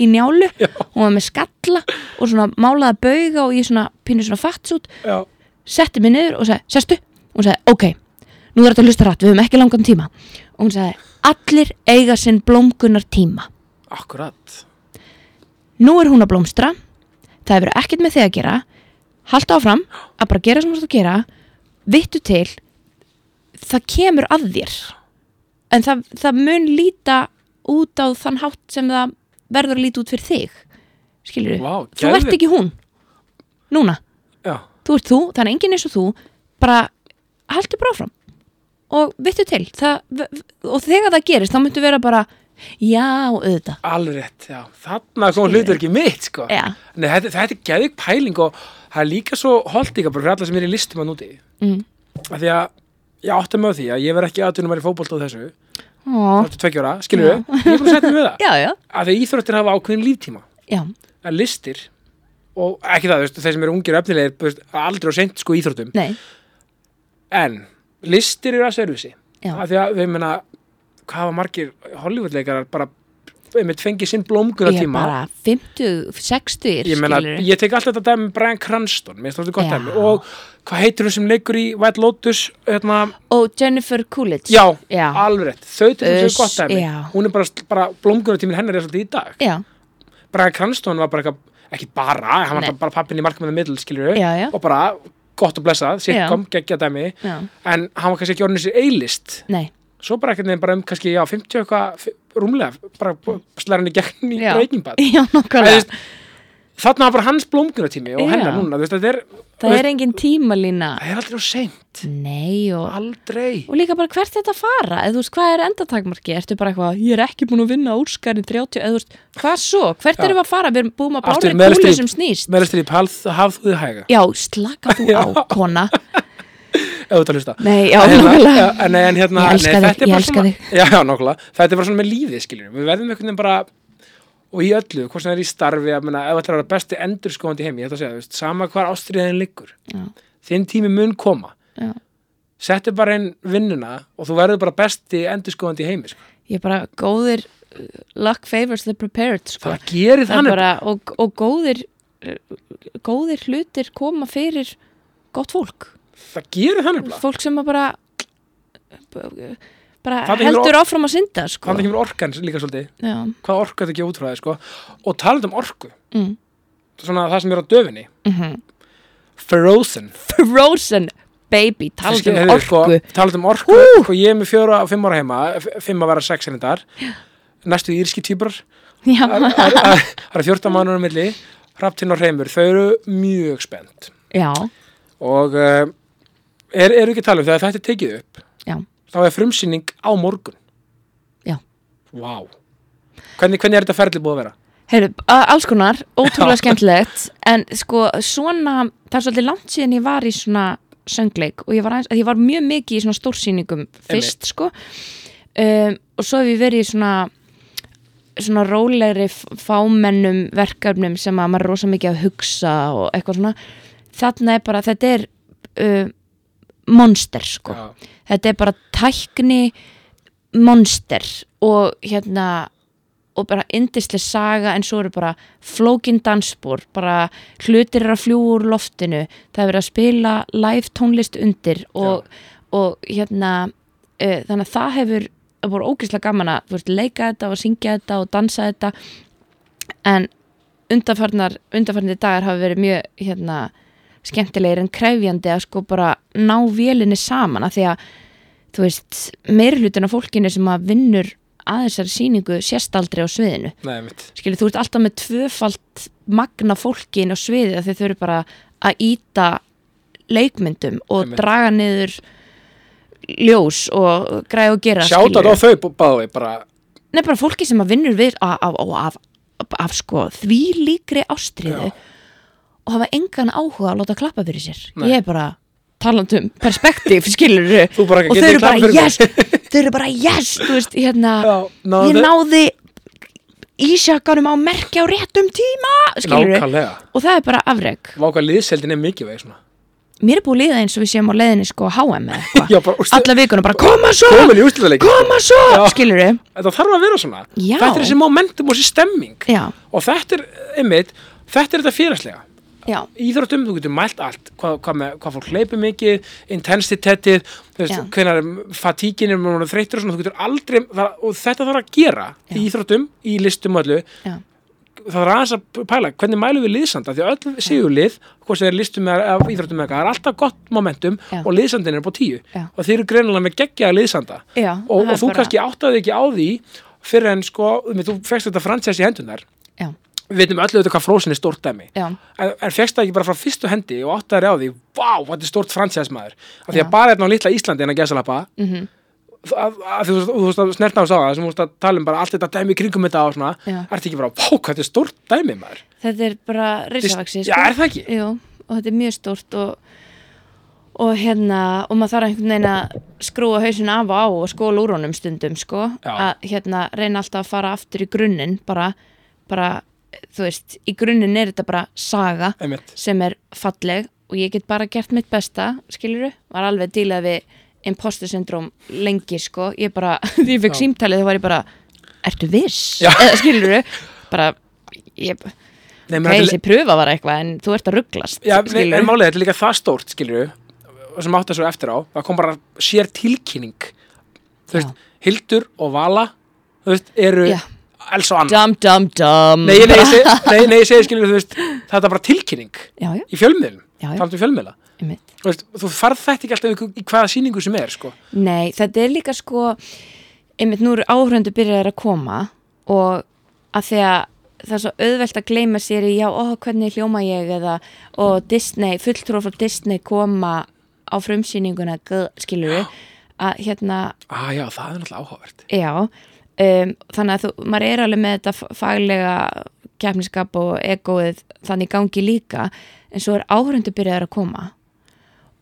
[SPEAKER 2] í njálu, hún var með skalla og svona málaða bauga og ég svona pínu svona fattsút
[SPEAKER 1] Já.
[SPEAKER 2] setti mig niður og sagði, sestu og hún sagði, ok, nú er þetta að hlusta rætt við höfum ekki langan tíma og hún sagði, allir eiga sinn blómgunar tíma
[SPEAKER 1] Akkurat.
[SPEAKER 2] nú er hún að blómstra það hefur ekkert með þig að gera halda áfram að bara gera sem þú ert að gera vittu til það kemur að þér en það, það mun líta út á þann hátt sem það verður að líta út fyrir þig skilur við,
[SPEAKER 1] Vá,
[SPEAKER 2] þú ert
[SPEAKER 1] geðveikt.
[SPEAKER 2] ekki hún núna
[SPEAKER 1] Já.
[SPEAKER 2] þú ert þú, þannig enginn eins og þú bara haldur bara áfram og vittu til það, og þegar það gerist þá myndu vera bara já, auðvitað
[SPEAKER 1] Alveg rétt, já. Þarna kom hlutverki mitt, sko.
[SPEAKER 2] Já.
[SPEAKER 1] Nei, þetta, þetta er geðvik pæling og það er líka svo holdíka bara fyrir alla sem er í listum að núti.
[SPEAKER 2] Mm.
[SPEAKER 1] Af því að ég átti með því að ég verð ekki aðtunum að vera í fótbolta á þessu.
[SPEAKER 2] Ó,
[SPEAKER 1] Þetta tveggja ára, skilur við? Ég er búin að setja mig við það.
[SPEAKER 2] já, já,
[SPEAKER 1] Af því að íþróttir hafa ákveðin líftíma.
[SPEAKER 2] já
[SPEAKER 1] En listir, og ekki það, þú veist, þeir sem eru ungir og efnilegir, þú veist, aldrei og sent sko í íþróttum.
[SPEAKER 2] Nei,
[SPEAKER 1] En listir eru að servisi.
[SPEAKER 2] já,
[SPEAKER 1] Af því að, við meina, hvað hafa margir Hollywoodleikarar bara, einmitt fengið sinn blómguna
[SPEAKER 2] ég bara 50, 60
[SPEAKER 1] ég meina,
[SPEAKER 2] skilurðu.
[SPEAKER 1] ég tek alltaf þetta dæmi með Brian Cranston, mér finnst þetta gott
[SPEAKER 2] Já.
[SPEAKER 1] dæmi og hvað heitir hún sem leikur í White Lotus hérna,
[SPEAKER 2] og Jennifer Coolidge
[SPEAKER 1] já,
[SPEAKER 2] já,
[SPEAKER 1] alveg rétt þau til
[SPEAKER 2] Uss,
[SPEAKER 1] þessu gott dæmi,
[SPEAKER 2] já.
[SPEAKER 1] hún er bara, bara blómgjöratímin hennar er svolítið í dag
[SPEAKER 2] já,
[SPEAKER 1] Brian Cranston var bara eitthvað, ekki bara hann var
[SPEAKER 2] Nei.
[SPEAKER 1] bara, bara pappin í markmanna middl, skilur
[SPEAKER 2] Já, já.
[SPEAKER 1] og bara gott og blessað, sitcom, geggja dæmi
[SPEAKER 2] já,
[SPEAKER 1] en hann var kannski ekki orðin sér eilist
[SPEAKER 2] nei
[SPEAKER 1] svo bara ekkert nefn bara um kannski, já, 50 eitthvað fi- rúmlega, bara slæra henni gegn í
[SPEAKER 2] Já.
[SPEAKER 1] breykingbad
[SPEAKER 2] já,
[SPEAKER 1] Eða, þú
[SPEAKER 2] nokkulega,
[SPEAKER 1] veist, þarna var bara hans blómgjöratími og
[SPEAKER 2] Já.
[SPEAKER 1] hennar núna, þú veist, þetta er
[SPEAKER 2] það er engin tímalína
[SPEAKER 1] Það er aldrei úr seint.
[SPEAKER 2] nei og
[SPEAKER 1] Aldrei.
[SPEAKER 2] og líka bara hvert þetta fara eða þú veist, hvað er endatakmarki, ertu bara eitthvað ég er ekki búin að vinna úrskarinn 30 eða þú veist, hvað svo, hvert
[SPEAKER 1] Já.
[SPEAKER 2] erum við að fara við erum búin að
[SPEAKER 1] Aftur
[SPEAKER 2] bára
[SPEAKER 1] Meryl
[SPEAKER 2] kúli
[SPEAKER 1] Streep.
[SPEAKER 2] sem snýst
[SPEAKER 1] Meðal stríp, hafðu þið hæga.
[SPEAKER 2] já, slaka þú á, kona
[SPEAKER 1] Ef þú ert að hlusta.
[SPEAKER 2] nei, já,
[SPEAKER 1] En hérna-
[SPEAKER 2] nákvæmlega
[SPEAKER 1] Já, en, en hérna,
[SPEAKER 2] Ég elska
[SPEAKER 1] nei,
[SPEAKER 2] þig,
[SPEAKER 1] þetta er
[SPEAKER 2] ég
[SPEAKER 1] bara
[SPEAKER 2] elska
[SPEAKER 1] svona,
[SPEAKER 2] þig.
[SPEAKER 1] Já, já, nokkulega. Þetta er bara svona með lífið, skiljum. Við verðum einhvern veginn bara, og í öllu, hvort sem það er í starfi, að menna, ef þetta er að vera besti endurskóandi heim, ég ætla að segja, þú veist, sama hvar ástriðin liggur.
[SPEAKER 2] Já.
[SPEAKER 1] Þinn tími mun koma.
[SPEAKER 2] Já.
[SPEAKER 1] Settu bara inn vinnuna og þú verður bara besti endurskóandi heimi, sko.
[SPEAKER 2] ég er bara góðir uh, luck favors the prepared sko.
[SPEAKER 1] Það gerir
[SPEAKER 2] það er
[SPEAKER 1] þannig.
[SPEAKER 2] bara, og, og góðir uh, góðir hlutir koma fyrir gott fólk
[SPEAKER 1] Það gerir þannig. bara.
[SPEAKER 2] fólk sem að bara bara
[SPEAKER 1] Þarna kemur
[SPEAKER 2] heldur áfram að synda sko.
[SPEAKER 1] Þannig kemur orkan líka svolítið.
[SPEAKER 2] já,
[SPEAKER 1] hvað orku þetta ekki út frá það sko. og talað um orku
[SPEAKER 2] Mm.
[SPEAKER 1] svona það sem er á döfinni
[SPEAKER 2] Mhm.
[SPEAKER 1] Frozen
[SPEAKER 2] frozen baby, talað
[SPEAKER 1] Þessi-
[SPEAKER 2] um
[SPEAKER 1] heyrðu,
[SPEAKER 2] orku
[SPEAKER 1] sko, talað um orku sko, ég er með fjóra og fimm ára heima f- fimm að vera sex hennar næstu írski týpur
[SPEAKER 2] já,
[SPEAKER 1] það eru 14 mánur á milli Hraftin og Hreimur, þau eru mjög spennt
[SPEAKER 2] já,
[SPEAKER 1] og uh, er, eru ekki að tala um þegar þetta er tekið upp
[SPEAKER 2] já
[SPEAKER 1] þá er frumsýning á morgun
[SPEAKER 2] Já.
[SPEAKER 1] Vá. hvernig, hvernig er þetta ferli búið að vera?
[SPEAKER 2] Heyrðu, a- alls konar, ótrúlega skemmtilegt en sko svona það er svolítið langt síðan ég var í svona söngleik og ég var, aðeins, að ég var mjög mikið í svona stórsýningum fyrst sko um, og svo hef ég verið í svona svona rólegri f- fámennum verkefnum sem að maður er rosa mikið að hugsa og eitthvað svona þarna er bara, þetta er uh, monster sko
[SPEAKER 1] Já.
[SPEAKER 2] þetta er bara tækni monster og hérna og bara indislega saga en svo eru bara flókin dansbúr, bara hlutir eru að fljúa úr loftinu það er verið að spila live tónlist undir og, og hérna uh, þannig að það hefur það voru ógeðslega gaman að þú veist, leika þetta og syngja þetta og dansa þetta en undarfarnar undarfarnir dagar hafa verið mjög hérna, skemmtilegir en krefjandi að sko bara ná vélinni saman að því að þú veist meiri hlutin af fólkinu sem að vinnur að þessari sýningu sérst aldrei á sviðinu
[SPEAKER 1] Nei, mitt.
[SPEAKER 2] skilur, þú ert alltaf með tvöfalt magna fólki inn á sviðið af því þau eru bara að íta leikmyndum og
[SPEAKER 1] Einmitt.
[SPEAKER 2] draga niður ljós og græða og gera
[SPEAKER 1] Sjáta
[SPEAKER 2] skilurðu.
[SPEAKER 1] á þau báði bara
[SPEAKER 2] Nei, bara fólki sem að vinnur við af, af, af, af, af sko því líkri ástriðu og hafa engan áhuga að láta klappa fyrir sér.
[SPEAKER 1] Nei.
[SPEAKER 2] Ég er bara talandi um perspektíf, skilur
[SPEAKER 1] Þú bara
[SPEAKER 2] og
[SPEAKER 1] getur
[SPEAKER 2] þau
[SPEAKER 1] ekki
[SPEAKER 2] eru
[SPEAKER 1] klappað
[SPEAKER 2] bara
[SPEAKER 1] fyrir
[SPEAKER 2] yes, þau eru bara yes, þú veist, hérna,
[SPEAKER 1] Já, náðu
[SPEAKER 2] ég
[SPEAKER 1] þau.
[SPEAKER 2] náði ísjakkanum á merkja á réttum tíma skilur
[SPEAKER 1] nákvæmlega
[SPEAKER 2] og það er bara afreg
[SPEAKER 1] Vá hvað liðseldin er mikið veið svona
[SPEAKER 2] mér er búið að líða eins og við séum á leiðinni sko á HM eða
[SPEAKER 1] Já,
[SPEAKER 2] eitthvað
[SPEAKER 1] bara úst-
[SPEAKER 2] alla vikuna bara koma svo,
[SPEAKER 1] Komin í úrslitaleik
[SPEAKER 2] koma svo
[SPEAKER 1] Já.
[SPEAKER 2] skilur
[SPEAKER 1] Þetta þarf að vera svona
[SPEAKER 2] Já.
[SPEAKER 1] Þetta er þessi momentum og þessi stemming
[SPEAKER 2] já,
[SPEAKER 1] Og þetta er, einmitt, þetta er þetta félagslega
[SPEAKER 2] já,
[SPEAKER 1] íþróttum, þú getur mælt allt hvað, hvað, með, hvað fólk hleypur mikið, intensitettið þú veist,
[SPEAKER 2] Já.
[SPEAKER 1] hvenar fatíkin er maður þreyttur og svona, þú getur aldrei það, og þetta þarf að gera í íþróttum í listum og öllu,
[SPEAKER 2] já,
[SPEAKER 1] það þarf aðeins að pæla hvernig mælum við liðsanda, því að öll séu lið hvort sem er listum eða eða íþróttum eða eitthvað, það er alltaf gott momentum
[SPEAKER 2] Já.
[SPEAKER 1] og liðsandin er búið tíu
[SPEAKER 2] Já.
[SPEAKER 1] og þeir eru greinilega með geggjaða liðsanda
[SPEAKER 2] já
[SPEAKER 1] og,
[SPEAKER 2] það
[SPEAKER 1] og
[SPEAKER 2] er
[SPEAKER 1] þú
[SPEAKER 2] bara-
[SPEAKER 1] kannski áttaði ekki á því fyrir en sko, um, þú fegst þetta franchise í hendunar
[SPEAKER 2] já,
[SPEAKER 1] við veitum öllu auðvitað hvað Frozen er stórt dæmi
[SPEAKER 2] já,
[SPEAKER 1] en, en fegst það ekki bara frá fyrstu hendi og áttaði á því, vá, þetta er stórt franchise maður af því
[SPEAKER 2] Já.
[SPEAKER 1] að bara hérna á litla Íslandi en að gæsa lappa
[SPEAKER 2] mm
[SPEAKER 1] að, að, þú, þú, þú veist að snertna á sá það sem þú veist að tala um bara allt þetta dæmi í kringum þetta og svona,
[SPEAKER 2] Já.
[SPEAKER 1] ertu ekki bara, vá, hvað þetta er stórt dæmi maður
[SPEAKER 2] þetta er bara reisavaksi
[SPEAKER 1] Já, er það ekki?
[SPEAKER 2] Jú, og þetta er mjög stórt og, og hérna og maður þarf einhvern veginn að skrúa hausin af og á og skóla úr honum stundum sko,
[SPEAKER 1] Já.
[SPEAKER 2] að hérna reyna alltaf að fara aftur í grunninn bara, bara, þú veist, í grunninn er þetta bara saga
[SPEAKER 1] Einmitt.
[SPEAKER 2] sem er falleg og ég get bara gert mitt besta, skiluru, var alveg dílað við imposter syndróm lengi sko, ég bara, því ég fekk símtalið þá var ég bara, ertu viss?
[SPEAKER 1] Já.
[SPEAKER 2] eða skiluru, bara
[SPEAKER 1] Nei,
[SPEAKER 2] ég,
[SPEAKER 1] menn,
[SPEAKER 2] Nei,
[SPEAKER 1] þetta er-
[SPEAKER 2] þessi pröfa var eitthvað en þú ert að rugglast
[SPEAKER 1] Já, nei,
[SPEAKER 2] skilurðu.
[SPEAKER 1] en málið, þetta er líka það stórt, skilur við sem átti svo eftir á, það kom bara sér tilkynning þú veist, Hildur og Vala þú veist, eru
[SPEAKER 2] Já.
[SPEAKER 1] Elsa og Anna
[SPEAKER 2] Dum, dum, dum
[SPEAKER 1] nei, nei, ég seg, nei, nei, ég segi, skilur við, þú veist þetta er bara tilkynning
[SPEAKER 2] Já, já,
[SPEAKER 1] í fjölmiðlum
[SPEAKER 2] Já, já.
[SPEAKER 1] talandi um fjölmiðla
[SPEAKER 2] einmitt
[SPEAKER 1] þú, veist, þú farð þetta ekki alltaf í- í hvaða sýningu sem er sko.
[SPEAKER 2] Nei, þetta er líka sko einmitt nú eru áhröndu byrjaðar að koma og að því að það er svo auðvelt að gleyma sér í já, ó, hvernig hljóma ég eða og Disney, fulltrúar frá Disney koma á frumsýninguna skilur við að hérna
[SPEAKER 1] ah, já, það er náttúrulega áhugavert
[SPEAKER 2] Já, um, þannig að þú, maður er alveg með þetta f- faglega keppniskap og egoið þannig í gangi líka en svo er áhörundu byrjaðar að koma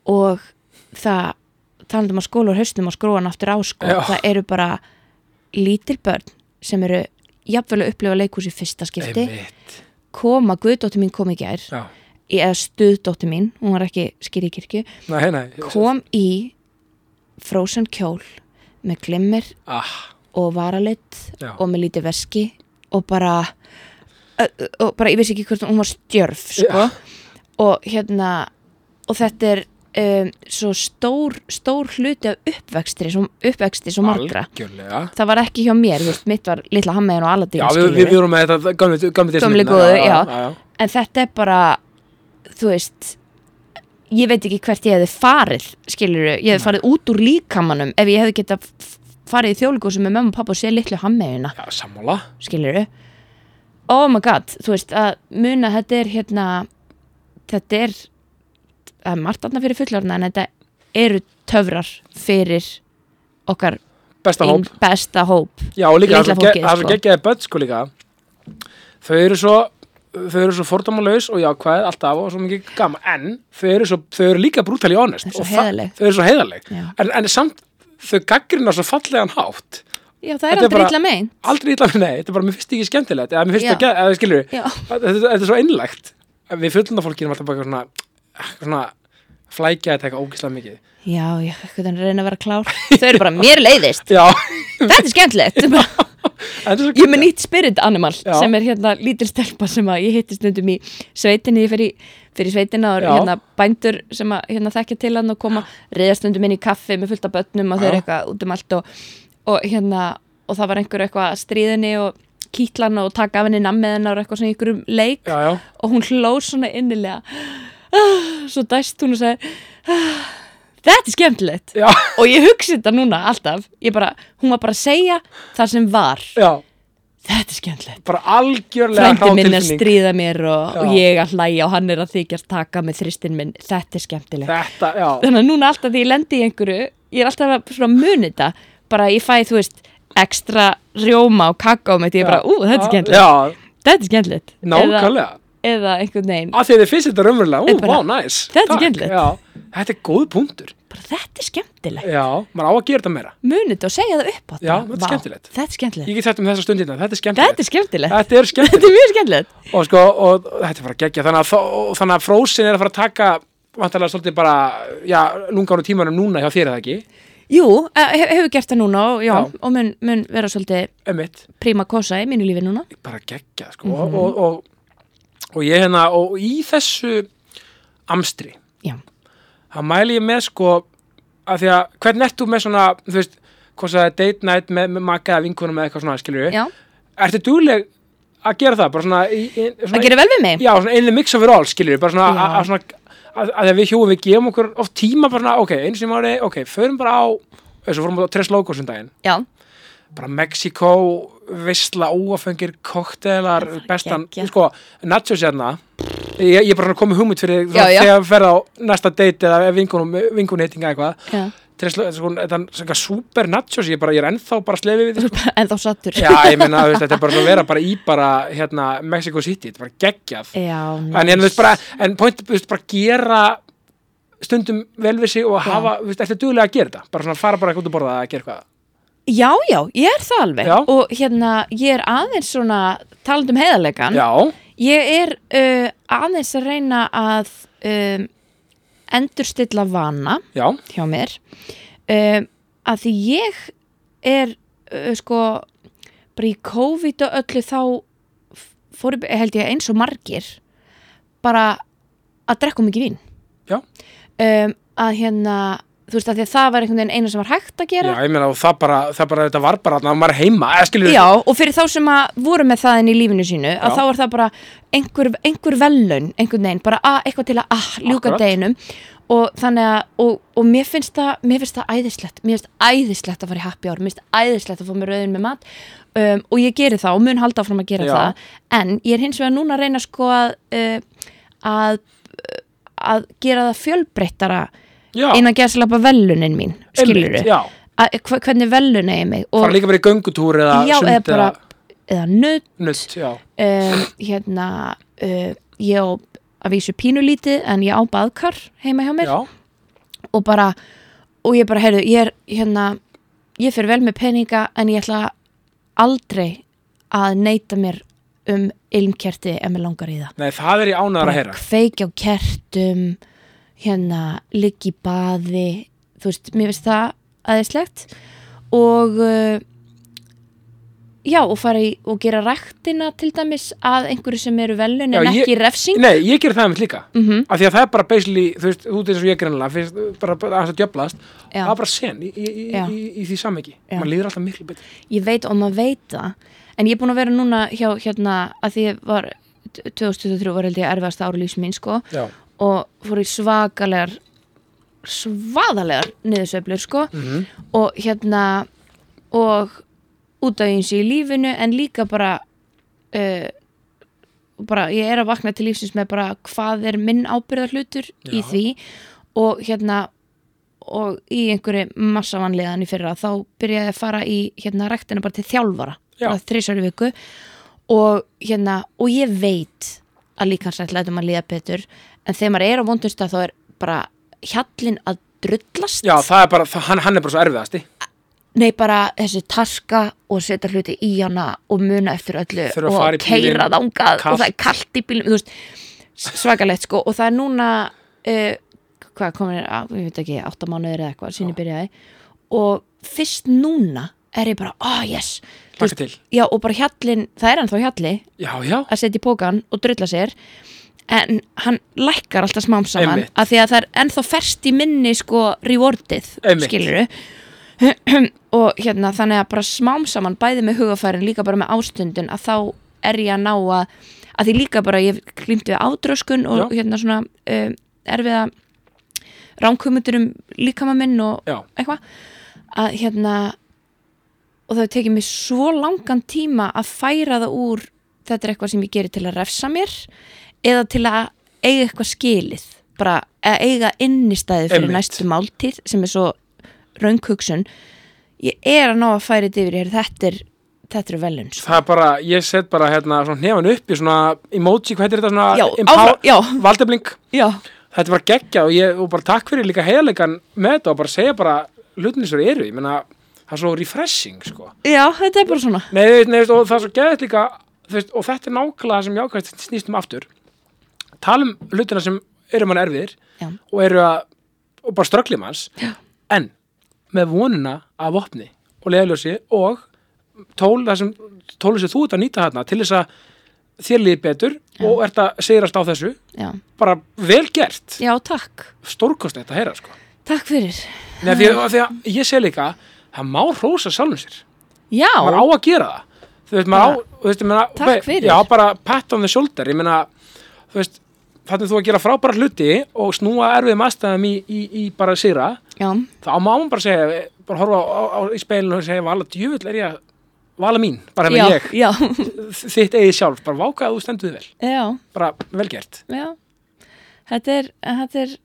[SPEAKER 2] og það talandum að skóla úr haustum og skróan aftur á sko,
[SPEAKER 1] Já.
[SPEAKER 2] það eru bara lítil börn sem eru jafnvel að upplifa leikhús í fyrsta skipti
[SPEAKER 1] Einmitt.
[SPEAKER 2] koma, guðdóttir mín kom í gær
[SPEAKER 1] Já.
[SPEAKER 2] í- eða stuðdóttir mín, hún var ekki skýri í kirkju,
[SPEAKER 1] Nei, nei,
[SPEAKER 2] kom í frozen kjól með glimmer
[SPEAKER 1] ah,
[SPEAKER 2] og varalit
[SPEAKER 1] Já.
[SPEAKER 2] og með lítið veski og bara ö- ö- og bara, ég vissi ekki hvort hún var stjörf sko. og hérna og þetta er um, svo stór, stór hluti af uppvextri svo, uppvexti svo margra
[SPEAKER 1] algjörlega
[SPEAKER 2] það var ekki hjá mér, þú veist, mitt var litla hammeðin og
[SPEAKER 1] já,
[SPEAKER 2] aladín
[SPEAKER 1] við, við vorum með þetta gamli, gamli,
[SPEAKER 2] Gömlu
[SPEAKER 1] Disneymyndina,
[SPEAKER 2] góðu, já.
[SPEAKER 1] já, já.
[SPEAKER 2] en þetta er bara þú veist ég veit ekki hvert ég hefði farið skilur, ég hefði farið út úr líkamanum ef ég hefði getað f- farið í þjóðlíkúsum með mamma og pappa og sé litlu hammeðina
[SPEAKER 1] já, sammála
[SPEAKER 2] skilur oh my god, þú veist að muna þetta er hérna þetta er það er margt aðna fyrir fullorna en þetta eru töfrar fyrir okkar
[SPEAKER 1] besta
[SPEAKER 2] ein-
[SPEAKER 1] hóp
[SPEAKER 2] besta hóp
[SPEAKER 1] Já, og líka,
[SPEAKER 2] Litla
[SPEAKER 1] það er svo
[SPEAKER 2] fólkið,
[SPEAKER 1] ge- það er svo
[SPEAKER 2] sko.
[SPEAKER 1] geggjaði börn sko líka þau eru svo þau eru svo fordómalaus og jákvæð alltaf og svo mikið gaman, en þau eru, svo, þau eru líka brútali honest
[SPEAKER 2] Þau eru svo
[SPEAKER 1] og það-
[SPEAKER 2] heiðarleg.
[SPEAKER 1] þau eru svo heiðarleg
[SPEAKER 2] Já.
[SPEAKER 1] en, en samt þau gaggrina svo fallegan hátt
[SPEAKER 2] já það er
[SPEAKER 1] Þetta er
[SPEAKER 2] aldrei
[SPEAKER 1] bara-
[SPEAKER 2] illa megin
[SPEAKER 1] aldrei illa með nei, þetta er bara, mér finnst þetta ekki skemmtilegt eða mér finnst
[SPEAKER 2] Já.
[SPEAKER 1] þetta, eða skilur við
[SPEAKER 2] Já.
[SPEAKER 1] þetta þetta er svo einlægt En við fullunda fólkinum alltaf bara eitthvað svona, eitthvað svona flækja þetta eitthvað ógislega mikið
[SPEAKER 2] já, ég hvernig reyna að vera klár þau eru bara mér leiðist,
[SPEAKER 1] Já,
[SPEAKER 2] þetta er skemmtilegt Þetta er bara-
[SPEAKER 1] en þetta er svo
[SPEAKER 2] ég er með nýtt spirit animal
[SPEAKER 1] Já.
[SPEAKER 2] sem er hérna lítil stelpa sem að ég hitti stundum í sveitinni ég fer í, fer í sveitina og eru
[SPEAKER 1] Já.
[SPEAKER 2] hérna bændur sem að hérna þekkja til hann og koma reyða stundum inn í kaffi með fullt af börnum og þau eru
[SPEAKER 1] Já.
[SPEAKER 2] eitthvað út um allt og, og hérna og það var einhver eitthvað að stríðinni og kýtlan og taka af henni nammiðin og eitthvað svona í einhverjum leik
[SPEAKER 1] Já, já,
[SPEAKER 2] og hún hló svona innilega Ah, svo dæst hún og sagði "Ah, þetta er skemmtilegt
[SPEAKER 1] já,
[SPEAKER 2] og ég hugsi þetta núna alltaf ég bara, hún var bara að segja það sem var
[SPEAKER 1] já
[SPEAKER 2] þetta er skemmtilegt
[SPEAKER 1] bara algjörlega
[SPEAKER 2] frændi
[SPEAKER 1] hrá
[SPEAKER 2] minn er að
[SPEAKER 1] tilfinning.
[SPEAKER 2] stríða mér og,
[SPEAKER 1] Já.
[SPEAKER 2] og ég að hlæja og hann er að þykjast taka með þristinn minn, þetta er skemmtilegt
[SPEAKER 1] Þetta, já
[SPEAKER 2] þannig að núna alltaf því ég lendi í einhverju ég er alltaf að svona muni þetta bara ég fæ, þú veist, ekstra rjóma og kakao með því ég bara, ú, þetta er skemmtilegt
[SPEAKER 1] Já,
[SPEAKER 2] þetta er skemmtilegt eða,
[SPEAKER 1] nákvæmlega
[SPEAKER 2] eða einhvern veginn
[SPEAKER 1] af því að þið finnst þetta raunverulega, ú,
[SPEAKER 2] Þetta er bara-
[SPEAKER 1] vá, næs
[SPEAKER 2] Þetta er
[SPEAKER 1] Takk,
[SPEAKER 2] skemmtilegt.
[SPEAKER 1] já. Þetta er góð punktur
[SPEAKER 2] bara þetta er skemmtilegt
[SPEAKER 1] já, maður á að gera þetta meira
[SPEAKER 2] munið þetta og segja það upp á
[SPEAKER 1] Já, þetta er skemmtilegt.
[SPEAKER 2] þetta er skemmtilegt,
[SPEAKER 1] ég get þetta um þessa stundina, þetta er skemmtilegt
[SPEAKER 2] þetta er skemmtilegt.
[SPEAKER 1] þetta er skemmtilegt
[SPEAKER 2] Þetta er mjög skemmtilegt
[SPEAKER 1] og sko, og, og þetta er bara geggja þannig að, þó- og þannig að Frozen er að fara að taka vantarlega svolítið bara, já, lungan og tímanum núna hjá þér er það ekki,
[SPEAKER 2] Jú, eh, hef, hefur gert það núna og, já,
[SPEAKER 1] Já.
[SPEAKER 2] og mun, mun vera svolítið
[SPEAKER 1] emitt
[SPEAKER 2] príma kosa í mínu lífi núna
[SPEAKER 1] bara geggja, sko og, og, og, og ég hérna, og í þessu amstri
[SPEAKER 2] Já,
[SPEAKER 1] þá mæli ég með sko að því að hvern ert þú með svona þú veist, hvort það er date night með, með makka eða vinkunum eða eitthvað svona, skilur við
[SPEAKER 2] já.
[SPEAKER 1] ertu dugleg að gera það, bara svona, í, í, svona
[SPEAKER 2] það gerir vel við mig
[SPEAKER 1] já, svona einlega mix over all, skilur við bara svona,
[SPEAKER 2] Já.
[SPEAKER 1] að, að, svona að, að því að við hjóum við gefum okkur oft tíma bara svona, ok, einu sinni í mánuði, ok, förum bara á þessu fórum við á Tres Logos um daginn
[SPEAKER 2] Já,
[SPEAKER 1] bara Mexiko, visla, óafengir koktelar, bestan
[SPEAKER 2] geggjað.
[SPEAKER 1] sko, nachos hérna ég, ég bara komið hugmynd fyrir
[SPEAKER 2] Já, já.
[SPEAKER 1] þegar við ferða á næsta date eða vinkunum, vinkunheitinga eitthvað
[SPEAKER 2] já.
[SPEAKER 1] Tres Logos, sko, þetta er svona super nachos ég, bara, ég er ennþá bara slefið við því sko.
[SPEAKER 2] en þá sattur
[SPEAKER 1] já, ég meina, þú veist, þetta er bara svona að vera bara í bara, hérna, Mexico City, þetta er bara geggjað
[SPEAKER 2] já
[SPEAKER 1] en, en,
[SPEAKER 2] nice.
[SPEAKER 1] þú veist, bara, en point, þú veist, bara gera stundum vel við sig og
[SPEAKER 2] Já.
[SPEAKER 1] hafa, þú veist, eftir duglega að gera þetta bara svona fara bara eitthvað út að borða að gera eitthvað
[SPEAKER 2] Já, já, ég er það alveg
[SPEAKER 1] Já.
[SPEAKER 2] og hérna, ég er aðeins svona talandi um heiðarlegan
[SPEAKER 1] já,
[SPEAKER 2] ég er uh, aðeins að reyna að um, endurstilla vana
[SPEAKER 1] já,
[SPEAKER 2] hjá mér um, að því ég er uh, sko bara í COVID og öllu þá f- fór, ég- held ég eins og margir bara að drekka of mikið vín
[SPEAKER 1] Já.
[SPEAKER 2] um, að hérna þú veist að því að það var einhvern veginn eina sem var hægt að
[SPEAKER 1] já,
[SPEAKER 2] gera
[SPEAKER 1] ég meina og það bara, það bara þetta var bara, þannig að maður er heima eða skilur
[SPEAKER 2] Já, og fyrir þá sem að voru með það inn í lífinu sínu að
[SPEAKER 1] Já.
[SPEAKER 2] þá er það bara einhver, einhver velun einhvern veginn, bara að, eitthvað til að ah, ljúka
[SPEAKER 1] Akkurat.
[SPEAKER 2] deginum og þannig að og, og mér finnst það, mér finnst það æðislegt mér finnst æðislegt að fara í happy hour mér finnst æðislegt að fá mér auðin með mat um, og ég geri það og mun halda áfram að gera
[SPEAKER 1] Já.
[SPEAKER 2] það en ég er hins vegar núna að reyna sko að uh, að að gera það fjölbreyttara
[SPEAKER 1] já,
[SPEAKER 2] innan geðslapa velunin mín skiluru,
[SPEAKER 1] einmitt, já,
[SPEAKER 2] hvernig velun eigi mig og
[SPEAKER 1] fara líka bara í göngutúr eða
[SPEAKER 2] já,
[SPEAKER 1] sund
[SPEAKER 2] eða bara eða nutt
[SPEAKER 1] nutt, já,
[SPEAKER 2] um, hérna uh, ég á að vísu pínulítið en ég á baðkar heima hjá mér
[SPEAKER 1] já,
[SPEAKER 2] og bara, og ég bara, heyrðu ég er hérna, ég fer vel með peninga en ég ætla aldrei að neyta mér um ilmkerti ef mér langar í það
[SPEAKER 1] nei, það er ég ánæður að
[SPEAKER 2] bara
[SPEAKER 1] heyra
[SPEAKER 2] kveikja á kertum hérna, liggi í baði þú veist, mér finnst það aðeinslegt og uh, já, og fara í og gera ræktina til dæmis að einhverju sem eru velun
[SPEAKER 1] Já,
[SPEAKER 2] en
[SPEAKER 1] ég-
[SPEAKER 2] ekki refsing
[SPEAKER 1] Nei, ég ger það einmitt líka
[SPEAKER 2] mm
[SPEAKER 1] af því að það er bara basically, þú veist, þú veist eins og ég greinlega fyrst, bara, bara aðeins að djöflast
[SPEAKER 2] Já.
[SPEAKER 1] það er bara sen í, í, í,
[SPEAKER 2] Já.
[SPEAKER 1] í, í því samhengi
[SPEAKER 2] Já.
[SPEAKER 1] maður líður alltaf miklu betur
[SPEAKER 2] ég veit og maður veit það en ég er búin að vera núna hjá hérna að því ég var 2023 var held ég erfiðasta ári lífs mín sko
[SPEAKER 1] já,
[SPEAKER 2] og fór í svakalegar svaðalegar niðursveiflur sko
[SPEAKER 1] Mhm.
[SPEAKER 2] og hérna og út af eins í lífinu en líka bara uh, bara ég er að vakna til lífsins með bara hvað er minn ábyrðarhlutur í
[SPEAKER 1] Já.
[SPEAKER 2] því og hérna og í einhverju massavanliðan í fyrra þá byrjaði ég að fara í hérna rektina bara til þjálfara
[SPEAKER 1] Já.
[SPEAKER 2] bara þrísar í viku og hérna og ég veit að líkansætt lætum að líða betur en þegar maður er á vondust að þá er bara hjallin að drullast
[SPEAKER 1] já, það er bara, það, hann, hann er bara svo erfiðasti
[SPEAKER 2] Nei, bara þessi taska og setja hluti í hana og muna eftir öllu
[SPEAKER 1] Þurfa að fara í
[SPEAKER 2] og
[SPEAKER 1] bílinn,
[SPEAKER 2] keira þangað
[SPEAKER 1] kalt.
[SPEAKER 2] og það er kalt í bílum, þú veist, svakalegt sko og það er núna, uh, hvað komin er, á, ég veit ekki, átta mánuðir eða eitthvað, sín ég byrjaði og fyrst núna er ég bara, oh yes, Þú
[SPEAKER 1] Hlakka til.
[SPEAKER 2] já og bara hjallin, það er hann þá hjalli
[SPEAKER 1] já, já,
[SPEAKER 2] að setja í pókan og drulla sér en hann lækkar alltaf smám saman
[SPEAKER 1] Einmitt.
[SPEAKER 2] af því að það er ennþá ferst í minni sko rewardið,
[SPEAKER 1] Einmitt.
[SPEAKER 2] skiluru og hérna þannig að bara smám saman bæði með hugafærin líka bara með ástundun að þá er ég að ná að að því líka bara ég klímti við átröskun og
[SPEAKER 1] Já.
[SPEAKER 2] hérna svona um, erfiða ránkumutur um líkama minn og
[SPEAKER 1] Já.
[SPEAKER 2] eitthvað að hérna og það hefur tekið mér svo langan tíma að færa það úr þetta er eitthvað sem ég geri til að refsa mér eða til að eiga eitthvað skilið bara að eiga innistæði fyrir
[SPEAKER 1] Einmitt.
[SPEAKER 2] næstu máltíð sem er svo raunghugsun ég er að ná að færa þetta yfir ég, þetta er, þetta er velun sko.
[SPEAKER 1] það er bara, ég set bara hérna svona hnefann upp í svona emoji, hvað heitir þetta
[SPEAKER 2] já,
[SPEAKER 1] svona
[SPEAKER 2] áfram, já,
[SPEAKER 1] valdefling
[SPEAKER 2] já,
[SPEAKER 1] þetta er bara geggja og, ég, og bara takk fyrir líka heiðalegan með þetta og bara segja bara hlutinni svo eru, ég meina það er svo refreshing sko
[SPEAKER 2] já, þetta er bara svona
[SPEAKER 1] nei, þú veist, nei, þú veist, og það er svo geðið líka þú veist, og þetta er nákvæmlega það sem jákvæmst snýst um aftur tala um hlutina sem eru mann erfiðir
[SPEAKER 2] Já.
[SPEAKER 1] og eru að, og bara ströggli manns já. en með vonuna af opni og leðaljósi og tól, það sem tólu sem þú ert að nýta þarna til þess að þér líði betur og ert að segjast á þessu
[SPEAKER 2] já,
[SPEAKER 1] bara vel gert,
[SPEAKER 2] já takk,
[SPEAKER 1] stórkost þetta að heyra sko
[SPEAKER 2] takk fyrir
[SPEAKER 1] Nei, því, að, því að ég sé líka það má hrósa sjálfum sér
[SPEAKER 2] já,
[SPEAKER 1] maður á að gera það þú veist, maður á, þú veist, ég meina,
[SPEAKER 2] Takk
[SPEAKER 1] ok,
[SPEAKER 2] fyrir.
[SPEAKER 1] já, bara pat on the shoulder, ég meina þú veist, þannig þú að gera frábæra hluti og snúa erfiðum aðstæðum í, í, í bara sýra,
[SPEAKER 2] já,
[SPEAKER 1] þá má hún bara segja bara horfa á, á, í speilinu og segja vala, djöfull er ég að vala mín bara
[SPEAKER 2] já,
[SPEAKER 1] með ég,
[SPEAKER 2] já,
[SPEAKER 1] þitt eigið sjálf bara váka að þú stendur þig vel,
[SPEAKER 2] já,
[SPEAKER 1] bara velgert
[SPEAKER 2] já þetta er, þetta er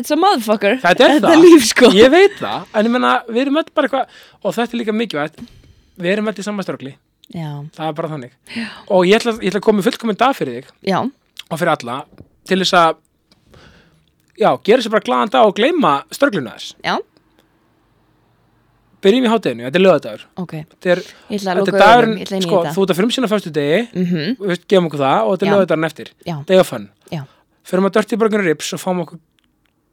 [SPEAKER 2] it's a motherfucker,
[SPEAKER 1] Þetta er það.
[SPEAKER 2] líf sko
[SPEAKER 1] ég veit það, en ég meina, við erum öll bara eitthvað og þetta er líka mikilvægt við erum öll í samastörgli,
[SPEAKER 2] já,
[SPEAKER 1] það er bara þannig já. og ég ætla, ég ætla að koma með fullkominn dag fyrir þig
[SPEAKER 2] já,
[SPEAKER 1] og fyrir alla til þess að já, gera sér bara glaðan dag og gleyma störgluna þess.
[SPEAKER 2] já,
[SPEAKER 1] Byrjum í hátteginu, þetta er lögadagur.
[SPEAKER 2] ok ég
[SPEAKER 1] Þetta er,
[SPEAKER 2] ætla að
[SPEAKER 1] þetta
[SPEAKER 2] lóka
[SPEAKER 1] er dagurinn,
[SPEAKER 2] ég ætla inn í
[SPEAKER 1] sko,
[SPEAKER 2] þetta
[SPEAKER 1] þú ert að frumsýna fyrstu degi,
[SPEAKER 2] mm
[SPEAKER 1] við veist, gefum okkur það og þetta er
[SPEAKER 2] Já.
[SPEAKER 1] lögadagurinn eftir.
[SPEAKER 2] já,
[SPEAKER 1] Day of fun.
[SPEAKER 2] já,
[SPEAKER 1] Förum að dörti burger rips og fáum okkur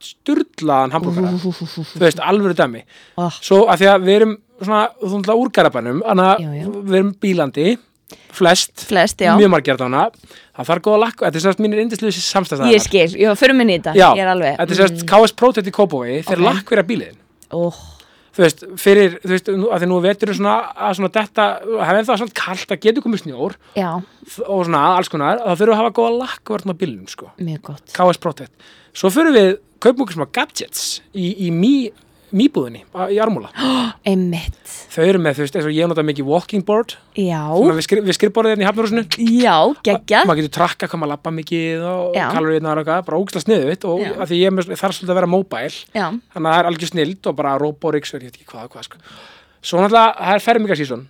[SPEAKER 1] sturlaðan hambúrgara.
[SPEAKER 2] úhúhúhúhú
[SPEAKER 1] Þú veist, alvöru dæmi.
[SPEAKER 2] oh,
[SPEAKER 1] Svo að því að við erum svona, þú ætla úr garabanum, annað
[SPEAKER 2] Já, já.
[SPEAKER 1] við erum bílandi, flest,
[SPEAKER 2] flest, já,
[SPEAKER 1] mjög margir þarna. Það þarf góða lakk, þetta er sérst mínir indisluðis samstæðstæðanar.
[SPEAKER 2] ég skil, já, förum inn í þetta
[SPEAKER 1] Já,
[SPEAKER 2] ég er alveg, Mm.
[SPEAKER 1] þetta er sérst KS Protect í Kópavogi þeir
[SPEAKER 2] Ok.
[SPEAKER 1] okay. lakkverja bíliðin
[SPEAKER 2] oh,
[SPEAKER 1] þú veist, fyrir, þú veist, nú- að því nú vetur er svona að svona detta, það er það svona kalt það getur komið snjór
[SPEAKER 2] já,
[SPEAKER 1] þ- og svona alls konar, þá þurfum við að hafa góða lakkverðin á bílinum, sko,
[SPEAKER 2] mjög gott
[SPEAKER 1] KS Protect svo fyrir við, kaupum okkur smá gadgets í, í mý, mýbúðinni á- í armúla,
[SPEAKER 2] einmitt,
[SPEAKER 1] þau eru með, þú veist, eins og ég nota mikið walking board,
[SPEAKER 2] já,
[SPEAKER 1] svona við, skrif, við skrifborðið hérna í hafnarúsinu
[SPEAKER 2] já, geggjað
[SPEAKER 1] maður getur trakka hvað maður lappa mikið og
[SPEAKER 2] Já.
[SPEAKER 1] kaloríðnar og eitthvað, bara ógislega sniðut og
[SPEAKER 2] Já.
[SPEAKER 1] að því ég er með- þarf svolítið að vera móbæl
[SPEAKER 2] já,
[SPEAKER 1] þannig að það er algjör snild og bara Roborix og ég veit ekki hvað, og hvað sko. svo náttúrulega, það er fermingarsíson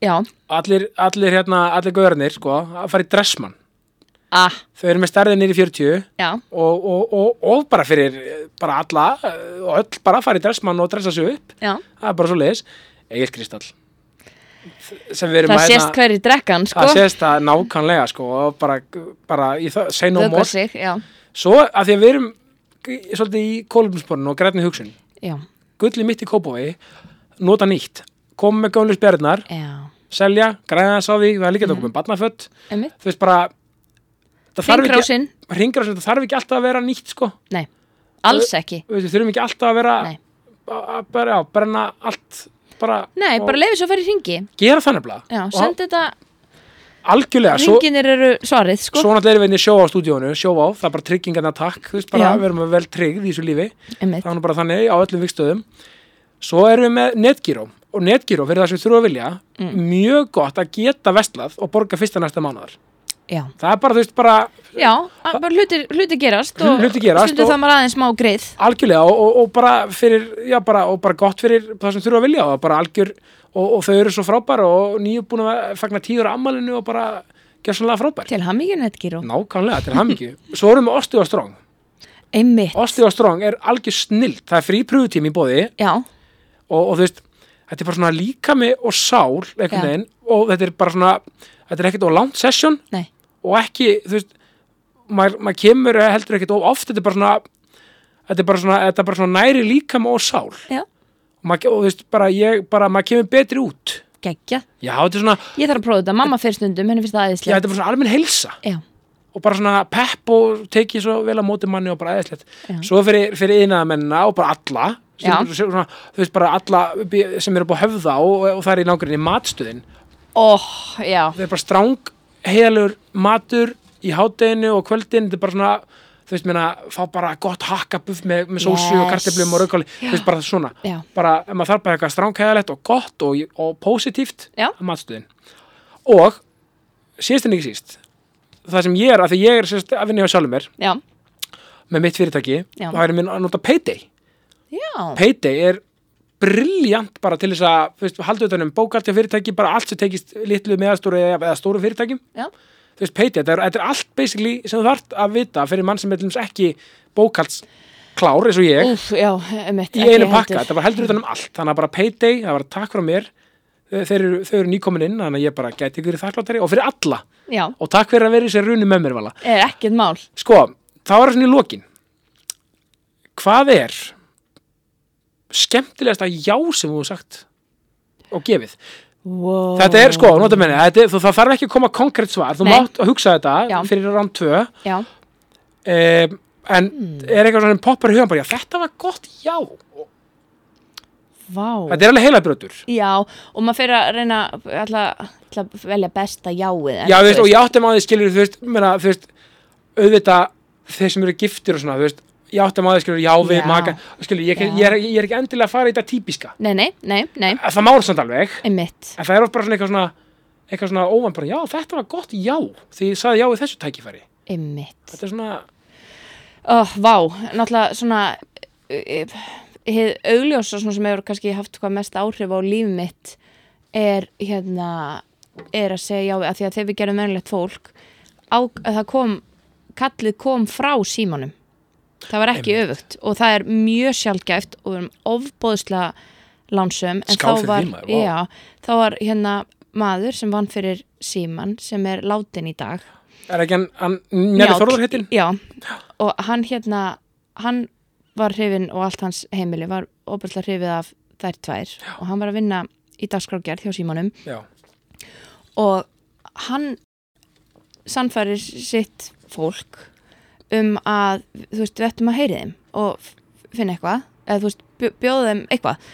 [SPEAKER 2] já,
[SPEAKER 1] allir, allir, hérna, allir gaurarnir sko, að fara í dressmann
[SPEAKER 2] ah,
[SPEAKER 1] þau eru með stærðið nýri 40
[SPEAKER 2] já
[SPEAKER 1] og, og, og, og bara fyrir eh, bara alla eh, og öll bara að fara í dressmann og dressa sig upp
[SPEAKER 2] Já,
[SPEAKER 1] það er bara svo leiðis, Egil Kristall sem við erum hérna-
[SPEAKER 2] það sést hverju drekkan sko
[SPEAKER 1] það sést það nákvæmlega sko, og bara, bara í það, say no
[SPEAKER 2] Vöggvar
[SPEAKER 1] more
[SPEAKER 2] sig, já,
[SPEAKER 1] svo að því að við erum í- svolítið í kólumsporinu og grænni hugsun
[SPEAKER 2] já,
[SPEAKER 1] gullið mitt í Kópavogi nota nýtt, koma með gömlu spjarinnar
[SPEAKER 2] já
[SPEAKER 1] selja, græða þess á því það er
[SPEAKER 2] Mhm.
[SPEAKER 1] líka þetta okkur með barnafött
[SPEAKER 2] einmitt,
[SPEAKER 1] þú veist bara það þarf ekki-
[SPEAKER 2] hringrásin,
[SPEAKER 1] hringrásin, það þarf ekki alltaf að vera nýtt sko,
[SPEAKER 2] nei, alls ekki
[SPEAKER 1] Þú veist, við þurfum ekki alltaf að vera
[SPEAKER 2] Nei.
[SPEAKER 1] að að bara, já, brenna allt bara,
[SPEAKER 2] Nei,
[SPEAKER 1] og
[SPEAKER 2] bara leifir svo að fara í ringi
[SPEAKER 1] gera þannig blað
[SPEAKER 2] Já, send þetta,
[SPEAKER 1] algjörlega, svo,
[SPEAKER 2] ringinir eru svarið sko
[SPEAKER 1] svo náttúrulega erum við inn í sjó á stúdíónu sjó á, það er bara tryggingarna takk þú veist bara,
[SPEAKER 2] Já.
[SPEAKER 1] við erum vel tryggð í þessu lífi
[SPEAKER 2] Einmitt,
[SPEAKER 1] það er nú bara þannig á öllum vikstöðum svo erum við með netgíró og netgíró fyrir það sem við þurfum að vilja
[SPEAKER 2] Mm.
[SPEAKER 1] mjög gott að geta vestlað og borga fyrsta næsta mánuðar
[SPEAKER 2] já
[SPEAKER 1] það er bara, þú veist, bara
[SPEAKER 2] Já, að bara hlutir, hlutir gerast og
[SPEAKER 1] Hlutir gerast
[SPEAKER 2] stundu
[SPEAKER 1] og-
[SPEAKER 2] það maður aðeins má greið
[SPEAKER 1] algjörlega og, og, og bara fyrir já, bara, og bara gott fyrir það sem þurfum að vilja og bara algjör, og, og þau eru svo frábæra og nýju búin að fagna tíður ammalinu og bara gera sannlega frábær
[SPEAKER 2] Til hamminginu þetta
[SPEAKER 1] Mm.
[SPEAKER 2] gíru
[SPEAKER 1] nákvæmlega, til hamingju svo erum við Osteo Strong
[SPEAKER 2] Einmitt,
[SPEAKER 1] Osteo Strong er algjör snilt, það er frí pröfutími í bóði
[SPEAKER 2] já,
[SPEAKER 1] og, og þú veist, þetta er bara svona líkami og sál einhvern
[SPEAKER 2] Já.
[SPEAKER 1] veginn og þetta er bara svona, þetta er ekkert of langt session
[SPEAKER 2] nei,
[SPEAKER 1] og ekki, þú veist maður, maður kemur heldur ekkert of oft þetta er bara svona þetta er bara svona, þetta er bara svona næri líkami og sál og,
[SPEAKER 2] já,
[SPEAKER 1] maður, og þú veist, bara ég bara, maður kemur betri út
[SPEAKER 2] geggja
[SPEAKER 1] já, þetta er svona,
[SPEAKER 2] Ég þarf að prófa þetta, mamma fyrir stundum, henni finnst það
[SPEAKER 1] já,
[SPEAKER 2] aðeinslega
[SPEAKER 1] þetta er bara svona almenn heilsa
[SPEAKER 2] Já,
[SPEAKER 1] og bara svona pepp og tekið svo vel að móti manni og bara eðislegt
[SPEAKER 2] Já.
[SPEAKER 1] svo fyrir, fyrir yðnaðamennina og bara alla sem,
[SPEAKER 2] Já.
[SPEAKER 1] sem svona, þú veist bara alla upp í- sem eru búið að höfða og, og það er í nágrinni matstöðin
[SPEAKER 2] óh, Oh, já,
[SPEAKER 1] það er bara stráng, heiðalur matur í hádeginu og kvöldin þetta er bara svona, þú veist, meina fá bara gott hakkabuff með, með sósu
[SPEAKER 2] Yes.
[SPEAKER 1] og karteflum og raukáli, þú veist, bara svona
[SPEAKER 2] Já.
[SPEAKER 1] bara, ef maður þarf bara eitthvað stráng, heiðalegt og gott og, og positíft
[SPEAKER 2] Já.
[SPEAKER 1] að matstuðin og, síðast en ekki síst það sem ég er, af því ég er sérst, að vinna hjá sjálfum mér,
[SPEAKER 2] já,
[SPEAKER 1] með mitt fyrirtæki
[SPEAKER 2] Já.
[SPEAKER 1] og það er minn að nota Payday
[SPEAKER 2] já
[SPEAKER 1] Payday er briljant bara til þess að, þú veist, halda utan um bókalt fyrirtæki, bara allt sem tekist litlu meðastóru eða eða stóru fyrirtækjum
[SPEAKER 2] Já,
[SPEAKER 1] þú veist, peiti, þetta er, þetta er allt basically sem þú þarft að vita fyrir mann sem er til dæmis ekki bókaldsklár eins og ég,
[SPEAKER 2] Úf, já, emitt
[SPEAKER 1] í einu pakka, þetta var heldur utan um allt þannig að bara payday, það var takk frá mér Þe- þeir eru, þau eru nýkomin inn, þannig að ég bara gæti ykkur í þakkláttari og fyrir alla
[SPEAKER 2] Já,
[SPEAKER 1] og takk fyrir að vera í sér runi með mér vala
[SPEAKER 2] er ekkert mál
[SPEAKER 1] sko, það var svona í lokin hvað er skemmtilegasta já sem þú hefur sagt og gefið
[SPEAKER 2] wow.
[SPEAKER 1] þetta er sko, nota menni, þetta er, þú, það þarf ekki að koma konkrétt svar, þú
[SPEAKER 2] Nei.
[SPEAKER 1] mátt að hugsa þetta
[SPEAKER 2] Já.
[SPEAKER 1] fyrir ránd tvö
[SPEAKER 2] Já,
[SPEAKER 1] um, en
[SPEAKER 2] Hmm.
[SPEAKER 1] er eitthvað svona sem poppar í hugan bara, já, þetta var gott já
[SPEAKER 2] vá
[SPEAKER 1] þetta er alveg heilabrötur
[SPEAKER 2] Já, og maður fyrir að reyna alltaf, alltaf velja besta jáið en
[SPEAKER 1] Já, þú
[SPEAKER 2] þú
[SPEAKER 1] veist, og ég áttum á því skilur, þú veist, meina, þú veist, auðvitað þeir sem eru giftir og svona, þú veist, ég áttum á því skilur, já við
[SPEAKER 2] Já.
[SPEAKER 1] maka, skilur, ég,
[SPEAKER 2] Já.
[SPEAKER 1] ég, er, ég er ekki endilega að fara í þetta típiska.
[SPEAKER 2] Nei, nei, nei, nei,
[SPEAKER 1] Að Það mála samt alveg,
[SPEAKER 2] einmitt
[SPEAKER 1] en það er oft bara svona eitthvað svona, eitthvað svona óvann bara, já, þetta var gott já, því ég saði já í þessu tækifæri.
[SPEAKER 2] Einmitt
[SPEAKER 1] Þetta er svona,
[SPEAKER 2] oh, Vá, náttúrulega svona eh, hið augljósa svona sem hefur kannski haft hvað mest áhrif á líf mitt er hérna er að segja já við, af því að þegar við gerum mennilegt fólk á, að það kom kallið kom frá símanum það var ekki öfugt og það er mjög sjálfgæft og við erum ofbóðslega lánsum en
[SPEAKER 1] Skál
[SPEAKER 2] þá
[SPEAKER 1] fyrir
[SPEAKER 2] var,
[SPEAKER 1] því, maður, vá.
[SPEAKER 2] já, þá var hérna maður sem vann fyrir síman sem er látin í dag
[SPEAKER 1] er ekki hann, hann Njæli
[SPEAKER 2] Njáll,
[SPEAKER 1] Þorður hittin?
[SPEAKER 2] Já, og hann hérna, hann var hrifin og allt hans heimili var óbærslega hrifið af þær tvær og hann var að vinna í dagskrágerð hjá símanum
[SPEAKER 1] Já,
[SPEAKER 2] og hann sannfærir sitt fólk um að, þú veist, við ættum að heyri þeim og f- finna eitthvað eða þú veist, bjó- bjóða þeim eitthvað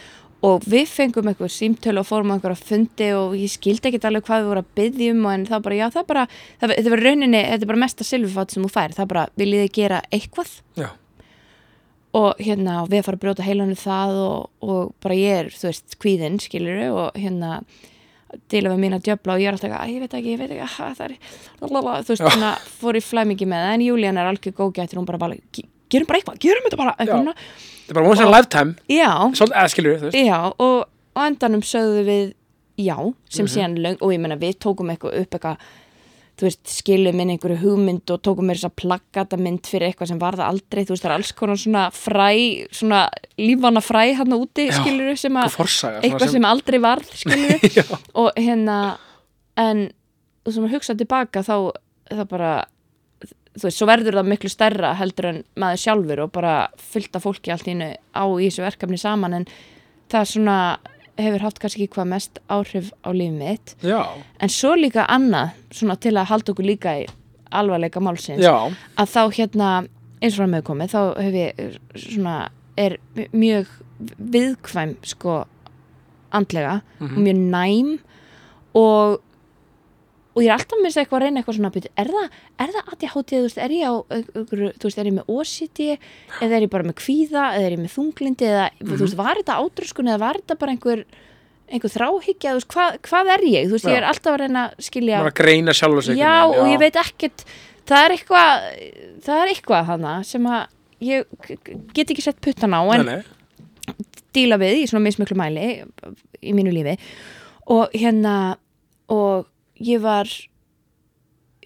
[SPEAKER 2] og við fengum eitthvað símtöl og fórum á einhverja fundi og ég skildi ekkert alveg hvað við vorum að byggja um og en það bara, já, það bara það, þetta var rauninni, þetta er bara mesta silfurfátt sem þú fær það bara, viljið þið gera eitthvað
[SPEAKER 1] já,
[SPEAKER 2] og hérna og við að fara að brjóta heilanu það og, og bara ég er, þú veist, kvíðinn skilur og hérna dila við mína djöfla og ég er alltaf eitthvað, "Æ, ég veit ekki, ég veit ekki, ah, það er lalala, þú veist, svona fór í flæmingi með það en Júlían er algjör góðgættur, hún bara bara "Ge- gerum bara eitthvað, gerum þetta bara
[SPEAKER 1] Já.
[SPEAKER 2] eitthvað svona.
[SPEAKER 1] þetta er bara once in a lifetime,
[SPEAKER 2] já,
[SPEAKER 1] svolítið, eða skilur, þú veist,
[SPEAKER 2] Já, og á endanum sögðu við já, sem síðan löng, og ég meina við tókum eitthvað upp eitthvað, þú veist, skilum inn einhverju hugmynd og tókum með þess að plakkata mynd fyrir eitthvað sem var það aldrei, þú veist, það er alls konar svona fræ, svona lífvana fræ hann úti,
[SPEAKER 1] Já,
[SPEAKER 2] skilur sem
[SPEAKER 1] og
[SPEAKER 2] að,
[SPEAKER 1] forsaga, svona
[SPEAKER 2] eitthvað sem aldrei varð, skilur
[SPEAKER 1] Já,
[SPEAKER 2] og hérna en þú sem að hugsa tilbaka þá það bara þú veist, svo verður það miklu stærra heldur en maður sjálfur og bara fullt af fólki allt í einu á í þessu verkefni saman en það svona hefur haft kannski hvað mest áhrif á lífið mitt
[SPEAKER 1] já,
[SPEAKER 2] en svo líka annað, svona til að halda okkur líka í alvarleika málsins
[SPEAKER 1] já,
[SPEAKER 2] að þá hérna eins og hann með komið þá hef ég eh, svona er mjög viðkvæm sko andlega
[SPEAKER 1] Mm. Mhm.
[SPEAKER 2] og mjög næm og og ég er alltaf minnst eitthvað að reyna eitthvað svona byrju, er það, er það ADHD, þú veist, er ég á einhverju- þú veist, er ég með OCD eða er ég bara með kvíða, eða er ég með þunglindi eða,
[SPEAKER 1] Mhm.
[SPEAKER 2] þú veist, var þetta átröskun eða var þetta bara einhver, einhver þráhyggja þú veist, hvað, hvað er ég, þú veist, ég
[SPEAKER 1] Já.
[SPEAKER 2] er alltaf að reyna að skilja
[SPEAKER 1] maður að greina sjálf og sig.
[SPEAKER 2] já, og ég veit ekkert það er eitthvað það er eitthvað hana sem að ég k- k- get ekki sett puttan á en
[SPEAKER 1] Nei, nei,
[SPEAKER 2] díla við í svona mismiklu mæli í mínu lífi og hérna og ég var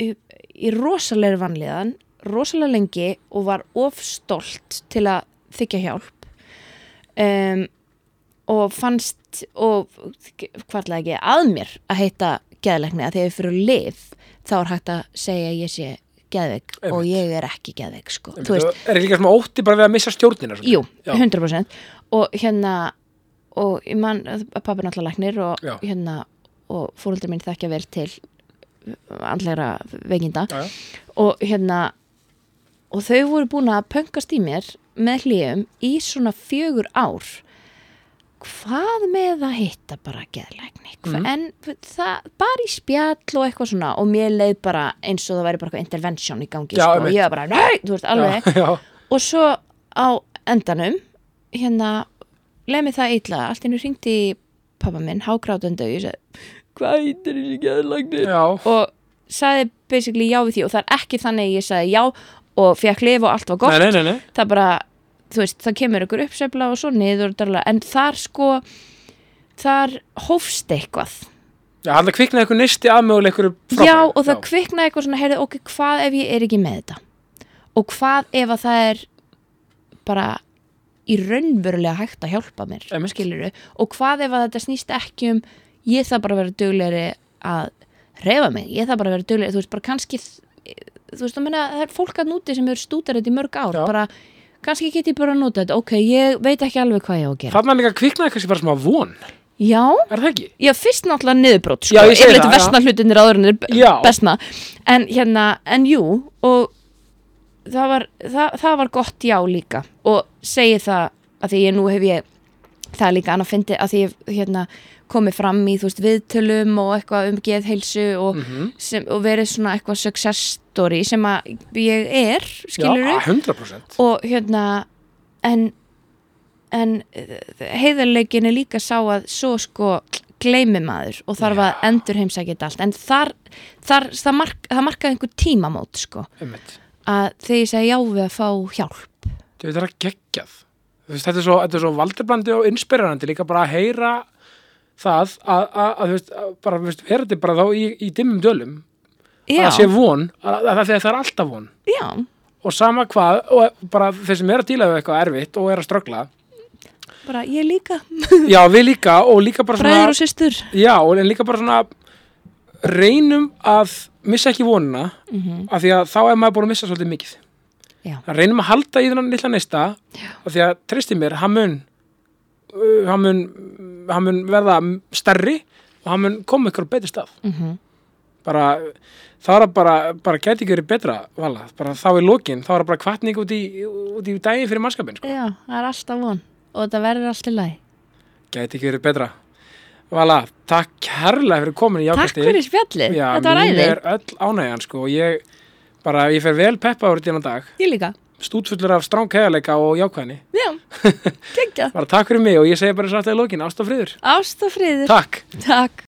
[SPEAKER 2] í, í rosalegri vanlíðan rosalega lengi og var ofstolt til að þykja hjálp um, og fannst og hvarlega ekki að mér að heita geðleikni að þegar ég fyrir lif þá er hægt að segja að ég sé geðveik og
[SPEAKER 1] Einmitt.
[SPEAKER 2] ég er ekki geðveik sko, þú veist
[SPEAKER 1] er líka svona ótti bara við að missa stjórnina. svona.
[SPEAKER 2] Jú,
[SPEAKER 1] Já.
[SPEAKER 2] 100% og hérna og ég man að pappi er náttúrulega læknir og
[SPEAKER 1] Já.
[SPEAKER 2] hérna og fóröldur mín þekkja vel til andlegra veikinda
[SPEAKER 1] Já, já.
[SPEAKER 2] og hérna og þau voru búin að pöngast í mér með hlýjum í svona fjögur ár hvað með að hitta bara geðlækni Hva,
[SPEAKER 1] Mhm.
[SPEAKER 2] en það bara í spjall og eitthvað svona og mér leið bara eins og það væri bara eitthvað intervention í gangi
[SPEAKER 1] Já,
[SPEAKER 2] sko, og
[SPEAKER 1] einmitt.
[SPEAKER 2] ég var bara, nei, þú veist alveg
[SPEAKER 1] Já, já.
[SPEAKER 2] og svo á endanum hérna leið mér það illa, allt henni hringdi pappa minn, hágrátundu og ég segi, hvað heitir þessi geðlagnir
[SPEAKER 1] Já.
[SPEAKER 2] og sagði basically já við því og það er ekki þannig að ég sagði já og fekk lif og allt var gott
[SPEAKER 1] Nei, nei, nei, nei.
[SPEAKER 2] það bara, þú veist, það kemur ykkur uppsefla og svo niður og darla, en þar sko þar hófst eitthvað
[SPEAKER 1] Já, hann það kviknaði eitthvað nisti aðmöguleg eitthvað frábæri.
[SPEAKER 2] Já, og það kviknaði eitthvað svona, heyrðu, ok, hvað ef ég er ekki með þetta? Og hvað ef að það er bara í raunverulega hægt að hjálpa mér,
[SPEAKER 1] Einmitt.
[SPEAKER 2] skilurðu? Og hvað ef að þetta snýst ekki um, ég þarf bara að vera duglegri að reyfa mig, ég þarf bara að vera duglegri, þú veist, bara kannski, þú veist, þú meina, það er fólk að núti sem eru stútar þetta í mörg ár,
[SPEAKER 1] Já.
[SPEAKER 2] bara, kannski get ég bara að nota þetta, ok, ég veit ekki alveg hvað ég á að gera.
[SPEAKER 1] Þannig að líka kviknaði kannski bara smá von,
[SPEAKER 2] Já,
[SPEAKER 1] er það ekki?
[SPEAKER 2] Já, fyrst náttúrulega niðurbrót sko.
[SPEAKER 1] Já, ég segi
[SPEAKER 2] Yfirleitt
[SPEAKER 1] það,
[SPEAKER 2] versna hlutinir áður en þeir
[SPEAKER 1] Já.
[SPEAKER 2] bestna En hérna, en jú Og það var, það, það var gott já líka Og segi það að því ég nú hef ég Það er líka annað fyndi að því ég hérna, komið fram í þú veist, viðtölum og eitthvað um geðheilsu
[SPEAKER 1] Mm.
[SPEAKER 2] og, sem, og verið svona eitthvað success story sem að ég er, skilur
[SPEAKER 1] Já, 100%.
[SPEAKER 2] og hérna en, en heiðarleikin er líka sá að svo sko gleymi maður og þarf að endur heimsækja þetta allt en þar, þar það, mark, það markaði einhver tímamót sko
[SPEAKER 1] Einmitt.
[SPEAKER 2] að þegar ég segi já við að fá hjálp
[SPEAKER 1] Þú veit, það er að geggjað. Þú veist, þetta er svo, þetta er svo valdeblandi og inspirerandi líka bara að heyra það að, að, að þú veist, að bara, þú veist, vera þetta bara þá í, í dimmum dölum. Að
[SPEAKER 2] já,
[SPEAKER 1] það sé von, að, að, að það er alltaf von.
[SPEAKER 2] já,
[SPEAKER 1] Og sama hvað, og bara þeir sem er að díla við eitthvað erfitt og er að ströggla.
[SPEAKER 2] bara ég líka
[SPEAKER 1] Já, við líka, og líka bara svona...
[SPEAKER 2] bræður og systur
[SPEAKER 1] Já, og en líka bara svona reynum að missa ekki vonuna af því að þá er maður búin að missa svolítið mikið
[SPEAKER 2] Mhm. Já.
[SPEAKER 1] Að reynum að halda í þennan lilla neista af því að treysti mér, hann mun uh, hann mun hann mun verða stærri og hann mun koma ykkur á betri stað
[SPEAKER 2] Mhm.
[SPEAKER 1] bara, þá er það bara bara gæti ekki verið betra, vala bara þá er lokin, þá er það bara kvartning út í, út í daginn fyrir mannskapin, sko.
[SPEAKER 2] já, það er alltaf von og þetta verður alltaf læg
[SPEAKER 1] gæti ekki verið betra vala, takk kærlega fyrir komin í
[SPEAKER 2] takk
[SPEAKER 1] jákvæsti
[SPEAKER 2] fyrir spjallið,
[SPEAKER 1] Já,
[SPEAKER 2] Eh, þetta var
[SPEAKER 1] mín
[SPEAKER 2] æði
[SPEAKER 1] er öll ánægjan sko og ég bara, ég fer vel peppa árið þennan dag,
[SPEAKER 2] ég líka,
[SPEAKER 1] stútfullur af stráng hegarleika og jákvæðni.
[SPEAKER 2] já, geggja
[SPEAKER 1] Bara takk fyrir mig og ég segi bara svo aftur í lokin, ást og friður.
[SPEAKER 2] ást og friður,
[SPEAKER 1] Takk!
[SPEAKER 2] takk.